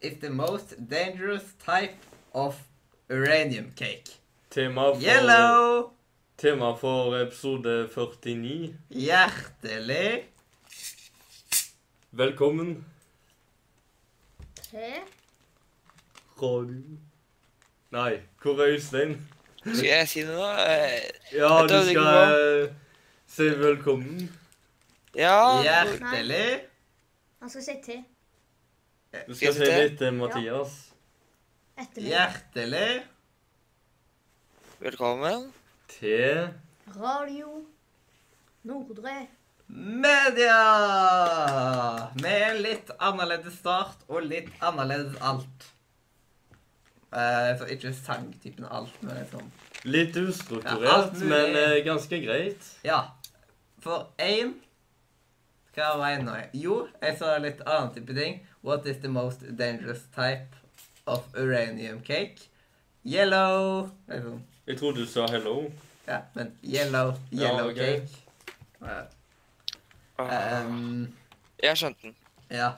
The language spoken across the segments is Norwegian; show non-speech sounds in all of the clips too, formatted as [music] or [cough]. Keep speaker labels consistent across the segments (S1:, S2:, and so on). S1: is the most dangerous type of uranium cake?
S2: Tema for,
S1: Yellow!
S2: tema for episode 49.
S1: Hjertelig
S2: Velkommen,
S3: Hæ?
S2: radio. Nei, hvor er Øystein?
S4: Skal jeg si det nå? Eh,
S2: Ja, du
S4: Jeg tar det ikke
S2: skal eh, si velkommen.
S4: Ja.
S1: Hjertelig
S3: Han skal si te.
S2: Du
S4: Skal
S2: skal
S4: jeg
S2: si
S4: sitte?
S2: litt til Mathias.
S3: Ettermiddag.
S1: Hjertelig
S4: Velkommen.
S2: Til
S3: Radio Nordre.
S1: media! Med en litt annerledes start og litt annerledes alt. Eh, så ikke sangtypen alt, men liksom
S2: litt
S1: Ja, alt
S2: ustrukturert,
S1: mulig.
S2: men eh, ganske greit.
S1: Ja. For én Hva var én nå? Jo, jeg sa litt annen type ting. What is the most dangerous type of uranium cake? Yellow. Liksom.
S2: Jeg tror du sa hello.
S1: Ja, men yellow.
S2: Ja,
S1: Yellow
S2: ok.
S1: cake. Ja. ehm,
S4: Jeg skjønte den.
S1: ja.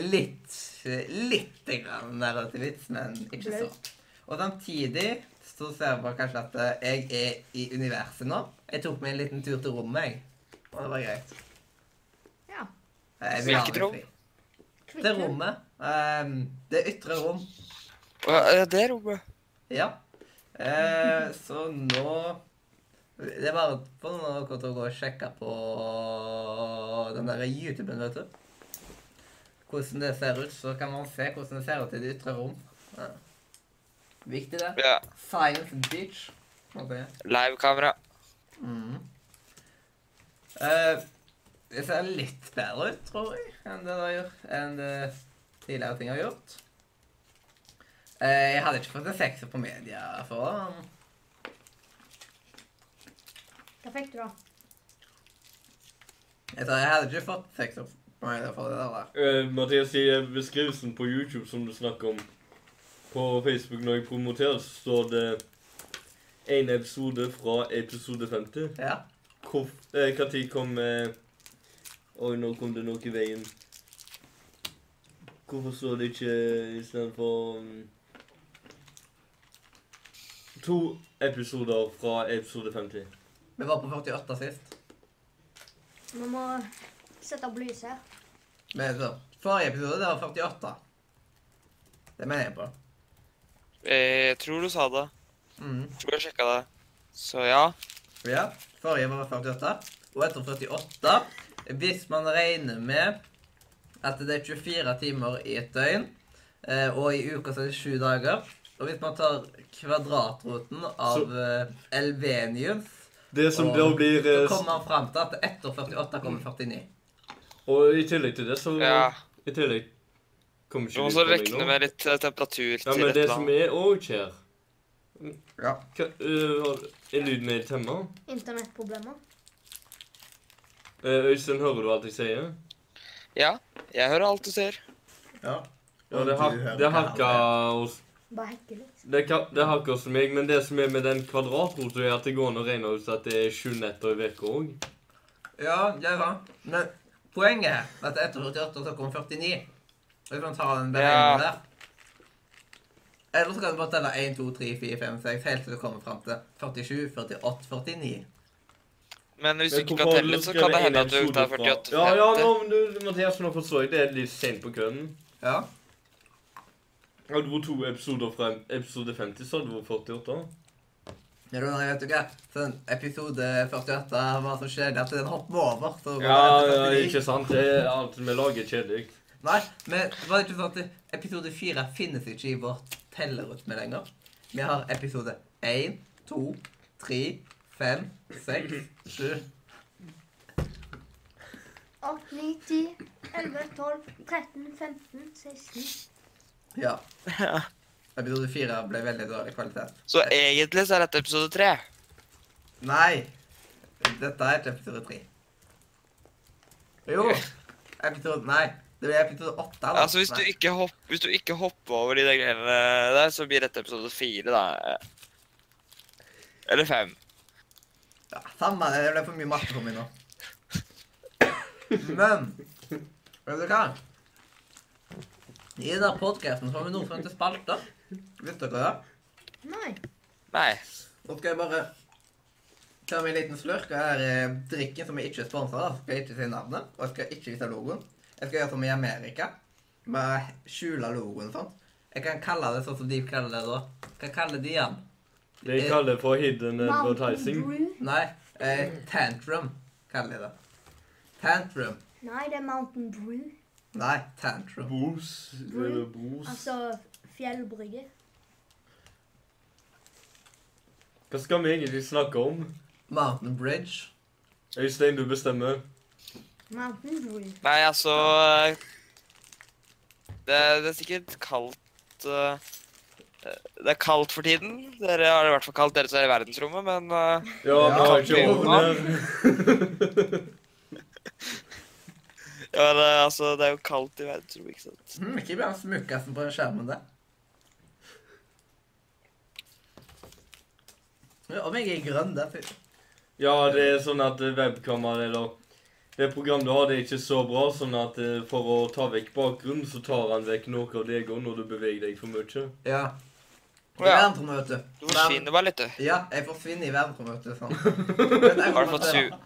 S1: Litt Lite grann narrativits, men ikke så. Og samtidig så ser jeg bare kanskje at eh, jeg er i universet nå. Jeg tok meg en liten tur til rommet, jeg. Og det var greit. Eh,
S3: Ja.
S1: Jeg vil
S4: Hvilket
S1: aldri
S4: rom?
S1: fri. Det
S3: Kvikk Lunsj.
S1: rommet. ehm, det ytre rom.
S4: Å, ja, det rommet.
S1: Ja. Eh, så nå Det er bare på noe til å gå og sjekke på den der YouTuben, vet du. Hvordan det ser ut. Så kan man se hvordan det ser ut i det ytre rom. Ja. Viktig, det.
S4: Ja.
S1: Science beach. Okay.
S4: Livekamera.
S1: Mm. Eh, det ser litt bedre ut, tror jeg, enn det det har gjort, enn det tidligere ting har gjort. Eh, jeg hadde ikke fått en sekser på media for den.
S3: Hva fikk du, da?
S1: Jeg sa jeg hadde ikke fått sekser på media for det der.
S2: Eh, Mathias sier beskrivelsen på YouTube som du snakker om. På Facebook når jeg promoterer, så står det en episode fra episode 50.
S1: Ja.
S2: Hvor, eh, hva tid kom eh, Oi, nå kom det noe i veien. Hvorfor står det ikke istedenfor um, To episoder fra episode 50.
S1: Vi var på 48 sist.
S3: Vi må sette opp lyset her.
S1: Men så, forrige episode, det var 48. Det mener jeg på.
S4: Eh, Jeg tror du sa det.
S1: Mm.
S4: Jeg tror jeg sjekka det. Så ja.
S1: Ja, forrige var 48. Og etter 48, hvis man regner med at det er 24 timer i et døgn, eh, og i uka så er det 7 dager, og hvis man tar kvadratroten av eh, Elvenius,
S2: Det som
S1: Og-
S2: da blir
S1: så
S2: eh,
S1: kommer man fram til at etter 48 kommer 49.
S2: Og i tillegg til det, så
S4: ja.
S2: I tillegg kommer
S4: Du
S2: ikke
S4: må
S2: ut
S4: også
S2: på meg nå.
S4: regne med litt eh, temperatur
S2: Ja,
S4: til
S2: men
S4: et
S2: det
S4: eller
S2: som
S4: annet.
S2: er òg skjer
S1: Ja.
S2: Hva, øh, Er lyden min temma?
S3: Internettproblemer.
S2: Uh, Øystein, hører du alt jeg sier?
S4: Ja. Jeg hører alt du ser.
S1: ja.
S2: Ja, det, har,
S1: Du hører
S2: det
S1: hva han
S2: hakker hos
S3: Bare hekke litt.
S2: det, ka- det hakker hos meg, men det som er med den kvadratrota, er at det går an å regne ut at det er sju netter i uka òg.
S1: Ja, det er sant. Men poenget er at etter 48 så kommer 49. Hvis man tar den beregningen
S4: Ja.
S1: der. Eller så kan du bare telle 1, 2, 3, 4, 5, 6, helt til du kommer fram til 47, 48, 49.
S4: Men hvis du ikke kan telle litt, så kan det hende at du tar 48
S2: Ja, ja, nå, men du, Mathias, nå forstår jeg. Det er litt sent på kvelden.
S1: Ja.
S2: Hadde det vært to episoder fra episode 50, så hadde det vært 48.
S1: Men da, vet du hva, sånn episode 48 var så kjedelig at den hopper over. Så går
S2: Ja,
S1: den
S2: ja,
S1: etter 49.
S2: ikke sant? Det er alt vi lager, er kjedelig.
S1: Nei, men var det ikke sånn at episode 4 finnes ikke i vårt tellerutme lenger? Vi har episode 1, 2, 3, 5, 6, 7
S3: 8, 9, 10, 11, 12, 13, 15, 16.
S1: Ja. Episode 4 ble veldig dårlig kvalitet.
S4: Så egentlig så er dette episode tre.
S1: Nei! Dette er ikke episode 3. Jo! Episode Nei. Det blir episode 8. da.
S4: Altså, hvis du
S1: Nei.
S4: ikke, hopp, hvis du ikke hopper over de der greiene der, så blir dette episode fire, da. Eller fem.
S1: Ja, Samme det, det ble for mye matte for meg nå. Men vet du hva? I denne podcasten så har vi noe som heter spalter. Visste dere det?
S3: Nei.
S4: Nei.
S1: Nå skal jeg bare ta meg en liten slurk av denne eh, drikken som jeg ikke er sponset av. Skal jeg ikke si navnet, og jeg skal ikke vise logoen. Jeg skal gjøre som i Amerika, med å skjule logoen og sånn. Jeg kan kalle det sånn som de kaller det da. Hva kaller de igjen?
S2: Det jeg kaller for hidden advertising.
S3: Brew.
S1: Nei, eh, tantrum kaller de det. Tantrum.
S3: Nei, det er Mountain Brew.
S1: Nei, tantrum.
S2: Bros. Eller bros.
S3: Altså fjellbrygge.
S2: Hva skal vi egentlig snakke om?
S1: Mountain Bridge.
S2: Øystein, du bestemmer.
S3: Mountain Brew.
S4: Nei, altså eh, Det, det er sikkert kaldt eh, Det er kaldt for tiden. Dere har det i hvert fall kaldt, dere som er i verdensrommet, men eh,
S2: Ja, vi har ikke
S1: Ja,
S2: ovn her. [laughs]
S4: ja, det, altså, det er jo kaldt i verdensrommet, ikke sant?
S1: Hm, ikke blant smukkassen på den skjermen der. Ja, Om jeg er grønn, det er fint.
S2: Ja, det er sånn at eh, webkamera eller det programmet du har, det er ikke så bra, sånn at eh, for å ta vekk bakgrunnen, så tar han vekk noe av deg også når du beveger deg for mye.
S1: Ja. I
S4: Å ja.
S1: verdensrommet, vet du.
S4: Du
S1: Men-
S4: forsvinner bare litt, du.
S1: Ja, jeg forsvinner i verdensrommet, vet du. Sånn. Men jeg
S4: Har du
S1: kommer
S4: fått,
S1: til-
S4: su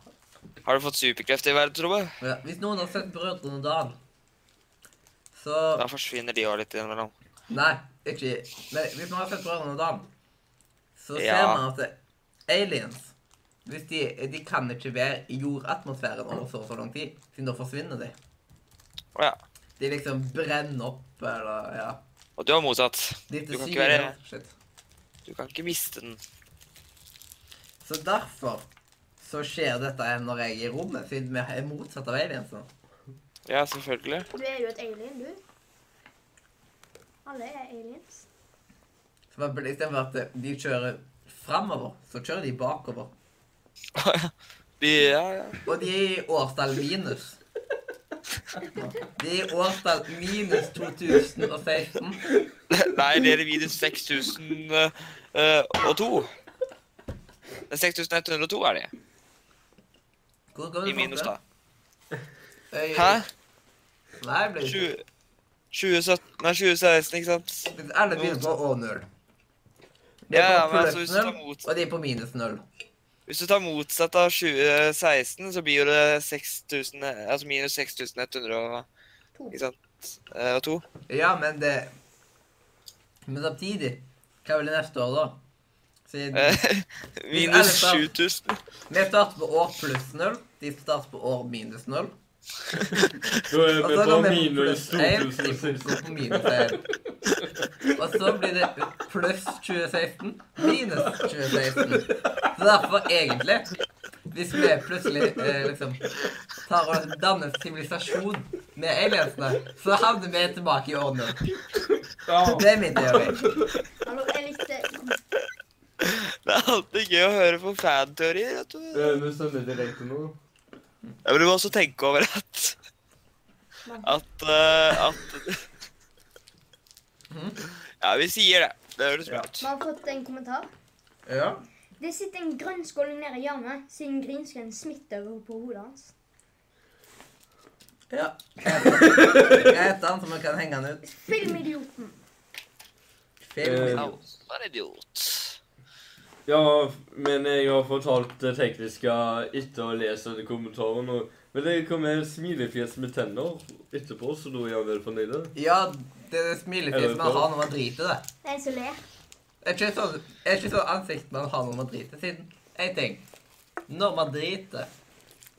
S4: har du fått superkrefter i verdensrommet?
S1: Ja, hvis noen har sett Brødrene Dal, så
S4: Da forsvinner de òg litt innimellom.
S1: Nei, ikke Men hvis man har sett Brødrene Dal, så
S4: Ja.
S1: ser man at det- aliens hvis de, de kan ikke være i jordatmosfæren over så og så lang tid, siden da forsvinner de.
S4: Å ja.
S1: De liksom brenner opp, eller ja.
S4: Og du har motsatt.
S1: De er
S4: Du
S1: til
S4: kan ikke
S1: syne.
S4: være-
S1: Shit.
S4: Du kan ikke miste den.
S1: Så derfor så skjer dette her når jeg er i rommet, siden vi er motsatt av altså. aliensene.
S4: Ja, selvfølgelig. [laughs]
S3: Du er jo et alien, du. Alle er aliens.
S1: Så man, i stedet for at de kjører fremover, så kjører de bakover.
S4: De, ja, ja.
S1: Og de er i årstall minus. De er i årstall minus 2016.
S4: Nei, det er minus eh, 6002. Det er 6102 er det,
S1: Hvor går
S4: i minus da.
S1: Øy,
S4: Hæ?
S1: Nei, jeg blir
S4: 20, 2017, nei 2016, ikke sant?
S1: Alle begynner på å null. De
S4: Ja, ja,
S1: er på
S4: men altså,
S1: pluss
S4: hvis du tar
S1: null,
S4: mot-
S1: og de er på minus null.
S4: Hvis du tar motsatt av 2016, så blir jo det 6000, altså minus 6100 og,
S3: To.
S4: ikke sant? Eh, Og to.
S1: Ja, men det Men samtidig Hva blir neste år, da? Siden
S4: Eh, [laughs] Minus 7000.
S1: vi starter på år pluss null, de starter på år minus null.
S2: [laughs]
S1: Og
S2: Altså, Da er vi
S1: så
S2: på
S1: går vi på
S2: minus
S1: pluss 1, de
S2: [laughs] 2016.
S1: går på minus 1. Og så blir det pluss 2016, minus 2016. Så derfor egentlig, hvis vi plutselig eh, liksom tar og danner sivilisasjon med aliensene, så havner vi tilbake i år nå. Det er min teori.
S3: Hallo, jeg eh, likte
S4: Det er alltid gøy å høre på fan-teorier, vet du.
S2: Eh, Vi stemmer direkte nå.
S4: Ja, men du må også tenke over at At eh, At Ja, vi sier det. Det høres bra ut.
S3: Vi har fått en kommentar.
S1: Ja.
S3: Det sitter en grønn skål nede i hjørnet siden grinsken smitter over på hodet hans.
S1: ja. Jeg heter han, så man kan henge han ut.
S3: Filmidioten.
S1: Film.
S2: Eh,
S4: Ja, så er det idiot.
S2: Ja, men jeg har fortalt det tekniske etter å lese den kommentaren. Og, men det kommer et smilefjes med tenner etterpå, så da er han vel fornøyd.
S1: Ja, det er det smilefjeset man har når man driter det.
S3: Det er en som ler.
S1: Er ikke sånn, er ikke sånn ansikt man har når man driter, siden en ting Når man driter,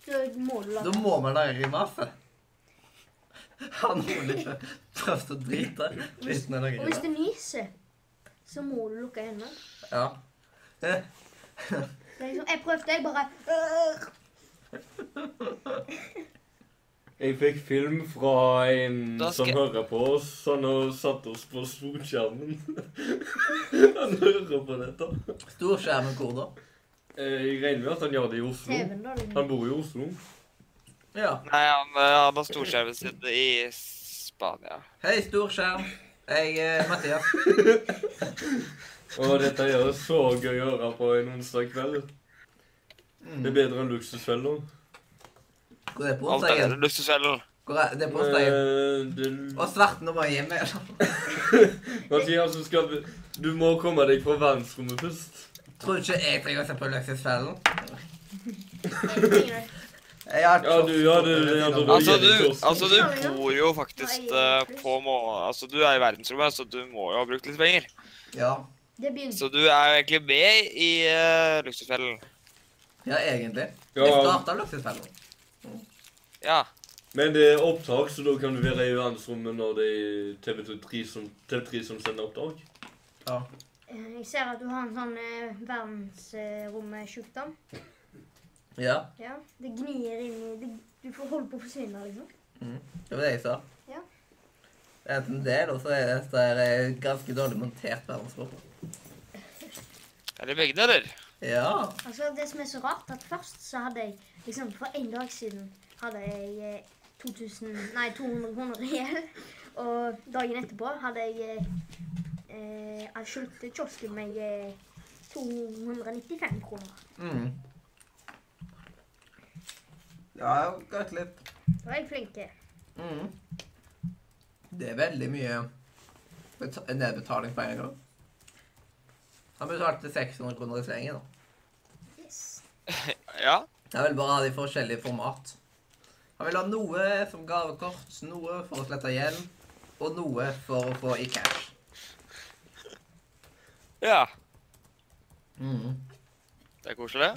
S3: Så må du la
S1: da må man lage grimase. Har noen ikke prøvd å drite uten å lage
S3: Og
S1: grimase?
S3: hvis du nyser, så må du lukke øynene.
S1: Ja. Eh,
S3: Det er liksom, jeg prøvde, jeg bare øh,
S2: Jeg fikk film fra en
S4: Da
S2: som
S4: skal-
S2: hører på oss. så Han har satt oss på storskjermen. [laughs] han hører på dette.
S1: Storskjermen hvor da?
S2: Eh, Jeg regner med at han gjør det i Oslo.
S3: TV-en, da. liksom.
S2: Han bor i Oslo.
S1: Ja.
S4: Nei, han, eh, han har storskjermen sin i Spania.
S1: Hei, storskjerm. Jeg er Mathias.
S2: Og dette er jo så gøy å høre på en onsdag kveld. Det er bedre enn luksusfeller.
S1: Går det på
S4: Alt er
S1: onsdagen?
S4: bedre enn luksusfellen.
S1: Hvor er det posta jeg?
S2: Eh, det-
S1: Og svart nå var jeg hjemme. eller?
S2: Mathias, du, skal, du må komme deg fra verdensrommet først.
S1: Tror du ikke jeg trenger å se på Løksesfellen?
S3: Jeg trenger det.
S1: Jeg har
S2: Ja, du- ja, du- ja, du- gir
S4: Altså
S2: deg
S4: du,
S2: kiosk.
S4: altså, du bor jo faktisk eh, på må... Altså, du er i verdensrommet, så du må jo ha brukt litt penger.
S1: Ja.
S3: Det begynner.
S4: Så du er jo egentlig med i uh, luksusfellen.
S1: ja, egentlig. Det
S2: Ja,
S1: starta Løksesfellen.
S4: Ja.
S2: men det er opptak, så da kan du være i verdensrommet når det er TV3 som, TV3 som sender opptak.
S1: Ja.
S3: Eh, Jeg ser at du har en sånn eh, verdensromsjukdom.
S1: ja.
S3: Ja. Det gnir inn i det, Du får holde på å forsvinne, liksom.
S1: Det var det jeg sa.
S3: Ja.
S1: Enten det, eller så er det dette her eh, ganske dårlig montert verdensrom.
S4: Er det begge deler?
S1: Ja.
S3: Altså, det som er så rart, at først så hadde jeg liksom For en dag siden hadde jeg eh, 2000, nei, 200 kroner i gjeld. Og dagen etterpå hadde jeg eh, eh, Jeg skyldte kiosken meg eh, 295 kroner.
S1: Mm. Ja, jeg har gått litt.
S3: Da var jeg flink.
S1: Mm. Det er veldig mye beta nedbetaling på en gang. Han betalte 600 kroner i slengen. da.
S3: Yes.
S4: Ja.
S1: Jeg vil bare ha de forskjellige format. Han vil ha noe som gavekort, noe for å slette gjeld, og noe for å få i cash.
S4: Ja.
S1: Mm.
S4: Det er koselig.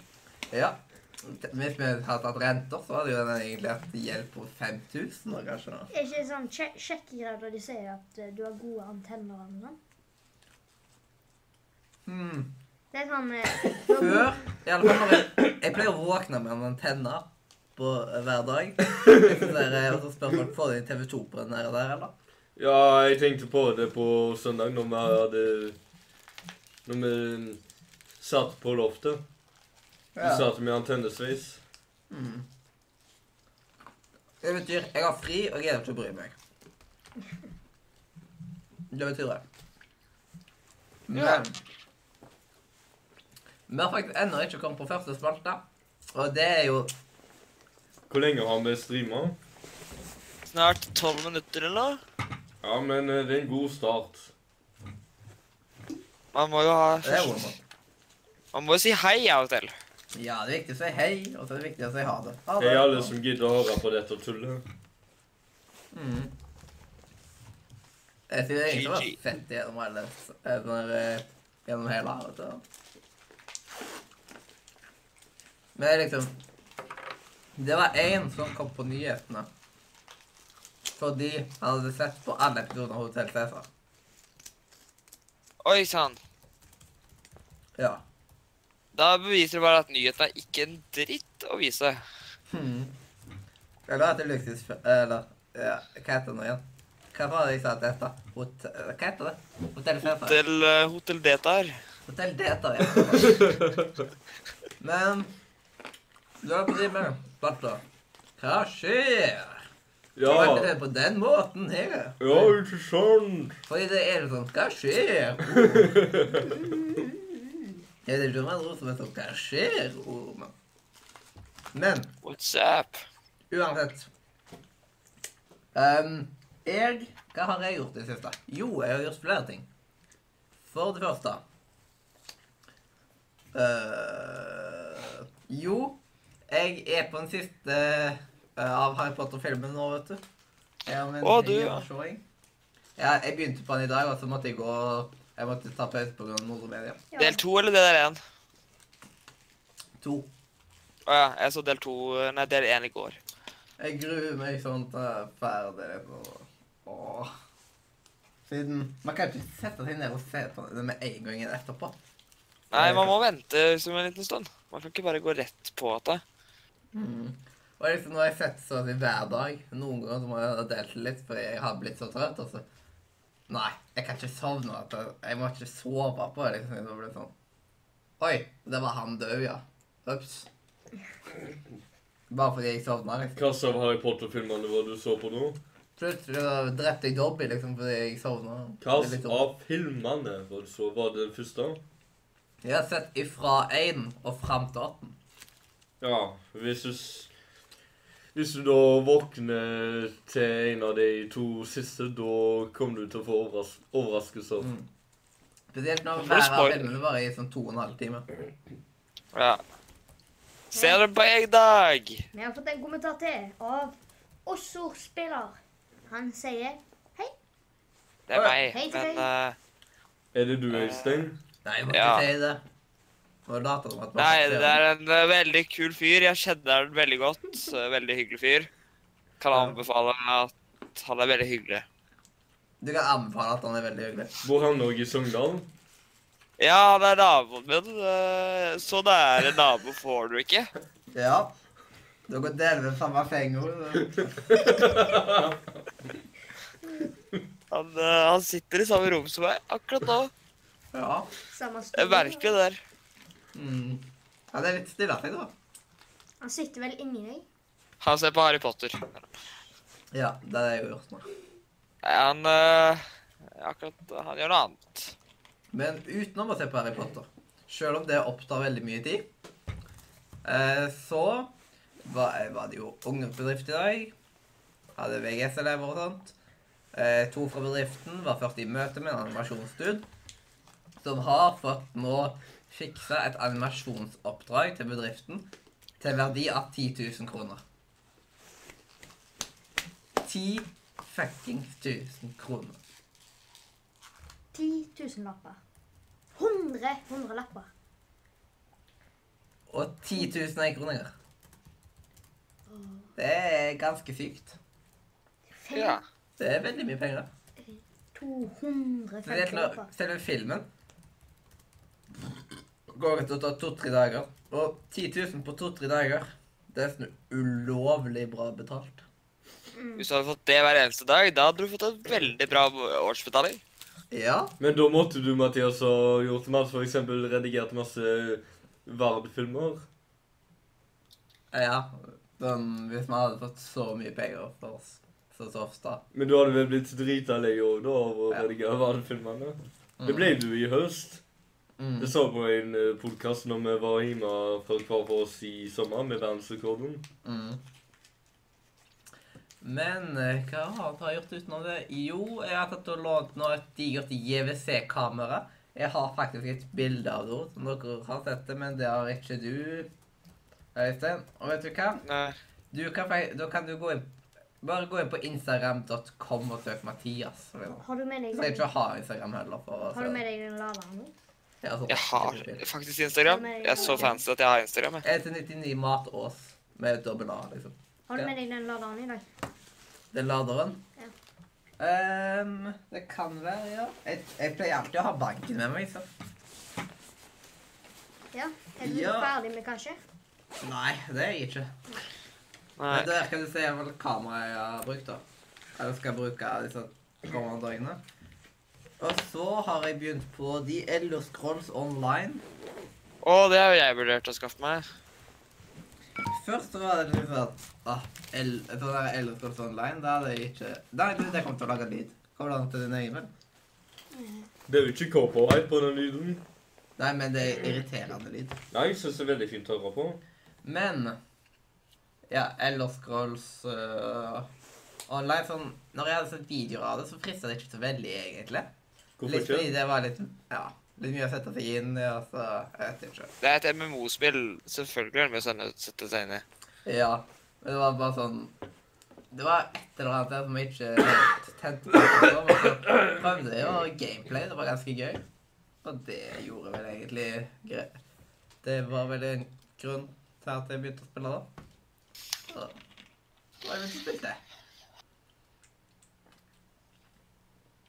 S1: Ja. Hvis vi hadde tatt renter, så hadde jo den egentlig hatt gjeld på 5000 nå, kanskje. da.
S3: Er ikke sånn sjek- sjekkgreier når de sier at eh, du har gode antenner sånn? eller noe? sånt?
S1: Mm.
S3: Det er sånn eh, du har gode-
S1: Før i alle fall, når jeg, jeg pleier å våkne med en antenne på hver dag. Jeg synes det er- eh, Og så spør folk får de TV 2 på den der, der eller?
S2: Ja, jeg tenkte på det på søndag når vi hadde Når vi satt på loftet. Vi satt med antennesveis.
S1: Mm. Det betyr jeg har fri og gleder meg til å bry meg. Det betyr det. Men vi har faktisk ennå ikke kommet på første spalte, og det er jo
S2: Hvor lenge har vi streama?
S4: Snart tolv minutter eller noe.
S2: Ja, men eh, det er en god start.
S4: Man må jo ha
S1: det er humor.
S4: Man må jo si hei av og til.
S1: Ja, det er viktig å si hei, og så er det viktig å si ha det. Ha det.
S2: Hei, alle som gidder å høre på dette tullet.
S1: Mm. Jeg tror det er ingen som har
S4: GG.
S1: sett det gjennom alle eller, eh, gjennom hele her, vet du. Men liksom Det var én som kom på nyhetene fordi han hadde sett på alle episoder av Hotell Cæsar.
S4: Oi sann.
S1: Ja.
S4: Da beviser det bare at nyheten er ikke en dritt å vise.
S1: Hmm. Eller at det lyktes Eller ja, hva heter det nå igjen? Hva var det jeg sa at det het? Hot- Hva heter det? Hotell Cæsar?
S4: Til eh, Hotell Detar.
S1: Fortell det etter jeg. Men du har driver med Barta. Hva skjer?
S2: [laughs] Ja,
S1: Hva er det på den måten her?
S2: ja, ikke sant?
S1: Fordi det er sånn Hva
S2: [laughs]
S1: skjer? Ja, det er ikke noe som er sånn Hva skjer? Oh, men. men
S4: What's up?
S1: uansett Ehm, Jeg Hva har jeg gjort i det siste? Jo, jeg har gjort flere ting. For det første eh, Jo, jeg er på den siste eh, av Harry Potter-filmen nå, vet du. Jeg har min
S4: Å, du, ja.
S1: hjemmesjåing. Ja, jeg begynte på den i dag, og så måtte jeg gå Jeg måtte ta pause pga. Nordmedia.
S3: Ja.
S4: Del to eller det der én?
S1: To.
S4: Å ja, jeg så del to eh, Nei, del én i går.
S1: Jeg gruer meg sånn til jeg er ferdig liksom. Åh. Siden Man kan ikke sette seg ned og se på det med en gang etterpå.
S4: Nei, man må vente som en liten stund. Man kan ikke bare gå rett på det.
S1: Mm. Og liksom, nå har jeg sett sånn i hver dag. Noen ganger så må jeg ha delt det litt, for jeg har blitt så trøtt. og så... Nei, jeg kan ikke sovne. At jeg, jeg må ikke sove på det. liksom. Det blir sånn Oi, det var han død, ja. Ops. Bare fordi jeg sovna, liksom.
S2: Hva slags Harry Potter-filmene var det du så på nå?
S1: Plutselig så drepte jeg Dobby liksom fordi jeg sovna.
S2: Hva
S1: Det er litt dumt.
S2: av filmene var det så? Var det den første?
S1: Jeg har sett ifra 1 og fram til 18.
S2: Ja, hvis du s- Hvis du da våkner til en av de to siste, da kommer du til å få overras overraskelser.
S1: Mm. Spesielt når
S4: Nå får du
S1: hver av
S4: spoil-
S1: filmene varer i sånn to og en halv time.
S4: Ja. Se det på en dag!
S3: Vi har fått en kommentar til av Ossor-spiller. Han sier
S4: Det er meg,
S3: Hei til
S4: men eh,
S2: Er det du, Øystein?
S1: Nei, jeg må
S4: Ja.
S1: ikke si det. Nå er dataen at man
S4: Nei,
S1: ser
S4: det er en eh, veldig kul fyr. Jeg kjenner han veldig godt. eh, Veldig hyggelig fyr. Kan
S1: Ja.
S4: anbefale at han er veldig hyggelig.
S1: Du kan anbefale at han er veldig hyggelig.
S2: Bor han òg
S1: [laughs]
S2: i Sogndal?
S4: Ja, han er naboen min. eh, Så nære nabo får du ikke.
S1: Ja. Dere deler samme senga.
S4: Han, eh, han sitter i samme rom som meg akkurat nå.
S1: Ja.
S3: samme
S4: Jeg merker det der.
S1: Mm. Ja, det er litt stille seg, da.
S3: Han sitter vel inni deg?
S4: Han ser på Harry Potter.
S1: Ja, det er det jeg har gjort nå.
S4: Nei, Han eh, akkurat Han gjør noe annet.
S1: Men utenom å se på Harry Potter, selv om det opptar veldig mye tid, eh, så var, eh, var det jo ungdomsbedrift i dag. Hadde VGS-elever og sånt. Eh, to fra bedriften var først i møte med en animasjonsdude, som har fått nå fiksa et animasjonsoppdrag til bedriften til verdi av 10 000 kroner. 10 fuckings 1000 kroner.
S3: 10 000 lapper. 100 100 lapper.
S1: Og 10 000 er kroner. Det er ganske sykt.
S3: Fem-
S4: Ja.
S1: Det er veldig mye penger.
S3: 250
S1: Spesielt når
S3: lapper.
S1: selve filmen går ut og tar to-tre dager. Og 10 000 på to-tre dager, det er sånn ulovlig bra betalt.
S4: Hvis du hadde fått det hver eneste dag, da hadde du fått en veldig bra årsbetaling.
S1: Ja,
S2: Men da måtte du, Mathias, ha gjort masse, for eksempel redigert masse Vard-filmer.
S1: ja. Sånn, hvis vi hadde fått så mye penger for oss så så ofte.
S2: Men du hadde vel blitt drita lei òg, da, av å
S1: Ja.
S2: redigere Vard-filmene? Det ble du i høst.
S1: Mm.
S2: Det sa på en podkast når vi var hjemme fra hver for oss i sommer med verdensrekorden.
S1: Mm. Men eh, hva annet har jeg gjort utenom det? Jo, jeg har tatt og lånt nå et digert JVC-kamera. Jeg har faktisk et bilde av det, som dere har sett det, men det har ikke du, Øystein. Og vet du hva?
S4: Nei.
S1: Du kan, fak- da kan du gå inn Bare gå inn på instagram.com og søk Mathias. Så jeg
S3: Har du med deg
S1: trenger ikke å ha Instagram heller. for å
S3: Har
S1: se
S3: du
S1: det.
S3: med deg den laveren nå?
S1: Ja, sånn.
S4: Jeg har faktisk Instagram. Jeg er så fancy at jeg har Instagram. jeg.
S1: Jeg heter 99 Matås med dobbel A, liksom.
S3: Har du
S1: Ja.
S3: med deg den laveren i dag?
S1: Den laderen?
S3: Ja.
S1: Ehm, det kan være, ja. Jeg, jeg pleier alltid å ha banken med meg. så.
S3: Ja. Er du
S1: Ja.
S3: ferdig med kanskje?
S1: Nei, det er jeg ikke. Men
S4: Nei.
S1: der kan du se hva slags kamera jeg har brukt. da. Eller skal bruke disse kommende dagene. Og så har jeg begynt på The Elder Scrolls Online.
S4: Å, det har jo jeg vurdert å skaffe meg.
S1: Først så var det litt sånn at ah, El, sånn der Elder Scrolls Online, da hadde jeg ikke Nei, du, det kommer til å lage lyd. Kommer det an til din egen? vel?
S2: Det er jo ikke copyright på den lyden.
S1: Nei, men det er irriterende lyd.
S2: Nei, jeg syns det er veldig fint å høre på.
S1: Men Ja, Elder Scrolls øh, Online sånn, Når jeg hadde sett videoer av det, så frista det ikke så veldig, egentlig.
S2: Hvorfor
S1: Litt fordi
S2: ikke?
S1: det var litt Ja, litt mye å sette seg inn i, og så Jeg vet ikke.
S4: Det er et MMO-spill. Selvfølgelig er det med å sende, sette seg inn i.
S1: Ja. Men det var bare sånn Det var et eller annet der som jeg ikke helt tente på. så da, Men så sånn, prøvde jeg jo gameplay. Det var ganske gøy. Og det gjorde vel egentlig greit. Det var vel en grunn til at jeg begynte å spille da. Så det var det vi spilte.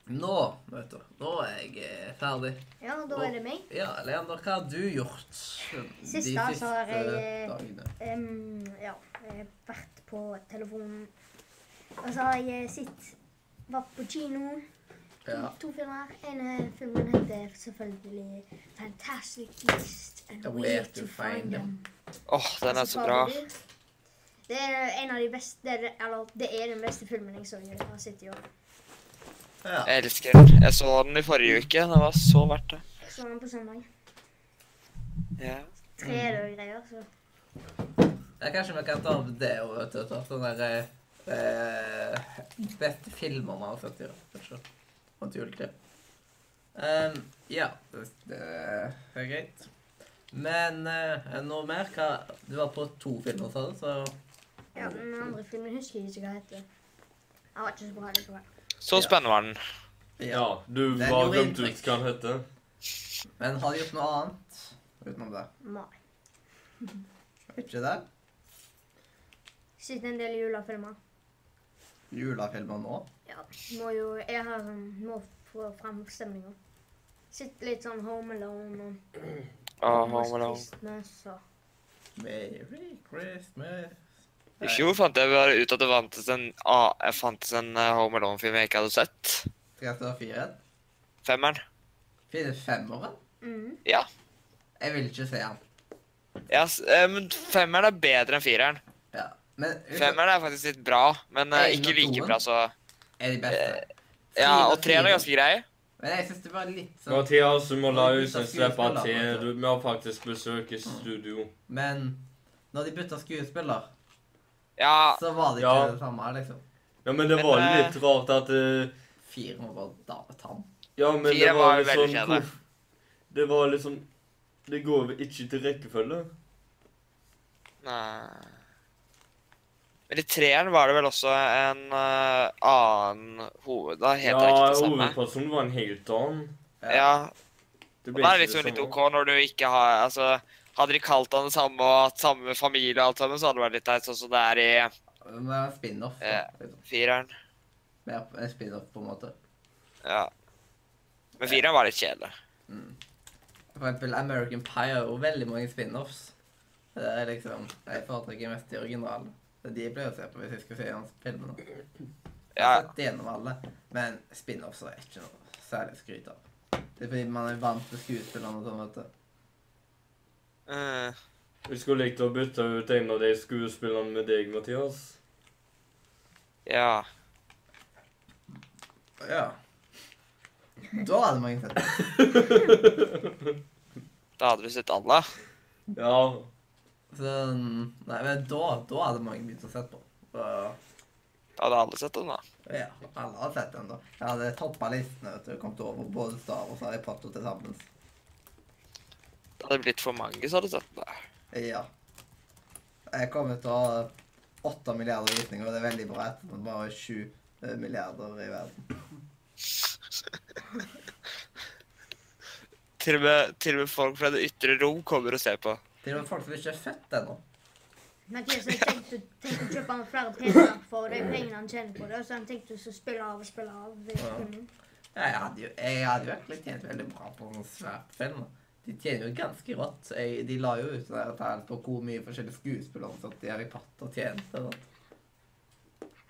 S1: Nå, vet du. Nå er jeg eh, ferdig.
S3: Ja, da
S1: Nå.
S3: er det meg.
S1: Ja, Leander, hva har du gjort de
S3: Sist da, så har jeg, eh,
S1: dagene?
S3: Em, ja, jeg har vært på telefonen. Og så har jeg sett Vært på kino. To,
S1: Ja.
S3: to filmer. En eh, filmen heter selvfølgelig 'Fantastic Beast and
S1: A
S3: Where to Find Them'.
S4: Åh, den er
S3: Altså,
S4: så bra.
S3: Det er en av de beste, det er, eller det er den beste filmen jeg så jeg har sett i år.
S1: Ja.
S4: Jeg elsker den. Jeg så den i forrige
S1: Mm.
S4: uke. Den var så verdt det.
S3: Så den på søndag.
S4: Ja. Mm.
S3: Tre dager greier, så
S1: Ja, kanskje vi kan ta opp det og vet du, ta opp sånne der, eh, beste filmer man har sett i år. kanskje, Rundt juletid. Um, ja, det, det er greit. Men eh, noe mer? Hva, du var på to filmer, sa du, så
S3: Ja, den andre filmen husker jeg ikke hva heter. Jeg var ikke så bra likevel.
S4: Så
S1: Ja.
S4: spennende var den.
S2: Ja, du
S1: Den
S2: var
S1: gjorde
S2: glemt
S1: inntrykk.
S2: ut hva han heter.
S1: Men har du gjort noe annet utenom det?
S3: Mai.
S1: Ikke det?
S3: Sett en del julefilmer.
S1: Julefilmer nå?
S3: Ja, må jo, jeg har sånn, må få fram stemninga. Sett litt sånn Home Alone og
S4: Åh, Home Alone.
S3: Christmas og
S1: Merry Christmas.
S4: I fjor fant jeg bare ut at det fantes en, ah, jeg fantes en eh, Home Alone-film jeg ikke hadde sett.
S1: Skal jeg ta fireren?
S4: Femmeren.
S1: Finnes femmeren?
S3: mm.
S1: Jeg vil ikke se han.
S4: Ja, s- eh, men femmeren er bedre enn fireren.
S1: Ja. Men
S4: Femmeren er faktisk litt bra, men eh,
S1: Er det
S4: ikke
S1: noen
S4: like
S1: toen?
S4: bra, så
S1: er de beste.
S4: Eh, Ja, og
S1: Fire
S4: treeren
S1: av
S4: er
S1: fire.
S4: ganske grei.
S1: Men jeg syns det var litt sånn
S2: Mathias, du må la
S1: Og
S2: huset
S1: bytte
S2: slippe
S1: skuespiller, vet
S2: til. Du,
S1: du. Mm.
S2: vi har faktisk besøk i studio.
S1: Men når de bytta skuespiller,
S4: Ja,
S1: så var det ikke
S2: Ja.
S1: det samme, liksom.
S2: Ja, men det
S4: Men,
S2: var
S4: eh,
S2: litt rart at eh,
S1: Fire må bare da ta den.
S2: Ja, men det
S4: Fire
S2: var
S4: var
S2: litt
S4: veldig
S2: sånn
S4: kjedelig.
S2: hvor- Det var liksom Det går vel ikke til rekkefølge?
S4: Nei. Men i treeren var det vel også en eh, annen hoved... Da heter det
S2: ja,
S4: ikke det samme.
S2: hovedpersonen var en helt annen.
S4: Ja,
S2: Det
S4: og
S2: ble
S4: da er det
S2: ikke
S4: liksom litt
S2: samme.
S4: OK når du ikke har Altså, hadde de kalt han det samme og hatt samme familie og alt sammen, så hadde det vært litt teit, sånn som det er i
S1: Men det er en spin-off. da,
S4: Ja.
S1: Liksom.
S4: fireren.
S1: Mer en spin-off, på en måte.
S4: Ja. Men fireren var litt kjedelig.
S1: For eksempel American Pie har jo veldig mange spin-offs. Det er liksom Jeg foretrekker mest de originale. Det er de jeg pleier å se på hvis jeg skal se gjennom filmene. Jeg
S4: Ja,
S1: har sett gjennom alle, men spin-offs er ikke noe særlig å skryte av. Det er fordi man er vant til skuespillerne og sånn, vet du.
S4: eh,
S2: Vi skulle likt å bytte ut en av de skuespillerne med deg,
S4: [laughs]
S2: Mathias. [laughs]
S4: ja.
S1: Ja. Da hadde mange sett det.
S4: Da hadde du sett alle.
S2: Ja.
S1: Sånn Nei, men da, da hadde mange begynt å se på. Så,
S4: Da hadde alle sett dem, da.
S1: ja, alle hadde sett den, da. Jeg hadde toppa listene vet du, og kommet over både Star Wars og Harry Potter til sammen.
S4: Det hadde blitt for mange, så hadde du sett dem. da.
S1: Ja. Jeg kommer til å ha åtte milliarder visninger, og det er veldig bra etterpå. Bare sju eh, milliarder i verden.
S4: Til og med, til og med folk fra det ytre rom kommer og ser på.
S1: Til og med folk som ikke er født ennå.
S3: Men Chris, jeg tenkte, tenkte å kjøpe han flere PC-er for de pengene han tjener på det, og så han tenkte å spille av og spille av. det
S1: Ja.
S3: filmen.
S1: Ja, Jeg hadde jo, jeg hadde jo egentlig tjent veldig bra på en svært film. da. De tjener jo ganske rått. Jeg, de la jo ut sånne her tall på hvor mye forskjellige skuespillere som satt i Harry Potter tjente. og sånt.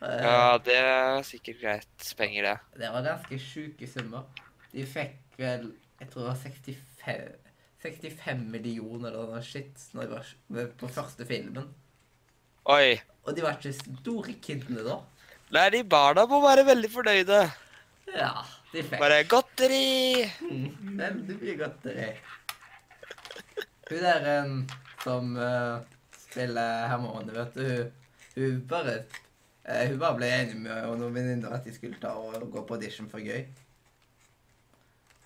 S1: Eh,
S4: Ja, det er sikkert greit penger, det.
S1: Det var ganske sjuke summer. De fikk vel Jeg tror det var 65, 65 millioner eller noe shit når de var, når- på første filmen.
S4: Oi.
S1: Og de var ikke store kidene da.
S4: Nei, de barna må være veldig fornøyde.
S1: Ja, de fikk
S4: Bare godteri!
S1: Mm, veldig mye godteri. Hun der en som eh, spiller Hermione, vet du, hun, hun bare eh, Hun bare ble enig med og noen venninner at de skulle ta og gå på audition for gøy.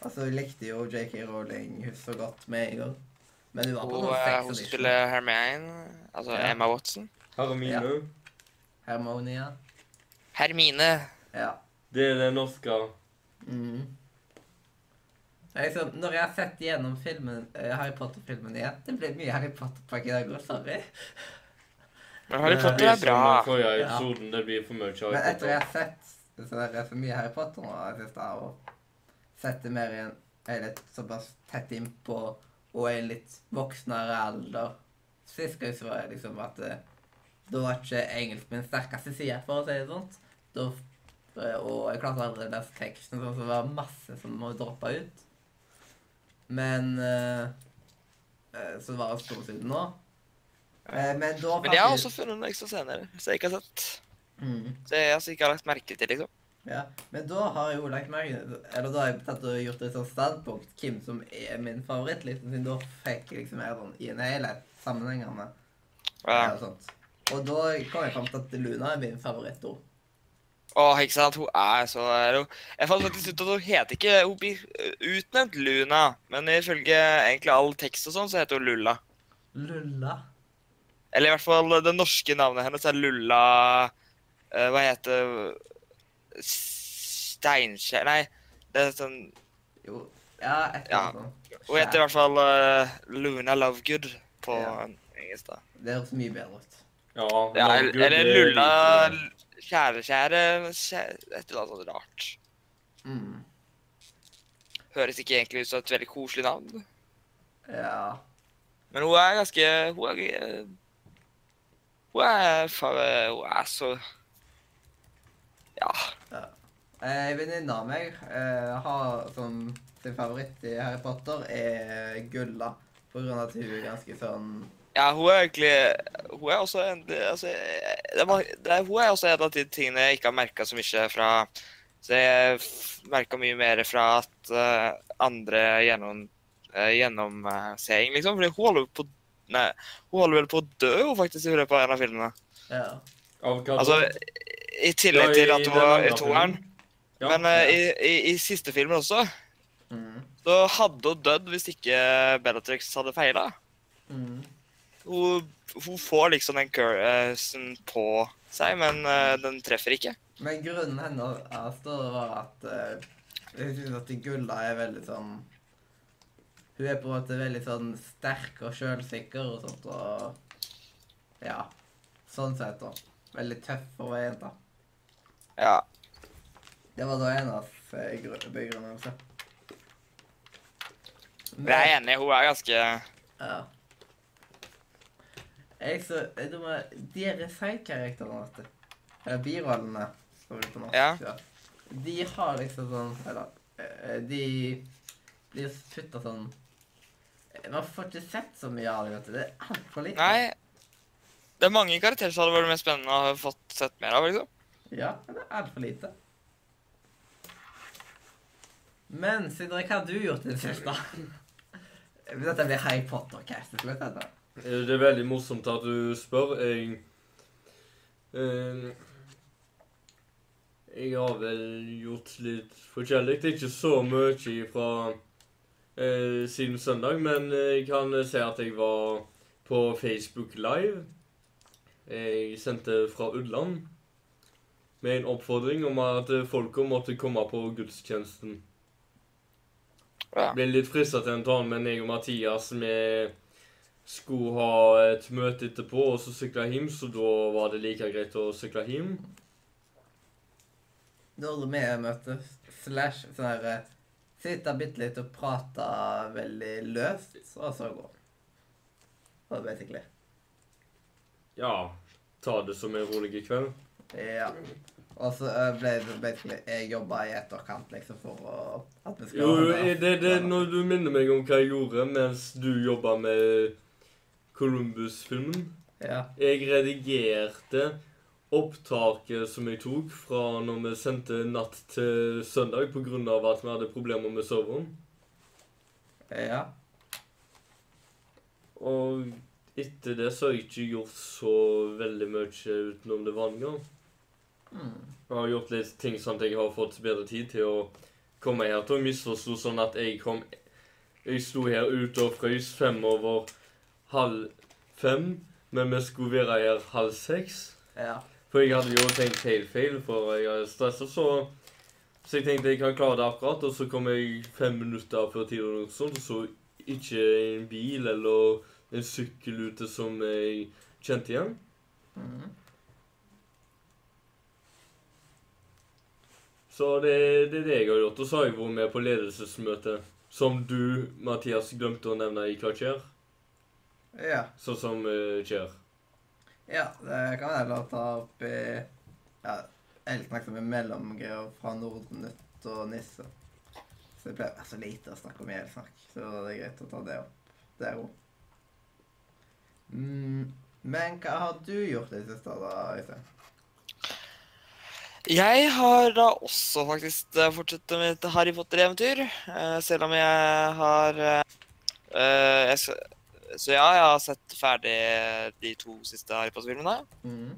S1: Altså, hun likte jo JK Rowling hun så godt med en gang. Men hun var på
S4: Hun,
S1: sånn
S4: eh, hun
S1: sex audition.
S4: spiller Hermione, altså
S1: Ja.
S4: Emma Watson.
S2: Hermine.
S1: Ja. Hermonia.
S4: Hermine.
S1: Ja.
S2: Det er det norske.
S1: Mm. Det er Liksom, når jeg har sett igjennom filmen, eh, Harry Potter-filmen igjen Det blir mye Harry Potter-pakke i dag òg, sorry.
S4: Men Harry
S1: Det
S2: Det
S4: Potter
S2: blir
S4: er
S2: som den
S4: bra.
S2: forrige
S1: Ja.
S2: episoden. Det blir for mye
S1: Men
S2: Harry
S1: etter jeg
S2: Potter.
S1: har sett så er det for mye Harry Potter nå, jeg synes jeg har sett det mer i en jeg er litt såpass tett innpå og i en litt voksnere alder. Sist gang så var jeg liksom at eh, da var ikke engelsk min sterkeste side, for å si det sånn. Da, eh, og jeg klarte aldri å lese teksten, sånn, så det var masse som må droppe ut. Men eh, eh, Så var det stort sett nå. Eh, men da
S4: Men jeg har
S1: faktisk-
S4: også funnet noen ekstra scener som jeg ikke har sett.
S1: Mm.
S4: Så jeg altså ikke har lagt merke til, liksom.
S1: Ja, men da har jeg jo lagt merke Eller da har jeg tatt og gjort et sånt standpunkt hvem som er min favoritt, liksom, siden da fikk jeg liksom jeg sånn i en helhet sammenhengende.
S4: Ja.
S1: og sånt. Og da kom jeg fram til at Luna er min favorittord.
S4: Åh, ikke sant? Hun er så er hun. Jeg fant faktisk ut at hun heter ikke Hun blir eh, utnevnt Luna, men ifølge egentlig all tekst og sånn, så heter hun Lulla.
S1: Lulla.
S4: Eller i hvert fall det norske navnet hennes er Lulla eh, Hva heter Steinkjer Nei, det er sånn
S1: Jo. Ja, et eller
S4: Ja.
S1: annet. sånt.
S4: Hun heter i hvert fall eh, Luna Lovegood på
S1: Ja.
S4: engelsk, da.
S1: Det høres mye bedre ut.
S2: Ja,
S4: Ja,
S2: Norge,
S4: eller eller
S2: det er
S4: Lulla
S2: lite.
S4: Kjære, kjære kjæ- Et eller annet sånt rart.
S1: Mm.
S4: Høres ikke egentlig ut som et veldig koselig navn.
S1: Ja.
S4: Men hun er ganske Hun er eh, Hun er far, Hun er så Ja.
S1: Eh, Venninna av meg eh, har som sin favoritt i Harry Potter er Gulla. På grunn av at hun er ganske sånn
S4: Ja, hun er egentlig Hun er også en altså, det var, det, er- Hun er også en av de tingene jeg ikke har merka så mye fra Så jeg merka mye mer fra at eh, andre gjennom eh, gjennomseing, liksom. Fordi hun holder på Nei, hun holder vel på å dø, hun, faktisk, i løpet av en av filmene.
S1: Ja.
S2: Av hva da?
S4: Altså, i tillegg
S2: Ja, i
S4: til at
S2: den
S4: hun var
S2: andre
S4: i toeren.
S2: Ja.
S4: Men eh, i, i, i siste filmen også,
S1: Mm.
S4: så hadde hun dødd hvis ikke Bellatrix hadde feila.
S1: Mm.
S4: hun, hun får liksom den cursen på seg, men eh, den treffer ikke.
S1: Men grunnen hennes står var at eh, Hun synes at Gulla er veldig sånn Hun er på en måte veldig sånn sterk og sjølsikker og sånt og Ja. Sånn sett, da. Veldig tøff for å være jente.
S4: Ja.
S1: Det var da hennes eh, gru- begrunnelse.
S4: Men jeg er enig, hun er ganske
S1: Ja. Jeg så jeg tror De er side-karakterene, vet du. Eller birollene, står det på norsk.
S4: Ja.
S1: De har liksom sånn Eller eh, de blir putta sånn eh, Man får ikke sett så mye av dem, vet du. Det er altfor lite.
S4: Nei. Det er mange karakterer som hadde vært mer spennende å ha fått sett mer av. liksom.
S1: Ja, det er altfor lite. Men Sindre, hva har du gjort i det siste? Dette blir Harry Potter-cast til slutt. dette.
S2: Eh, Det er veldig morsomt at du spør. Jeg eh, Jeg har vel gjort litt forskjellig. Det er ikke så mye fra eh, siden søndag, men jeg kan si at jeg var på Facebook Live. Jeg sendte fra Ullern med en oppfordring om at folka måtte komme på gudstjenesten.
S4: Ja.
S2: Ble litt frista til en tale, men jeg og Mathias vi skulle ha et møte etterpå, og så sykla hjem, så da var det like greit å sykle hjem.
S1: Når vi møtes slash sånn her eh, Sitte bitte litt og prate veldig løst, og så gå. Og basically.
S2: Ja, ta det som en rolig kveld.
S1: Ja. Og så eh, ble det basically Jeg jobba i etterkant, liksom, for å at vi
S2: Jo, jo,
S1: ha-
S2: det, det når du minner meg om hva jeg gjorde mens du jobba med Columbus-filmen.
S1: Ja.
S2: Jeg redigerte opptaket som jeg tok fra når vi sendte natt til søndag pga. at vi hadde problemer med serveren.
S1: ja.
S2: Og etter det så har jeg ikke gjort så veldig mye utenom det vanlige.
S1: Mm.
S2: Jeg har gjort litt ting sånn at jeg har fått bedre tid til å komme her til å misforstå sånn at jeg kom Jeg sto her ute og frøys fem over halv fem, men vi skulle være her halv seks.
S1: ja.
S2: For jeg hadde jo tenkt helt feil, for jeg er stressa, så Så jeg tenkte jeg kan klare det akkurat, og så kom jeg fem minutter før tid, og noe sånt, og så ikke en bil eller en sykkel ute som jeg kjente igjen.
S1: Mm.
S2: Så det, det er det jeg har gjort. Og så har jeg vært med på ledelsesmøte, som du, Mathias, glemte å nevne i hva skjer.
S1: ja.
S2: Sånn som eh, skjer.
S1: Ja, det kan jeg la ta opp i Ja, jeg snakket med mellomgreier fra Nordnytt og Nisse. Så det ble så lite å snakke om i hele snakk, så det er greit å ta det opp der òg. Mm, men hva har du gjort i det siste, da, Øystein?
S4: Jeg har da også faktisk eh, fortsatt med et Harry Potter-eventyr. eh, Selv om jeg har eh, eh, jeg, s- Så ja, jeg har sett ferdig de to siste Harry Potter-filmene.
S1: Mm.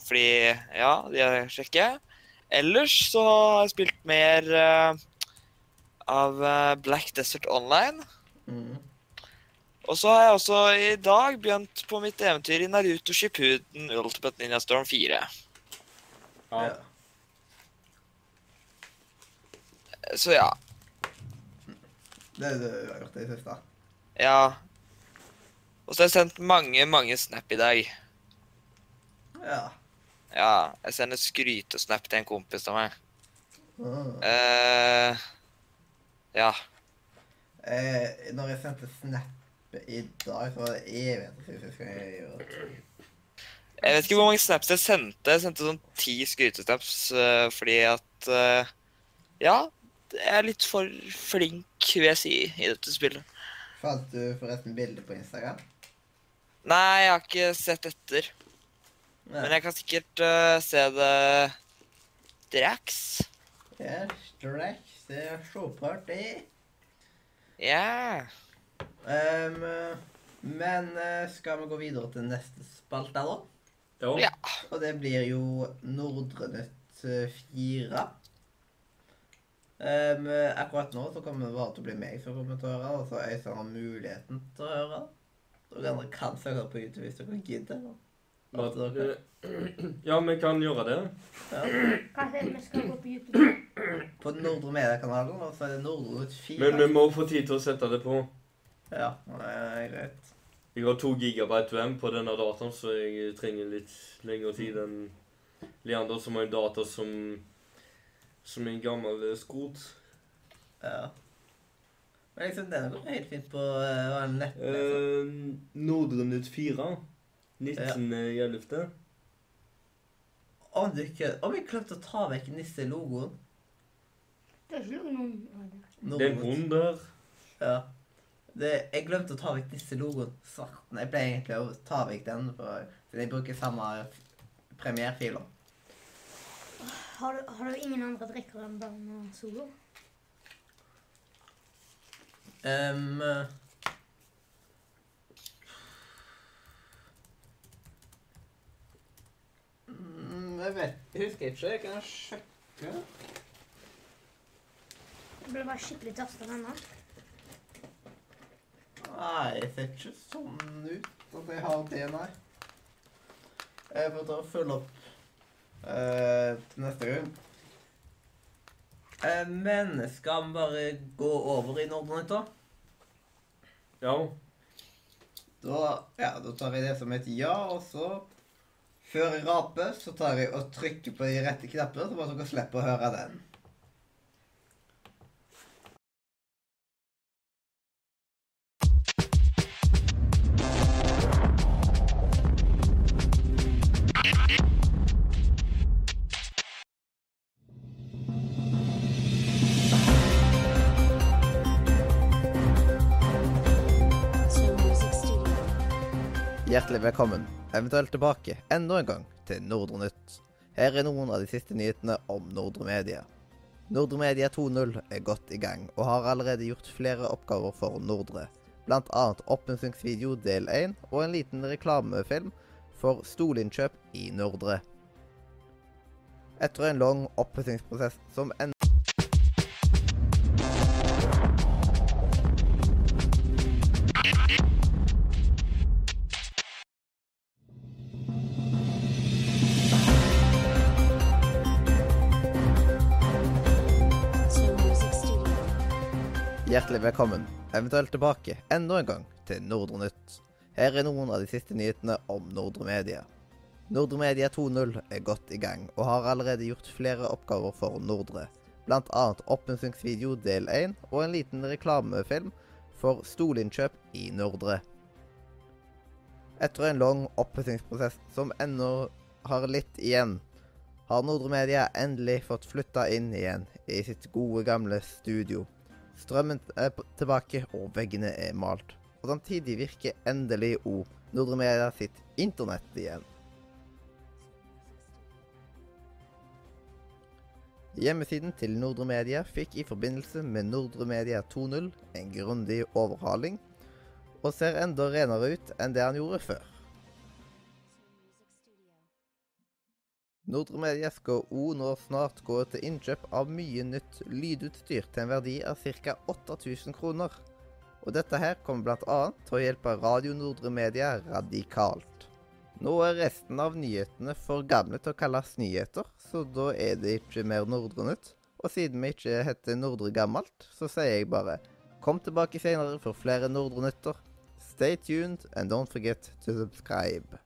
S4: Fordi ja, de er kjekke. Ellers så har jeg spilt mer eh, av eh, Black Desert Online.
S1: Mm.
S4: Og så har jeg også i dag begynt på mitt eventyr i Naruto Shippuden Ultimate Ninja Storm 4.
S2: Ja.
S1: Ja.
S4: Så ja.
S1: Det er det du har gjort i det siste.
S4: Ja. Og så har jeg sendt mange, mange snap i dag.
S1: Ja.
S4: Ja, jeg sender skrytesnap til en kompis av meg.
S1: Mm.
S4: eh ja.
S1: Eh, når jeg sendte snap i dag, så var det evig siden sist gang jeg gjorde det.
S4: Jeg vet ikke hvor mange snaps jeg sendte. Jeg sendte sånn ti skrytesnaps eh, fordi at eh, Ja, jeg er litt for flink, vil jeg si, i dette spillet.
S1: Fant du forresten bilde på Instagram?
S4: Nei, jeg har ikke sett etter. Men jeg kan sikkert eh, se det straks.
S1: Ja, strekk, det er sjåpart, det.
S4: Ja.
S1: Ehm, men eh, skal vi gå videre til neste spalte, da?
S2: Ja.
S4: Ja.
S1: Og det blir jo Nordre Nytt eh, 4. Ehm, akkurat nå så kommer det bare til å bli meg som kommer til å høre, og så Øystein har muligheten til å høre. Og dere andre kan søke på YouTube hvis dere gidder. At dere-
S2: [clears throat] ja, vi kan gjøre det.
S1: Ja.
S3: Hva er det vi skal gå på YouTube?
S1: På Nordre Mediekanalen, og så er det Nordre Nytt 4.
S2: Men vi må få tid til å sette det på.
S1: Ja, eh, greit.
S2: Jeg har to gigabyte RAM på denne dataen, så jeg trenger litt lengre tid enn Leander, som har en data som som en gammel eh, skrot.
S1: Ja. Men liksom, den går helt fint på uh, nettleser.
S2: Eh, Nordre nytt 4. 19. Ja.
S1: Om du ikke Om jeg glemte å ta vekk nisselogoen
S3: Det er ikke noen
S2: Det er en
S1: Nordre-
S2: hund der.
S1: Ja. Det, jeg glemte å ta vekk nisselogoen. Svarten. Jeg pleier egentlig å ta vekk den, for for jeg bruker samme premierfiler.
S3: Har du, har du ingen andre drikker enn bare Solo?
S1: Ehm, mm, jeg vet, jeg husker ikke. Jeg kan sjekke.
S3: Jeg ble bare skikkelig tørst av denne.
S1: Nei, det ser ikke sånn ut at jeg har det, nei. Jeg får ta og følge opp eh, til neste gang. Eh, men skal vi bare gå over i Nordnytt, da?
S2: Ja.
S1: Da, ja, da tar jeg det som et ja, og så Før jeg raper, så tar jeg og trykker på de rette knapper, så bare dere slipper å høre den.
S5: Slow Music Studio.
S1: Hjertelig velkommen, eventuelt tilbake enda en gang til Nordre Nytt. Her er noen av de siste nyhetene om Nordre Media. Nordre Media 2.0 er godt i gang, og har allerede gjort flere oppgaver for Nordre. Blant annet oppmuntringsvideo del 1 og en liten reklamefilm for stolinnkjøp i Nordre. Etter en lang oppussingsprosess som en
S5: Slow Music Studio.
S1: Hjertelig velkommen, eventuelt tilbake enda en gang til Nordre Nytt. Her er noen av de siste nyhetene om Nordre Media. Nordre Media 2.0 er godt i gang, og har allerede gjort flere oppgaver for Nordre. Blant annet oppmuntringsvideo del 1 og en liten reklamefilm for stolinnkjøp i Nordre. Etter en lang oppussingsprosess som ennå har litt igjen, har Nordre Media endelig fått flytta inn igjen i sitt gode, gamle studio. Strømmen er p- tilbake, og veggene er malt. Og samtidig virker endelig O Nordre Media sitt internett igjen. Hjemmesiden til Nordre Media fikk i forbindelse med Nordre Media 2.0 en grundig overhaling,
S6: og ser enda renere ut enn det han gjorde før. Nordre Media skal òg nå snart gå til innkjøp av mye nytt lydutstyr til en verdi av ca. 8000 kroner. Og dette her kommer bl.a. til å hjelpe Radio Nordre Media radikalt. Nå er resten av nyhetene for gamle til å kalles nyheter, så da er det ikke mer Nordre Nytt. Og siden vi ikke heter Nordre Gammelt, så sier jeg bare kom tilbake senere for flere Nordre Nytter. Stay tuned and don't forget to subscribe.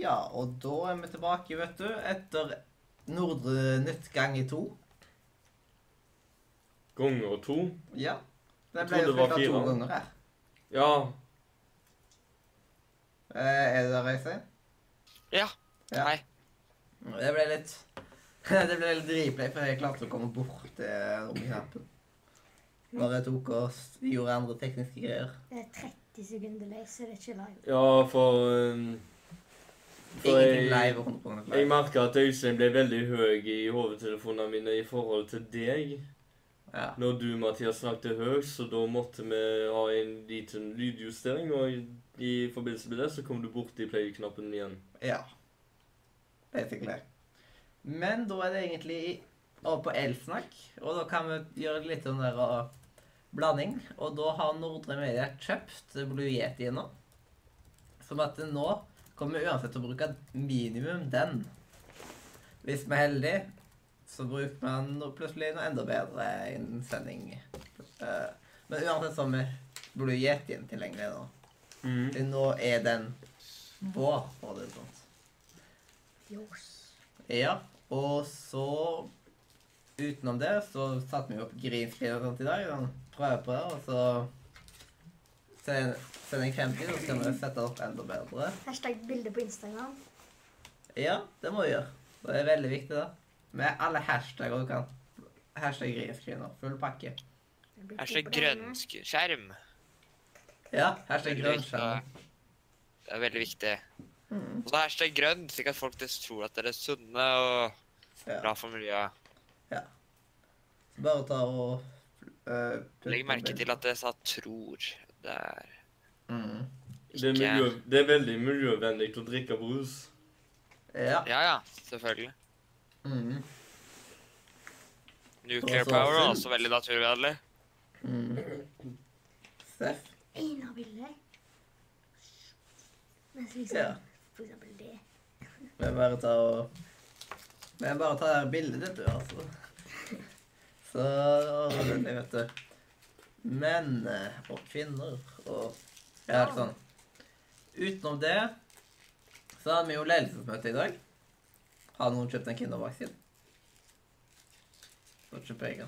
S1: Ja, og da er vi tilbake, vet du, etter Nordre Nytt ganger to.
S2: Ganger to.
S1: Ja. Det
S2: Jeg
S1: ble
S2: trodde
S1: jo
S2: det var
S1: flytta to
S2: fire.
S1: ganger her.
S2: Ja.
S1: Eh, er det der, Øystein?
S4: Ja.
S1: Ja.
S4: Nei.
S1: Det ble litt [laughs] Det ble litt replay, for jeg klarte å komme bort til romknappen. Bare tok oss gjorde andre tekniske greier.
S3: Det er 30 sekunder lei, så det er ikke live.
S2: Ja, for um, For
S1: Ingenting
S2: jeg-
S1: live og 100
S2: Jeg
S1: live.
S2: merka at Øystein ble veldig høy i hovedtelefonene mine i forhold til deg.
S1: Ja.
S2: Når du, Mathias, snakket høyt, så da måtte vi ha en liten lydjustering, og i, i forbindelse med det så kom du borti play-knappen igjen.
S1: ja. Basically. Men da er det egentlig over på elsnakk, og da kan vi gjøre litt sånn der uh, blanding. Og da har Nordre Media kjøpt Blue Yeti nå. Som at nå kommer vi uansett til å bruke minimum den. Hvis vi er heldige, så bruker man no- plutselig noe enda bedre i en sending. Eh, Men uansett så har vi Blue Yetien tilgjengelig nå.
S2: Mm.
S1: Til Nå er den vår, for å si det sånn.
S3: Yours.
S1: Ja, og så utenom det så satte vi opp green screen og sånt i dag. Sånn, prøve på det, og så sen- sending 50, så skal vi sette opp enda bedre.
S3: Hashtag bilde på Instagram.
S1: Ja, det må vi gjøre. Det er veldig viktig, da. Med alle hashtagger du kan. Hashtag green screen og full pakke.
S3: Det blir
S4: Hashtag
S3: to på den ene.
S4: grønnsk skjerm.
S1: Ja, hashtag
S4: Veldig
S1: grønn
S4: viktig.
S1: skjerm.
S4: Det er veldig viktig. Og så hashtag grønn, slik at folk tror at dere er sunne og
S1: Ja.
S4: bra for miljøet.
S1: Så bare ta og øh, putt
S4: Legg merke
S1: den
S4: til at jeg sa 'tror'. Det er
S1: Mm.
S2: Det, er miljø, det er veldig miljøvennlig å drikke brus.
S1: Ja.
S4: Ja ja, selvfølgelig.
S1: Mm.
S2: Altså,
S4: Nuclear
S1: Også
S4: power er
S1: sunt.
S4: også veldig naturvennlig.
S1: Mm. Steff.
S3: Einar bilde. Mens liksom,
S1: Ja.
S3: for eksempel det.
S1: Men bare ta og Men bare ta det her bildet ditt, du, altså. Så rolig, vet du. Menn eh, og kvinner og Ja, helt sånn. Utenom det så hadde vi jo ledelsesmøte i dag. Har noen kjøpt en Kindervaksin? Får ikke penger.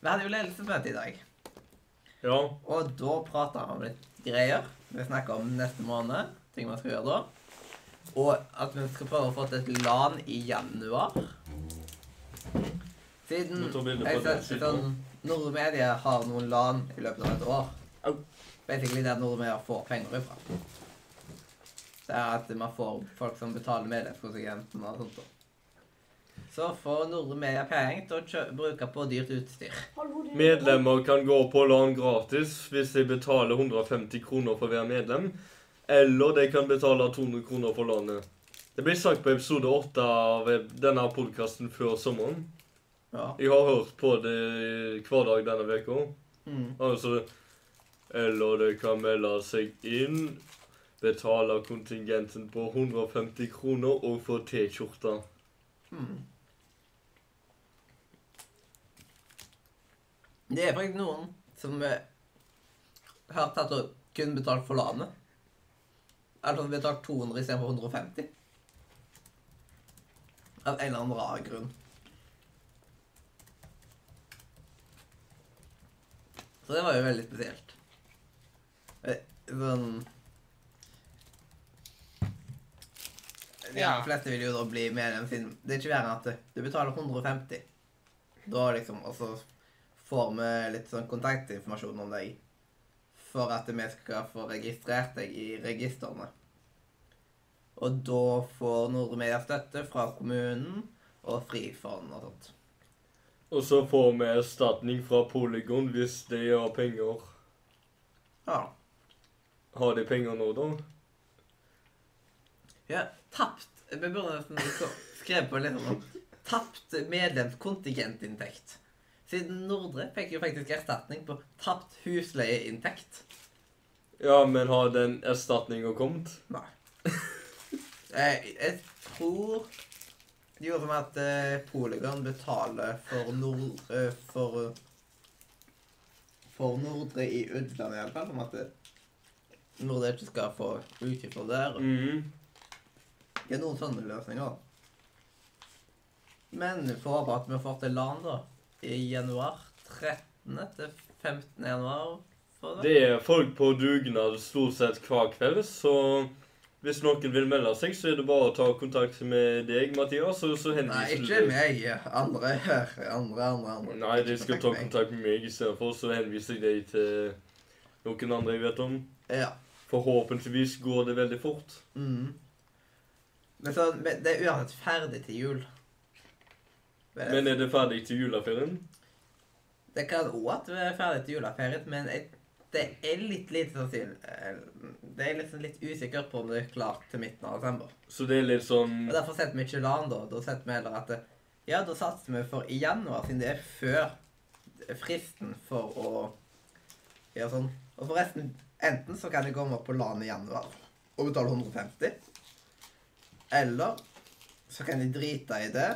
S1: Vi hadde jo ledelsesmøte i dag.
S2: Ja.
S1: Og da prata vi om litt greier. Vi snakka om neste måned, ting man skal gjøre da. Og at vi skal prøve å få til et LAN i januar. Siden
S2: Må ta bilde på
S1: jeg
S2: den
S1: ser
S2: siden
S1: sånn Nordre Media har noen LAN i løpet av et år.
S2: Au.
S1: Basically der Nordre Media får penger ifra. Det er at man får folk som betaler medlemskontingenten og sånt. da. Så får Nordre Media penger til å kjø- bruke på dyrt utstyr.
S3: Hold hodet
S2: Medlemmer kan gå på LAN gratis hvis de betaler 150 kroner for å være medlem. Eller de kan betale 200 kroner for lånet. Det ble sagt på episode 8 av eh, denne podkasten før sommeren.
S1: Ja.
S2: Jeg har hørt på det hver dag denne uka.
S1: Mm.
S2: Altså Eller du kan melde seg inn, betale kontingenten på 150 kroner og få T-skjorte.
S1: Mm. Det er faktisk noen som eh, har tatt og kun betalt for landet. Altså betalt 200 istedenfor 150. Av en eller annen rar grunn. Så det var jo veldig spesielt. Eh, Sånn
S4: Ja.
S1: De fleste vil jo da bli medlem sin Det er ikke verre enn at du- du betaler 150. Da liksom Og så får vi litt sånn kontaktinformasjon om deg for at vi skal få registrert deg i registrene. Og da får Nordre Media støtte fra kommunen og Frifond og sånt.
S2: Og så får vi erstatning fra Polygon hvis de har penger.
S1: Ja.
S2: Har de penger nå, da?
S1: ja. Tapt Vi burde nesten så- skrevet på litt sånn Tapt medlemskontingentinntekt. Siden Nordre fikk jo faktisk erstatning på tapt husleieinntekt.
S2: Ja, men har den erstatninga kommet?
S1: Nei. Jeg, jeg tror det gjorde med at eh, Polygon betaler for nord... eh, for for Nordre i Udland, iallfall. Om at eh, Nordre ikke skal få utgifter der.
S2: Mhm.
S1: Det er noen sånne løsninger. Men vi får håpe at vi får til LAN, da. I januar. 13. til 15. januar. For det.
S2: Det er folk på dugnad stort sett hver kveld, så hvis noen vil melde seg, så er det bare å ta kontakt med deg, Mathias, og så
S1: Nei,
S2: henviser
S1: ikke meg. Andre her. Andre, andre, andre.
S2: Nei, de skal ta
S1: meg.
S2: kontakt med meg istedenfor, så henviser jeg deg til noen andre jeg vet om.
S1: Ja.
S2: Forhåpentligvis går det veldig fort.
S1: Mm. Men så, men det er uansett ferdig til jul.
S2: Men er det ferdig til juleferien?
S1: det kan òg at vi er ferdig til juleferien, men jeg, det er litt lite sannsynlig eh, Det er liksom litt usikkert på om det er klart til midten av desember.
S2: Så det er litt sånn
S1: Og Derfor setter vi ikke LAN, da. Da setter vi heller at det- Ja, da satser vi for i januar, siden det er før fristen for å gjøre sånn. Og forresten, enten så kan jeg komme opp på LAN i januar og betale 150, eller så kan de drite i det.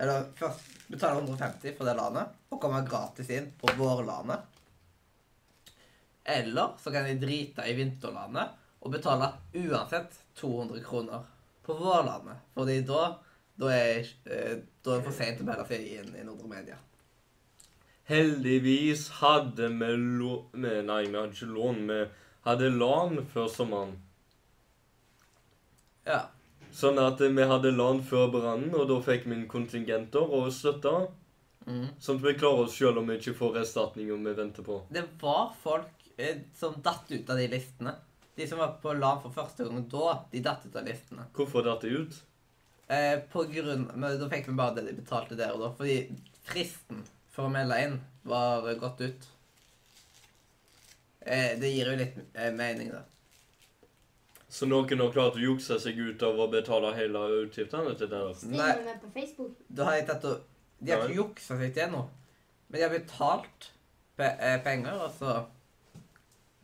S1: Eller først betale 150 for det LAN-et og komme gratis inn på vårlandet. Eller så kan de drite i vinterlandet og betale uansett 200 kroner på Vårlandet. Fordi da, da er eh, da er det for sent å melde seg inn i Nordre Media.
S2: Heldigvis hadde vi lån Nei, vi hadde ikke lån. Vi hadde LAN før sommeren.
S1: Ja.
S2: Sånn at eh, vi hadde LAN før brannen, og da fikk vi inn kontingenter og støtte.
S1: Mm.
S2: Sånn at vi klarer oss sjøl om vi ikke får erstatningen vi venter på.
S1: Det var folk eh, som datt ut av de listene. De som var på LAN for første gang da, de datt ut av listene.
S2: Hvorfor datt det ut?
S1: Eh, på grunn, men da fikk vi bare det de betalte der og da, fordi fristen for å melde inn var gått ut. Eh, det gir jo litt eh, mening, da.
S2: Så noen har klart å jukse seg ut av å betale hele utgiftene til det? der.
S1: Nei.
S3: Streamer vi på Facebook?
S1: Da har jeg tatt og De har
S2: Ja.
S1: ikke juksa seg til noe. Men de har betalt pe eh, penger, og så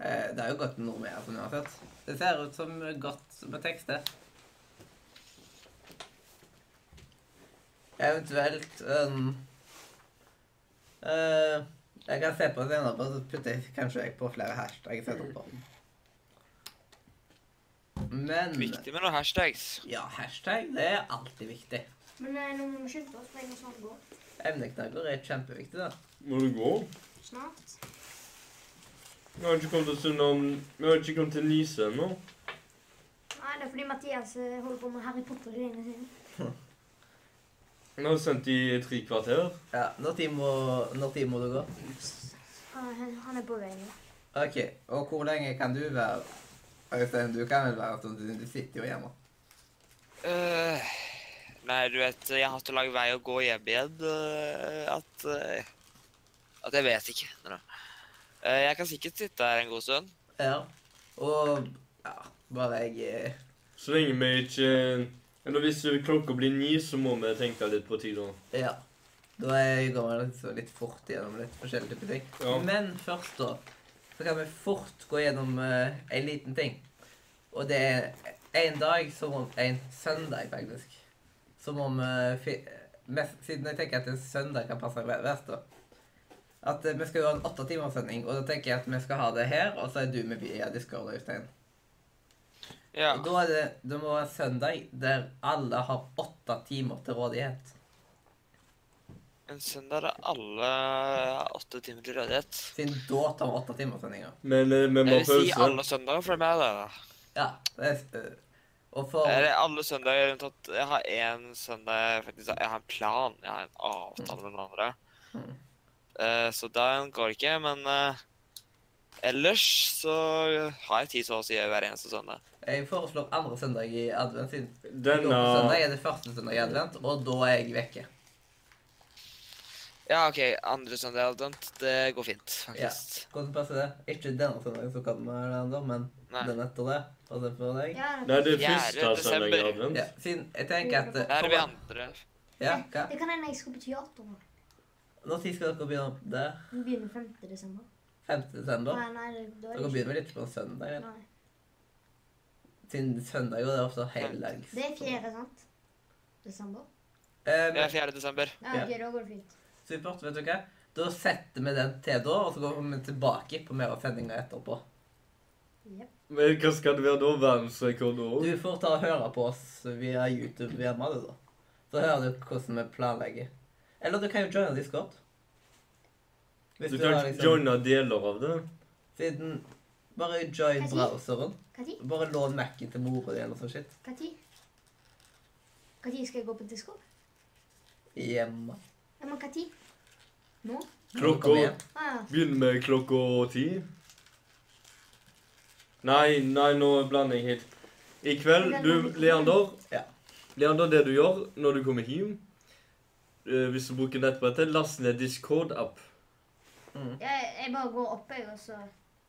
S1: eh, Det har jo gått noe mer, sånn uansett. Det ser ut som godt med tekst, det. Eventuelt um, eh, Jeg kan se på det senere, og så putter jeg kanskje jeg på flere hashtags etterpå. Men
S4: Viktig med noen hashtags.
S1: Ja, hashtag det er alltid viktig.
S3: Men eh, nå må vi skynde oss, for jeg må snart gå.
S1: Emneknagger er kjempeviktig, da.
S2: Må du gå?
S3: Snart.
S2: Vi har ikke kommet til Sunnam- Vi har ikke kommet til Nise ennå.
S3: Nei, det er fordi Mathias eh, holder på med Harry Potter-greiene sine.
S2: Vi har sendt i tre kvarter.
S1: Ja, når tid må, når tid må du gå?
S3: Han- Han er på vei. nå.
S1: Ok, og hvor lenge kan du være? Øystein, du kan vel være sånn, du sitter jo hjemme.
S4: Eh, nei, du vet, jeg har så lang vei å gå hjem igjen eh, at eh, At jeg vet ikke. Nei, da. Eh, jeg kan sikkert sitte her en god stund.
S1: Ja. Og, ja, bare jeg... eh,
S2: Så lenge vi ikke Eller hvis klokka blir ni, så må vi tenke litt på tida.
S1: Ja. Da er jeg- går jeg liksom litt fort gjennom litt forskjellige typer ting.
S2: Ja.
S1: Men først da, så kan vi fort gå gjennom eh, en liten ting. Og det er en dag, som om, en søndag faktisk. Som om, eh, fi, mest, siden jeg tenker at en søndag kan passe ve- best da. At eh, vi skal gjøre en åtte timers sending, og da tenker jeg at vi skal ha det her, og så er du med via Discord, Øystein.
S4: Ja.
S1: Og da er det, det må være en søndag der alle har åtte timer til rådighet.
S4: En søndag er alle åtte timer til rådighet.
S1: Siden da tar vi åtte timers sendinger.
S2: Men eh, vi må
S4: Jeg
S2: ha
S4: vil si
S2: pause.
S4: alle søndager for meg, da.
S1: Ja. Det er, eh, og for
S4: Eller alle søndager rundt at jeg har én søndag faktisk, Jeg har en plan. Jeg har en avtale med den andre.
S1: Mm.
S4: Eh, så den går ikke, men eh, Ellers så har jeg tid til å si hver eneste søndag.
S7: Jeg foreslår andre søndag i advent. siden
S2: Denne-
S7: Søndag er det første søndag i advent, og da er jeg vekke.
S4: Ja, OK. Andre søndag i advent. Det går fint,
S7: Ja.
S4: faktisk.
S7: Hvordan passer det? Ikke denne søndagen som kommer, Leander, men
S4: Nei.
S7: den etter det. Og så for deg.
S3: Ja,
S2: Nei, det er
S4: Fjerde
S2: første søndag i
S4: desember.
S2: advent.
S7: Ja, siden jeg tenker at eh,
S4: Det er vi andre.
S7: Ja, hva?
S3: Det kan hende jeg skal på teater. nå.
S7: Når tid skal dere begynne opp der?
S3: Vi begynner 5. desember.
S7: 5. desember?
S3: Nei, nei, det- da er
S7: Dere
S3: det
S7: begynner vel ikke på en søndag?
S3: ikke.
S7: eller?
S3: Nei.
S7: Siden søndager er ofte helligdags.
S3: Det er 4. sant? Desember.
S7: Eh,
S4: Det
S7: men
S4: er 4. desember.
S3: Ja,
S7: Ja.
S3: ok, da går det fint.
S7: supert, vet du hva? Da setter vi den til da, og så går vi tilbake på mer av sendinga etterpå.
S3: Jep.
S2: Men hva skal det være da? Verdensrekord òg?
S7: Du får ta og høre på oss via YouTube via Madde, da. Så hører du hvordan vi planlegger. Eller du kan jo joine Discord. Hvis
S2: Du
S7: du, har
S2: kan
S7: liksom
S2: joine deler av det.
S7: Siden Bare join
S3: Hva sier?
S7: browseren.
S3: Hva tid?
S7: Bare lån Mac-en til mora di eller sånn shit.
S3: Hva tid? Hva tid skal jeg gå på Discord?
S7: Hjemme.
S3: Ja, men hva tid? Nå?
S7: Kom
S2: Klokka
S7: igjen.
S3: Ah, ja.
S2: Begynn med klokka ti. Nei, nei, nå blander jeg helt. I kveld, du, Leander
S7: Ja.
S2: Leander, det du gjør når du kommer hjem eh, Hvis du bruker nettbrettet, last ned Discord-app.
S3: Ja, Jeg, jeg bare går opp, jeg, og så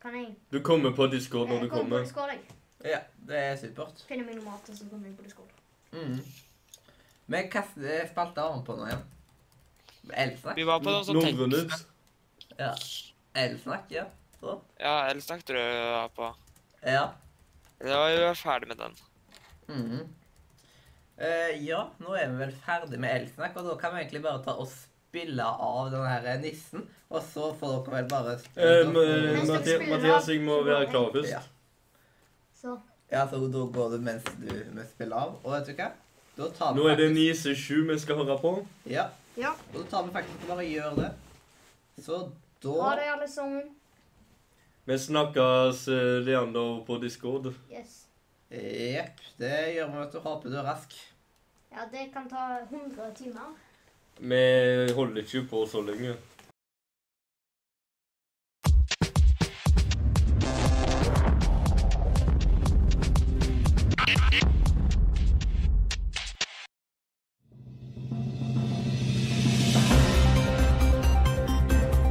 S3: kan jeg
S2: Du kommer på Discord når
S3: Jeg
S2: du
S3: kommer på
S2: kommer.
S3: Discord, jeg.
S7: Ja, det er supert.
S3: Finner meg noe mat, og så kommer jeg på Discord.
S7: Mm. Men hva s- spalte har han på nå igjen? Elsnakk?
S4: Vi var på noe sånt
S2: Norrønet.
S7: Ja. Elsnakk, ja. Så.
S4: Ja, Elsnakk tror jeg vi var på.
S7: Ja.
S4: Det var jo ferdig med den.
S7: Mhm. Eh, ja, nå er vi vel ferdig med Elsnakk, og da kan vi egentlig bare ta og spille av denne her eh, nissen, og så får dere vel bare
S2: Eh,
S3: Mens
S2: men-
S3: dere
S2: Mathi-
S3: spiller
S2: Mathias,
S3: av,
S2: jeg må
S3: så går
S2: være
S3: jeg.
S2: klar først.
S7: Ja.
S3: Så
S7: Ja, så da går du mens du vi spiller av, og vet du hva? Da tar vi
S2: Nå er det
S7: faktisk-
S2: Nise 7 vi skal høre på.
S7: Ja,
S3: Ja.
S7: og da tar vi faktisk og bare gjør det. Så da
S3: Ha det, alle sammen.
S2: Vi snakkes, eh, Leander, på Discord.
S3: Yes.
S7: Jepp, det gjør vi, vet du. Håper du er rask.
S3: Ja, det kan ta 100 timer.
S2: Vi holder ikke på så lenge.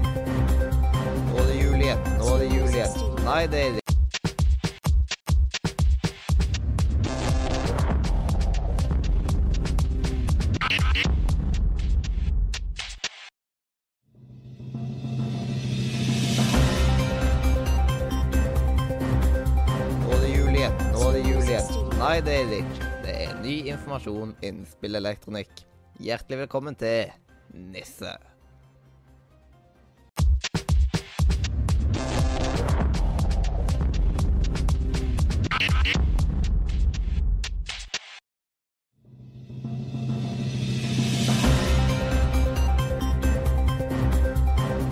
S1: Nå er det jul igjen. Nå er det jul igjen. Nei, det er det. Nå er det jul igjen. Nå er det jul igjen. Nei, det er det ikke. Det er ny informasjon innen spillelektronikk. Hjertelig velkommen til Nisse.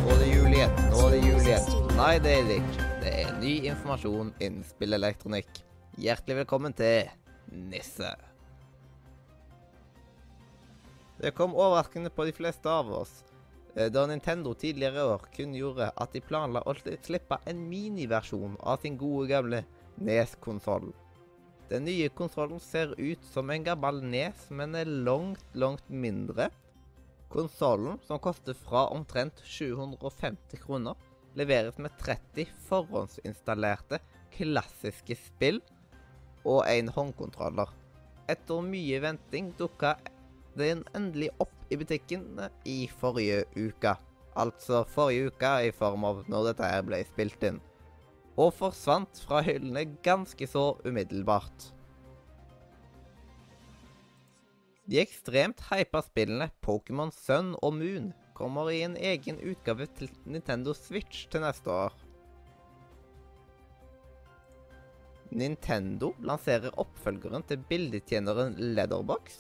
S1: Nå er det jul igjen. Nå er det jul igjen. Nei, det er det ikke. Det er ny informasjon innen spillelektronikk. Hjertelig velkommen til Nisse. Det kom overraskende på de fleste av oss eh, da Nintendo tidligere i år kunngjorde at de planla å sli- slippe en miniversjon av sin gode gamle Nes-konsoll. Den nye konsollen ser ut som en gammel Nes, men er langt, langt mindre. Konsollen, som koster fra omtrent 750 kroner, leveres med 30 forhåndsinstallerte klassiske spill og en håndkontroller. Etter mye venting dukka den endelig opp i butikken i forrige uke. Altså forrige uke i form av når dette her ble spilt inn. Og forsvant fra hyllene ganske så umiddelbart. De ekstremt hypa spillene Pokémon Sun og Moon kommer i en egen utgave til Nintendo Switch til neste år. Nintendo lanserer oppfølgeren til bildetjeneren Leatherbox.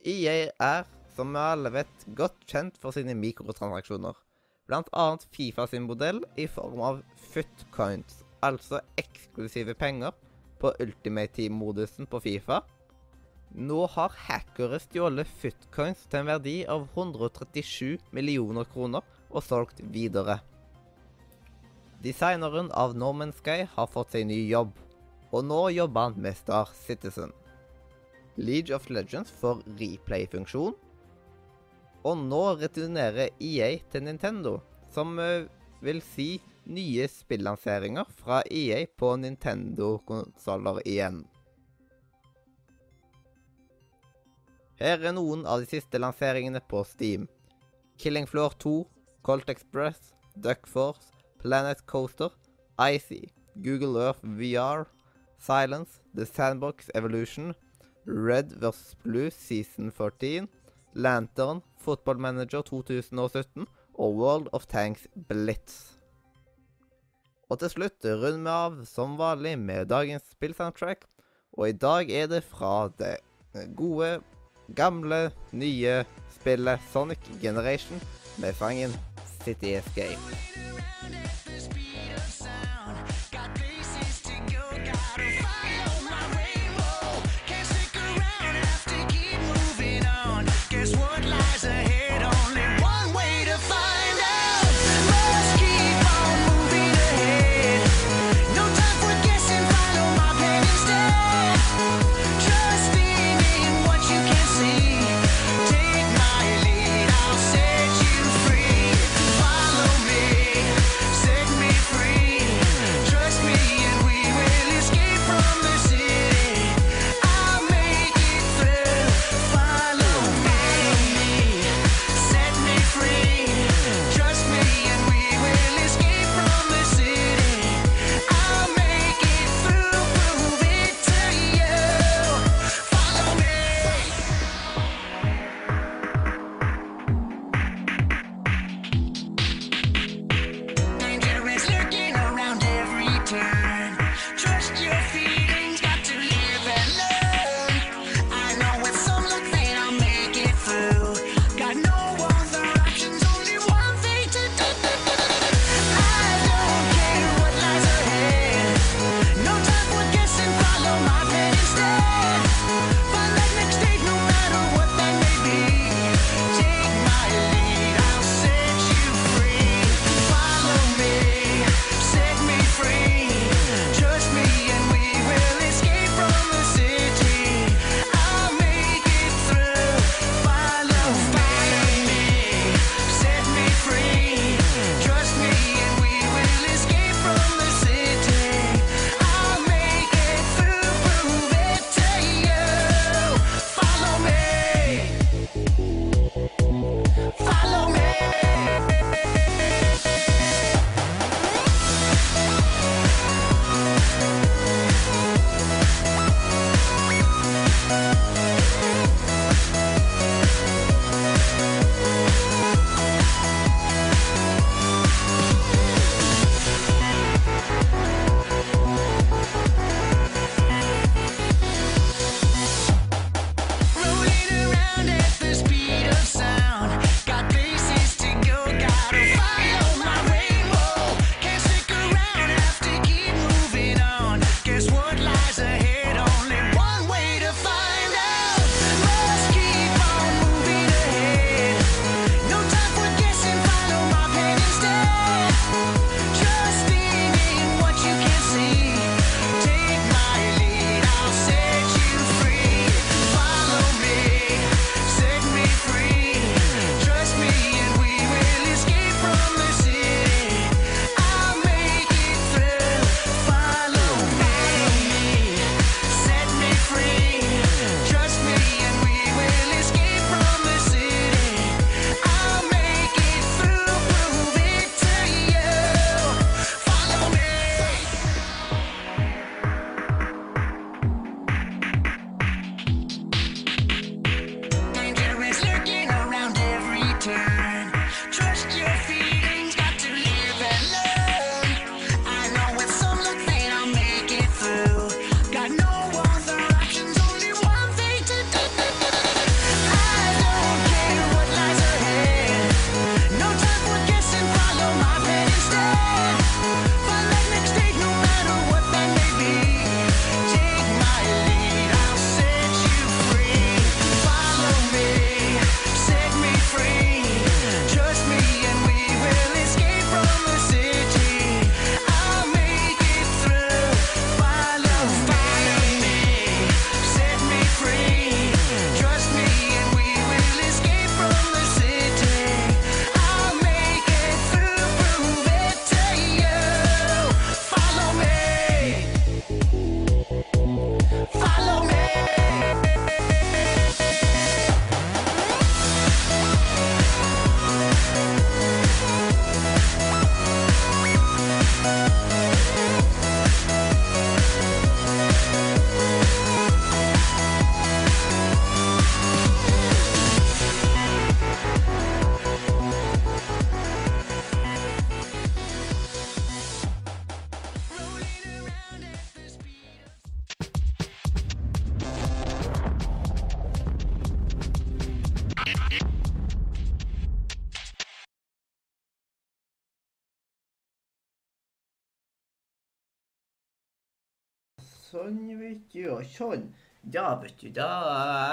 S1: EA E er, som vi alle vet, godt kjent for sine mikrotransaksjoner. Blant annet Fifa sin modell i form av footcoins, altså eksklusive penger på Ultimate Team-modusen på Fifa. Nå har hackere stjålet footcoins til en verdi av 137 millioner kroner og solgt videre. Designeren av No Man's Sky har fått seg ny jobb, og nå jobber han med Star Citizen. League of Legends får replay-funksjon, og nå returnerer EA til Nintendo, som eh, vil si nye spillanseringer fra EA på Nintendo-konsoller igjen. Her er noen av de siste lanseringene på Steam. Killing Floor 2, Colt Express, Duck Force, Planet Coaster, Icy, Google Earth VR, Silence, The Sandbox Evolution, Red vs. Blue Season 14, Lantern, Football Manager 2017 og World of Tanks Blitz. Og til slutt runder vi av som vanlig med dagens spillsoundtrack, og i dag er det fra det gode, gamle, nye spillet Sonic Generation med sangen City Escape.
S8: Guess what lies ahead? Only one way to find out. Must keep on moving ahead. No time for guessing. Follow my plan instead. Trusting in what you can see. Take my lead. I'll set you free. Follow me.
S1: sånn, vet du, og sånn. Da, vet du, da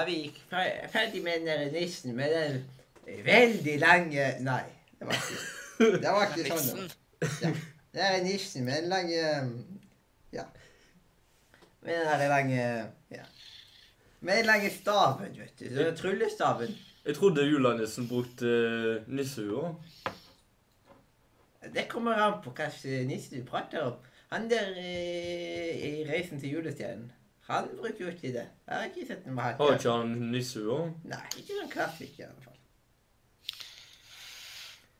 S1: er vi ikke fe- ferdig med den der nissen med den veldig lange Nei, det var ikke, det var ikke sånn. det var.
S4: Nissen.
S1: Det er nissen med den lange Ja. Med den der lange Ja. Med den lange staven, vet du. Den Tryllestaven.
S2: Jeg trodde julenissen brukte eh, nissehua.
S1: Det kommer an på hva slags nisse du prater om. Han der eh, i 'Reisen til julestjernen', han bruker jo ikke det. Jeg har ikke sett noe med han.
S2: Har ikke han nissehua?
S1: Nei, ikke sånn klassisk i alle fall.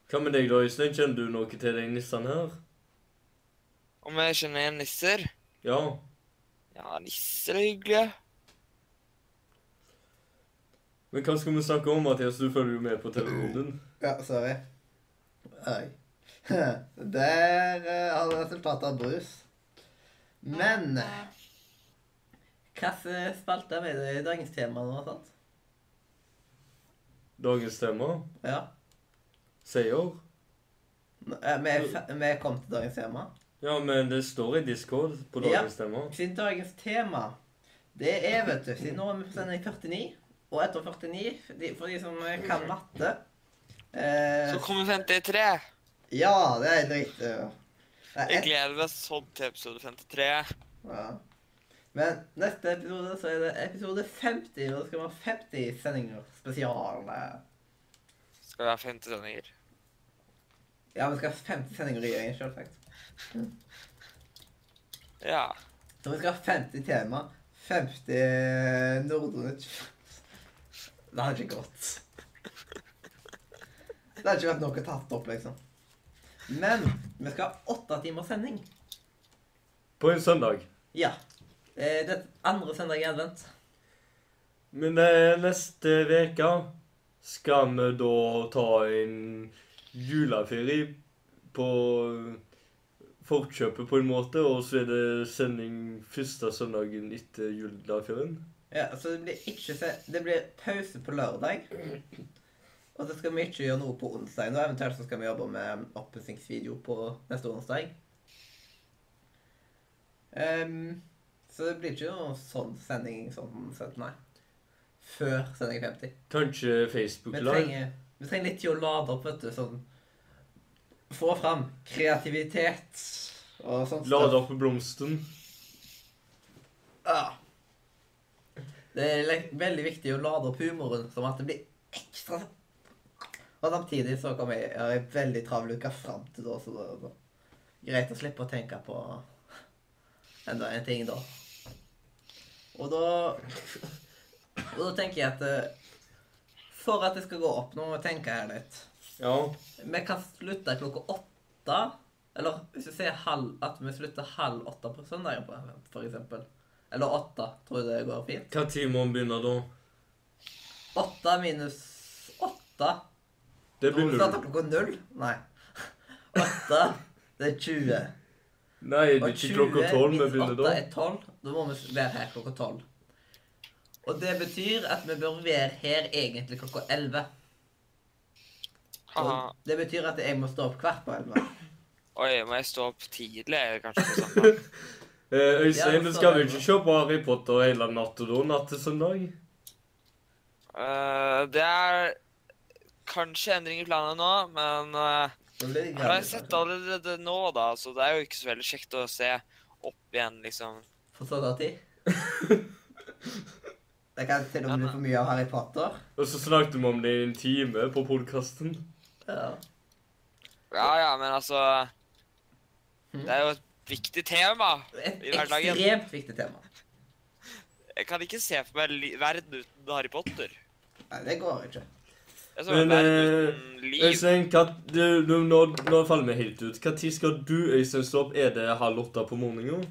S2: Hva med deg, da, Øystein? Kjenner du noe til de nissene her?
S4: Om jeg kjenner igjen nisser?
S2: Ja.
S4: Ja, nisser er hyggelige.
S2: Men hva skal vi snakke om, Mathias? Du følger jo med på telefonen.
S1: Ja, sorry. [laughs] Oi. Der eh, har vi resultatet av brus. Men Hvilken spalte er med i dagens tema nå, sant?
S2: Dagens tema
S1: Ja.
S2: seier.
S1: Nå- eh, Vi er fe- vi er kommet til dagens tema.
S2: Ja, men det står i Discord på
S1: Ja.
S2: dagens tema.
S1: Siden dagens tema, det er, vet du Siden nå er vi på sending 49, og etter 49, de, for de som kan matte eh,
S4: Så kommer 53.
S1: Ja, det er helt riktig. ja. Det er
S4: Jeg gleder meg sånn til episode 53.
S1: Ja. Men neste episode så er det episode 50, og det skal være 50 sendinger spesial. eh.
S4: Skal vi ha 50 sendinger?
S1: Ja, vi skal ha 50 sendinger i øyet, selvsagt.
S4: Ja.
S1: Så vi skal ha 50 tema, 50 Nordre Nytt. Det hadde ikke gått. Det hadde ikke vært noe tatt opp, liksom. Men vi skal ha åtte timers sending.
S2: På en søndag.
S1: Ja. Eh, Det er andre søndag i advent.
S2: Men eh, neste uke skal vi da ta en juleferie på forkjøpet på en måte, og så er det sending første søndagen etter juleferien.
S1: Ja, så det blir ikke se Det blir pause på lørdag. Og så skal vi ikke gjøre noe på onsdag. Og eventuelt så skal vi jobbe med oppussingsvideo på neste onsdag. Ehm, så det blir ikke noe sånn sending sånn sett, nei. Før sending 50.
S2: Kanskje
S1: Vi
S2: Facebook Live.
S1: trenger, vi trenger litt til å lade opp, vet du. Sånn Få fram kreativitet og sånn sånt.
S2: Lade opp blomsten.
S1: Ja. Det er le- veldig viktig å lade opp humoren, sånn at det blir ekstra sånn. Og samtidig så kommer jeg jeg har en veldig travel uke fram til da, så det er bare greit å slippe å tenke på enda en ting da. Og da Og da tenker jeg at eh, for at det skal gå opp, nå må jeg tenke her litt.
S2: Ja.
S1: Vi kan slutte klokka åtte. Eller hvis vi sier halv, at vi slutter halv åtte på søndagen, på- for eksempel. Eller åtte, tror jeg det går fint.
S2: Hva tid må vi begynne da?
S1: Åtte minus åtte.
S2: Det
S1: Nå
S2: blir
S1: starter
S2: null.
S1: klokka null. Nei. [laughs] Åtte, det er 20.
S2: Nei, det
S1: Og
S2: er ikke klokka
S1: 20
S2: tolv vi
S1: minus
S2: begynner
S1: åtte
S2: da.
S1: er tolv. Da må vi være her klokka tolv. Og det betyr at vi bør være her egentlig klokka elleve.
S4: Haha.
S1: Og det betyr at jeg må stå opp hvert på elleve.
S4: Oi, må jeg stå opp tidlig, kanskje? på søndag?
S2: Eh,
S1: Ja,
S2: Øystein,
S1: det
S2: du skal
S1: sa
S2: vel
S1: jeg
S2: ikke
S1: jo.
S2: se på Harry Potter hele natta da, natt til søndag?
S4: Eh, det er kanskje endring i planene nå, men eh,
S1: Så blir det
S4: jeg har
S1: gratis,
S4: sett
S1: kanskje.
S4: allerede nå, da, så det er jo ikke så veldig kjekt å se opp igjen, liksom.
S1: På sånn
S9: [laughs]
S1: tid. Det kan til og med bli for mye av Harry Potter.
S2: Og så snakket vi om det i en time på podkasten.
S1: Ja.
S4: Ja ja, men altså Det er jo et viktig tema.
S1: Et
S4: I hverdagen.
S1: ekstremt viktig tema.
S4: Jeg kan ikke se for meg li verden uten Harry Potter.
S1: Nei, det går ikke.
S4: Jeg ser for meg
S2: Men,
S4: verden
S2: eh,
S4: uten liv.
S2: Øystein, hva, du, du, nå, nå faller vi helt ut. Hva tid skal du, Øystein, stå opp? Er det halv åtte på morgenen?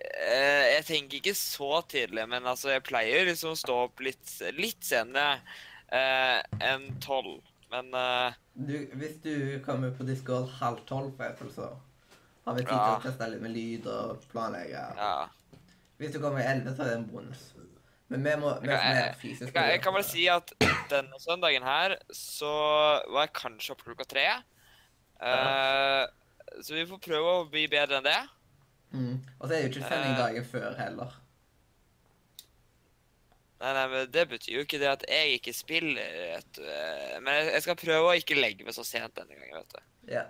S4: Eh, jeg tenker ikke så tidlig, men altså, jeg pleier liksom å stå opp litt, litt senere eh, enn tolv. Men eh,
S1: Du, hvis du kommer på Discord halv tolv, for eksempel, så har vi tid til
S4: Ja.
S1: å teste litt med lyd og planlegge.
S4: ja.
S1: Hvis du kommer i elleve, så er det en bonus. Men vi må vi
S4: Jeg,
S1: som er
S4: jeg,
S1: fysisk
S4: jeg, jeg kan bare si at denne søndagen her så var jeg kanskje oppe klokka tre. Eh, Så vi får prøve å bli bedre enn det.
S9: Mm. Og så er det jo ikke sending
S4: Eh.
S9: dagen før heller.
S4: Nei, nei, men Det betyr jo ikke det at jeg ikke spiller. Et, eh, men jeg- jeg skal prøve å ikke legge meg så sent denne gangen. vet du.
S9: Ja.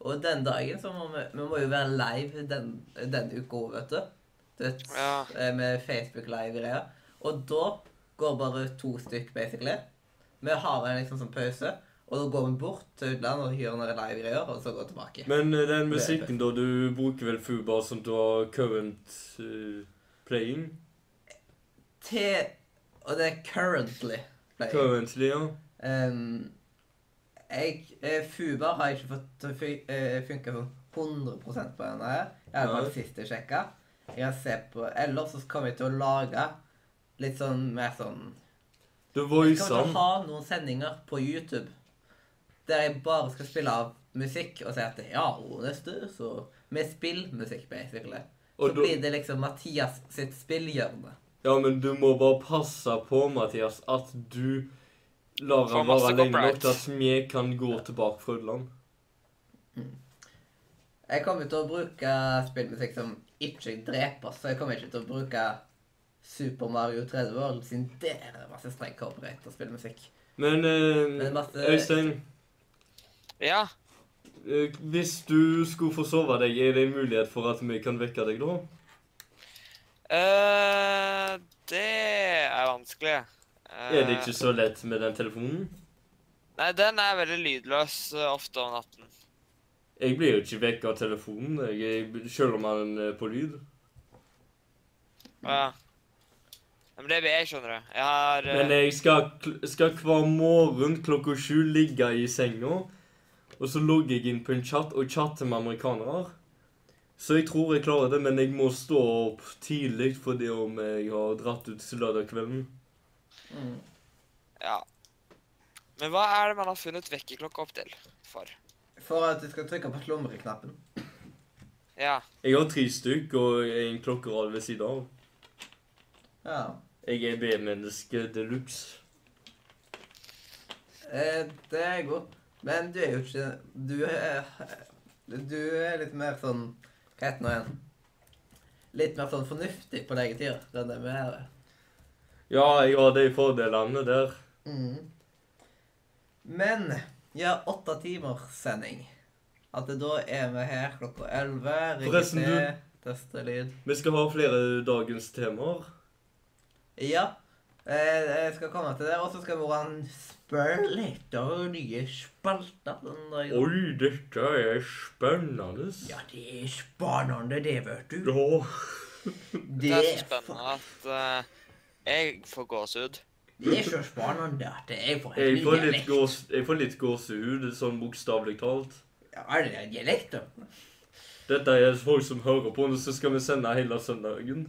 S9: Og den dagen så må vi, vi må jo være live den, den uka òg, vet du. du vet,
S4: Ja.
S9: eh, Med Facebook Live-greier. Og da går bare to stykk, basically. Vi har en liksom sånn pause, og da går vi bort til utlandet og gjør noen live-greier, og så går vi tilbake.
S2: Men eh, den musikken, da, du bruker vel Fubar som du har current eh, playing?
S9: Til Og det er currently. playing.
S2: Currently, ja.
S9: Ehm, jeg, eh, Fuba har ikke fått til å fun eh, funke sånn 100 på denne her. Jeg har
S2: Nei.
S9: bare sist jeg sjekka. Jeg kan se på, Ellers så kommer jeg til å lage litt sånn mer sånn
S2: The
S9: Jeg
S2: Voice
S9: kommer til
S2: han.
S9: å ha noen sendinger på YouTube der jeg bare skal spille av musikk og si at ja, og neste, så Med spillmusikk, basically. Så
S2: Og da-
S9: blir det liksom Mathias sitt spillhjørne.
S2: Ja, men du må bare passe på, Mathias, at du lar
S4: Får
S2: han
S4: masse
S2: være lenge nok
S4: copyright.
S2: til at vi kan gå tilbake fra Ødeland.
S9: Jeg kommer til å bruke spillmusikk som ikke dreper, så jeg kommer ikke til å bruke Super Mario 30 World, siden der er det masse streng copyright og spillmusikk.
S2: Men
S9: Men
S2: eh,
S9: masse-
S2: Øystein,
S4: Ja,
S2: eh, hvis du skulle forsove deg, er det en mulighet for at vi kan vekke deg da?
S4: eh, det er vanskelig. Eh,
S2: Er det ikke så lett med den telefonen?
S4: Nei, den er veldig lydløs eh, ofte om natten.
S2: Jeg blir jo ikke vekket av telefonen, jeg, jeg, selv om han er på lyd.
S4: Ja. Men det blir jeg, skjønner du. Jeg har eh,
S2: Men jeg skal, kl- skal hver morgen klokka sju ligge i senga, og så logger jeg inn på en chat og chatter med amerikanere. Så jeg tror jeg klarer det, men jeg må stå opp tidlig fordi om jeg har dratt ut lørdag kvelden.
S4: Ja. Men hva er det man har funnet vekkerklokka opp til for?
S9: For at du skal trykke på slumreknappen.
S4: Ja.
S2: Jeg har tre stykk og en klokkerad ved siden av.
S9: Ja.
S2: Jeg er B-menneske de luxe.
S9: Eh, det er god. Men du er jo ikke Du er, du er litt mer sånn Hva heter det nå igjen? Litt mer sånn fornuftig på lege tider enn det vi er.
S2: Ja, jeg har de fordelene der.
S9: Mm. Men ja, åtte timers sending. At det da er vi her klokka elleve. Ringer
S2: Forresten,
S9: til,
S2: du-
S9: tester lyd.
S2: Vi skal ha flere dagens temaer.
S9: Ja. eh, Jeg skal komme til det. Og så skal Moran spørre litt om nye spalter. den dagen.
S2: Oi, dette er spennende.
S9: Ja, det er spennende, det, vet du.
S2: Ja.
S9: Det
S4: Det er så
S9: er fa-
S4: spennende at eh, jeg får gåsehud.
S9: det er så spennende at jeg får
S2: Jeg får litt
S9: dialekt.
S2: gås- jeg får litt gåsehud, sånn bokstavelig talt.
S9: Ja, er det dialekt, da?
S2: Dette er folk som hører på, og så skal vi sende hele søndagen.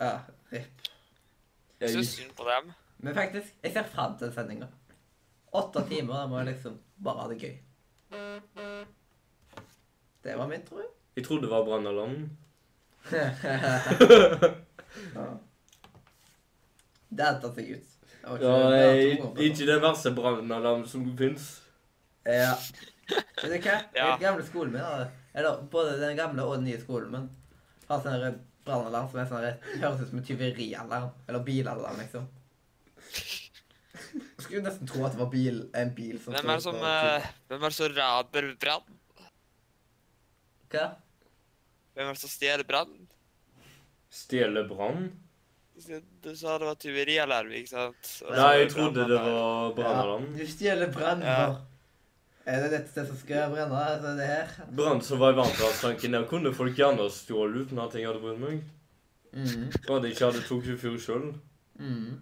S9: Ja. rip.
S2: Jeg,
S4: Jeg syns synd på dem.
S9: Men faktisk, jeg ser fram til sendinga. Åtte timer, jeg må liksom bare ha det gøy. Det var min,
S2: [laughs]
S9: tror jeg.
S2: jeg trodde det var brannalarmen.
S9: ja. Det hadde tatt seg ut. Det
S2: Ja,
S9: var det var
S2: jeg,
S9: to år,
S2: ikke den verste brannalarmen som fins.
S9: Ja.
S4: [laughs]
S9: Vet du hva?
S4: Ja.
S9: Den gamle skolen min hadde Eller både den gamle og den nye skolen min har sånn der brannalarm som er sånn der- høres ut som en tyverialarm. Eller bilalarm, liksom. Jeg skulle nesten tro at det var bil, en bil som
S4: Hvem er det
S9: sto
S4: som,
S9: på-
S4: eh, hvem er det som rader brann?
S9: Hva?
S4: Hvem er det som stjeler brann?
S2: Stjele brann?
S4: Du sa det var tyverialarm, ikke sant? Og så
S2: Nei,
S4: var
S2: jeg trodde det
S4: brannalarm.
S2: var brannalarm.
S9: sånn Ja, du stjeler brann.
S4: Ja.
S9: for- Er det dette stedet som skal brenne? Altså det her?
S2: Brann som var i varmtvannstanken. Der kunne folk gjerne stjålet uten at jeg hadde brydd meg.
S9: Mm.
S2: Og at jeg ikke hadde tok fyr sjøl.
S9: Mm.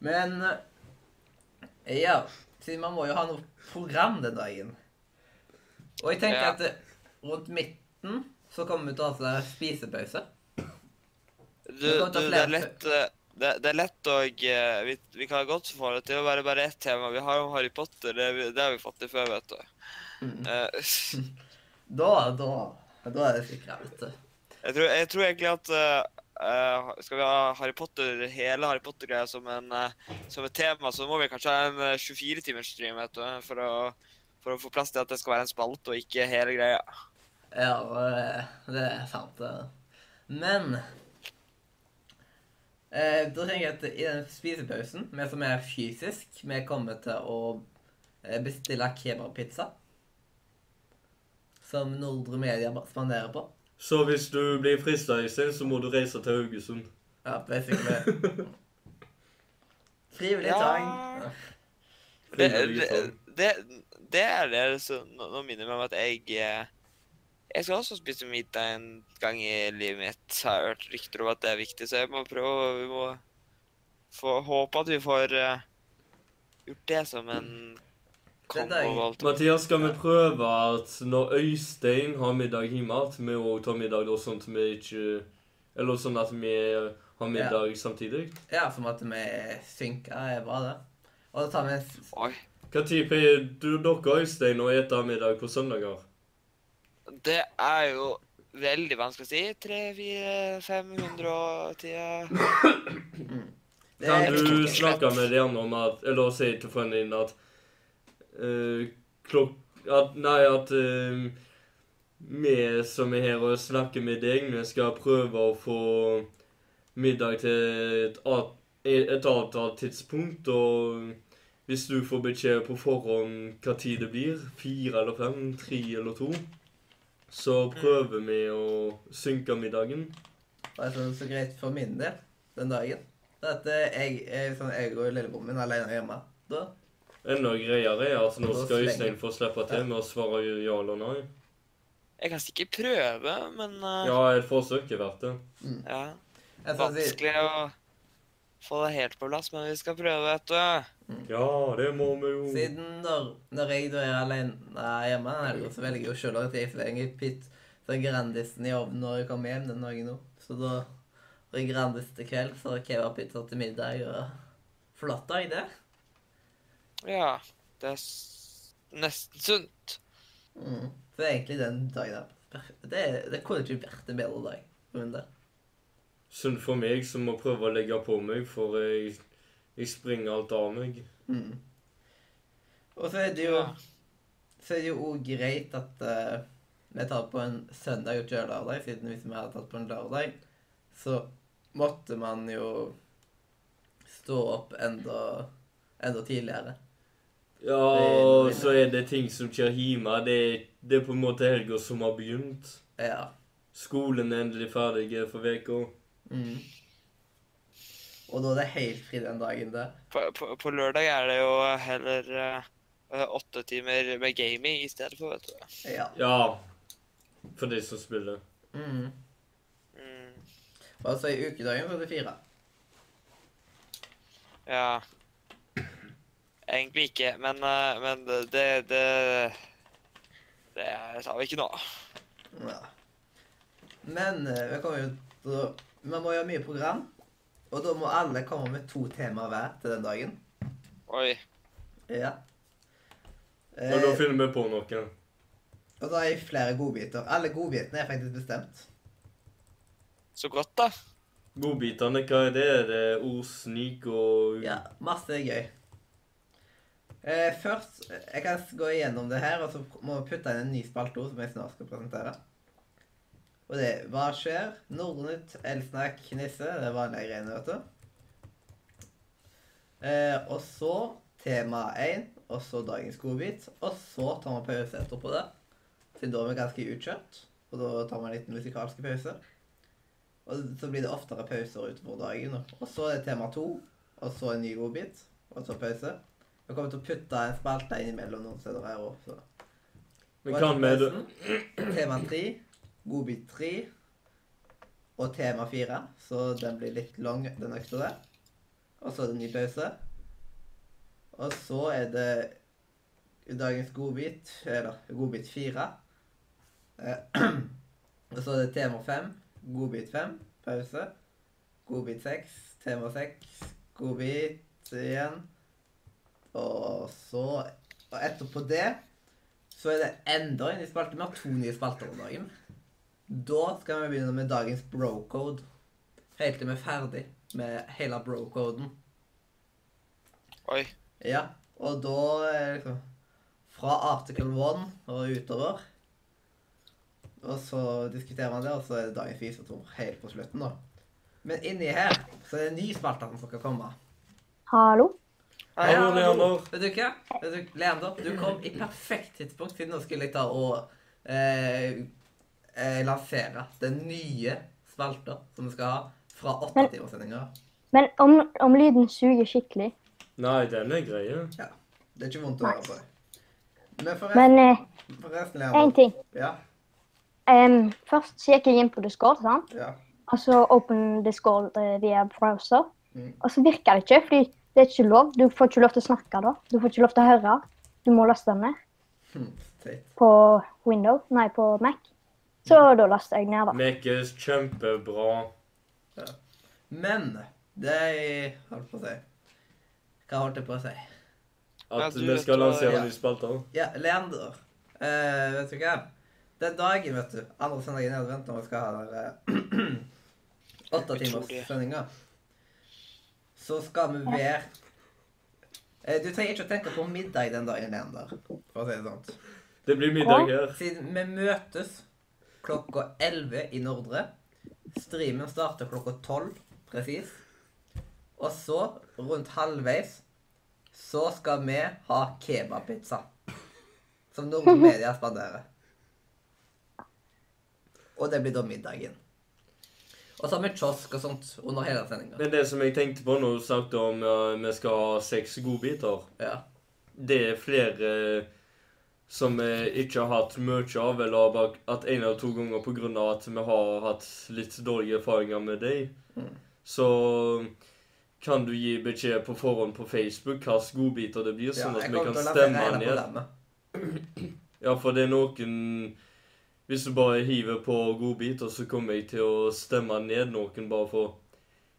S9: Men eh, Ja, siden man må jo ha noe program den dagen. Og jeg tenker
S4: Ja.
S9: at eh, rundt midten så kommer vi til å ha sånn der spisepause.
S4: Du,
S9: Det kan ta
S4: du, det
S9: flere.
S4: er lett eh, det, det er lett å eh, vi, vi kan godt få det til å være bare ett tema. Vi har jo Harry Potter. Det, vi- det har vi fått til før, vet du.
S9: Mm.
S4: Eh, [laughs]
S9: Da, da, da er det sikra, vet du.
S4: jeg, tror, jeg tror egentlig at eh, eh, Skal vi ha Harry Potter, hele Harry Potter-greia som, en, eh, som et tema, så må vi kanskje ha en eh, 24-timers stream vet du, for å, for å få plass til at det skal være en spalte og ikke hele greia.
S9: Ja, eh, det er sant. det. Men eh, da tenker jeg at i den spisepausen, vi som er fysisk, vi kommer til å eh, bestille kebabpizza. Som Nordre Media ba- spanderer på.
S2: Så hvis du blir frista, Øystein, så må du reise til Haugesund.
S9: Ja, basically. Frivillig
S4: Ja.
S9: tvang.
S4: Det,
S2: Frivillig liksom.
S4: det,
S2: tvang.
S4: det, det er det som nå nå minner meg om at jeg eh, Jeg skal også spise middag en gang i livet mitt. Har jeg hørt rykter om at det er viktig, så jeg må prøve å- Vi må få håpe at vi får eh, gjort det som en
S9: er
S4: kombo.
S9: deilig.
S4: og alt.
S2: Mathias, skal vi prøve at når Øystein har middag hjemme, at vi òg tar middag da, sånn at vi ikke Eller sånn at vi har middag samtidig?
S9: Ja, som at vi synker er bra, det. Og da tar vi en s-
S4: Oi.
S2: Hva tid pleier du dere, Øystein, å ete middag på søndager?
S4: Det er jo veldig vanskelig å si. 300-400-510
S9: det er-
S2: Kan du snakke med de andre om at Eller si til frønnen din at eh, klok... At, nei, at eh, vi som er her og snakker med deg, vi skal prøve å få middag til et, at- et avtalt tidspunkt, og hvis du får beskjed på forhånd hva tid det blir, fire eller fem, tre eller to, så
S9: Mm.
S2: prøver vi å synke middagen.
S9: Det er sånn så greit for min del den dagen. Det er At eh, jeg, jeg, sånn, jeg og lillebroren min er alene hjemme. Da,
S2: Enda greiere er at nå
S9: Og
S2: skal
S9: slenge.
S2: Øystein få slippe til med å svare ja eller nei.
S4: Jeg kan sikkert prøve, men eh,
S2: Ja, et forsøk er verdt det.
S4: ja.
S9: jeg skal si,
S4: Vanskelig å få det helt på plass, men vi skal prøve, vet du.
S2: Ja, det må vi jo.
S9: siden når, når jeg da er alene eh, hjemme, den helgen, så velger jeg jo selv at jeg skal lenge pitt så Grandisen i ovnen når jeg kommer hjem den dagen nå. Så da har jeg Grandis til kveld, så kebabpizza til middag og flott dag, det.
S4: Ja. Det er s nesten sunt.
S9: Mm. Så egentlig den dagen der. perf- Det, det kunne ikke vært en bedre dag for min del.
S2: Synd for meg som må prøve å legge på meg, for jeg, jeg springer alt av meg.
S9: Mm. Og så er det jo så er det jo òg greit at eh, vi tar på en søndag og ikke lørdag, siden hvis vi hadde tatt på en lørdag, så måtte man jo stå opp enda, enda tidligere.
S2: Ja, og Eh, så er det ting som skjer hjemme. Det, det er på en måte helga som har begynt.
S9: Ja.
S2: Skolen er endelig ferdig for veka.
S9: Mm. Og da er det helt fri den dagen der.
S4: På, på, på lørdag er det jo heller eh, eh, åtte timer med gaming i stedet for, vet du.
S9: Ja.
S2: Ja. For de som spiller.
S9: Mm.
S4: Mm.
S9: Og så i ukedagen var det fire.
S4: Ja. Egentlig ikke, men, eh, men det, det Det det tar vi ikke nå.
S9: Ja. Men eh, vi kommer jo til å Vi må gjøre mye program, og da må alle komme med to temaer hver til den dagen.
S4: Oi.
S9: Ja.
S2: Og da
S9: Eh,
S2: finner vi på noe.
S9: og da har jeg flere godbiter. Alle godbitene er faktisk bestemt.
S4: Så godt, da.
S2: Godbitene, hva er det? Er det ordsnik og
S9: Ja, masse gøy. Eh, først eh, Jeg kan gå igjennom det her, og så må vi putte inn en ny spalte også, som jeg snart skal presentere. Og det er Hva skjer? Nordnytt, Elsnakk, Nisse. Det er vanlige greiene, vet du. Eh, og så tema én, og så dagens godbit. Og så tar vi pause etterpå det. Siden da er vi ganske utkjørt. Og da tar vi en liten musikalsk pause. Og så blir det oftere pauser utover dagen. da. Og så er det tema to, og så en ny godbit, og så pause. Vi kommer til å putte en spalte innimellom noen steder her òg, så
S2: Men kan vi
S9: Tema tre, godbit tre og tema fire, så den blir litt lang, den økta der. Og så er det en ny pause. Og så er det dagens godbit, eller godbit fire. Eh, [clears throat] og så er det tema fem, godbit fem, pause. Godbit seks, tema seks, godbit igjen. Og så Og etterpå det så er det enda en ny spalte. Vi har to nye spalter om dagen. Da skal vi begynne med dagens brocode. Helt til vi er ferdig med hele brocoden.
S4: Oi.
S9: Ja, og da er det liksom Fra article one og utover.
S1: Og så diskuterer man det, og så er det dagens visdomsord helt på slutten, da. Men inni her så er det en ny spalte som skal komme.
S9: Hallo?
S2: Hallo, Leander.
S1: Vet du hva? Vet du, Leander, du kom i perfekt tidspunkt, siden nå skulle jeg ta og eh, eh, lansere den nye spalta som vi skal ha fra
S9: Men-
S1: åttetimerssendinga.
S9: Men om, om lyden suger skikkelig
S2: Nei, den er greie.
S1: Det er ikke vondt å høre på. Men forresten,
S9: Men eh,
S1: forresten
S9: én
S1: Leander
S9: ting.
S1: Ja,
S9: Em, først så gikk jeg inn på Discord, sant?
S1: ja.
S9: og så open Discord eh, via browser.
S1: Mm.
S9: Og så virker det ikke, fordi det er ikke lov. Du får ikke lov til å snakke da. Du får ikke lov til å høre. Du må laste den ned
S1: Hm, teit.
S9: på Window, nei, på Mac. Så da laster jeg ned, da.
S2: Mekes kjempebra.
S1: Men det jeg holdt på å si Hva holdt jeg på å si?
S4: Ja,
S2: At
S4: du
S2: vi
S4: vet
S2: skal
S4: hva-
S2: lansere
S1: ja.
S2: nye spalter.
S1: Ja, Leander. Eh, vet du hva? Den dagen, vet du. Andre søndagen i advent når vi skal ha den der, eh, [clears throat] åtte timers
S4: Utrolig.
S1: sendinger. Så skal vi være eh, Du trenger ikke å tenke på middag den dagen, Leander. For å si det sånn.
S2: Det blir middag her.
S1: Siden vi møtes klokka 11 i Nordre. Streamen starter klokka 12, presis. Og så, rundt halvveis, så skal vi ha kebabpizza. Som [laughs] Nordre Media spanderer. Og det blir da middagen. Og så har vi kiosk og sånt under hele sendinga.
S2: Men det som jeg tenkte på når du snakket om at vi skal ha seks godbiter
S1: Ja.
S2: det er flere som eh, ikke har hatt mye av, eller bare at en eller to ganger på grunn av at vi har hatt litt dårlige erfaringer med deg,
S1: Mm.
S2: så kan du gi beskjed på forhånd på Facebook hva slags godbiter det blir,
S1: Ja,
S2: sånn at
S1: jeg
S2: vi
S1: kommer
S2: kan
S1: til å lansere
S2: stemme
S1: hele
S2: den ned.
S1: programmet.
S2: Ja, for det er noen Hvis du bare hiver på godbiter, så kommer jeg til å stemme ned noen bare for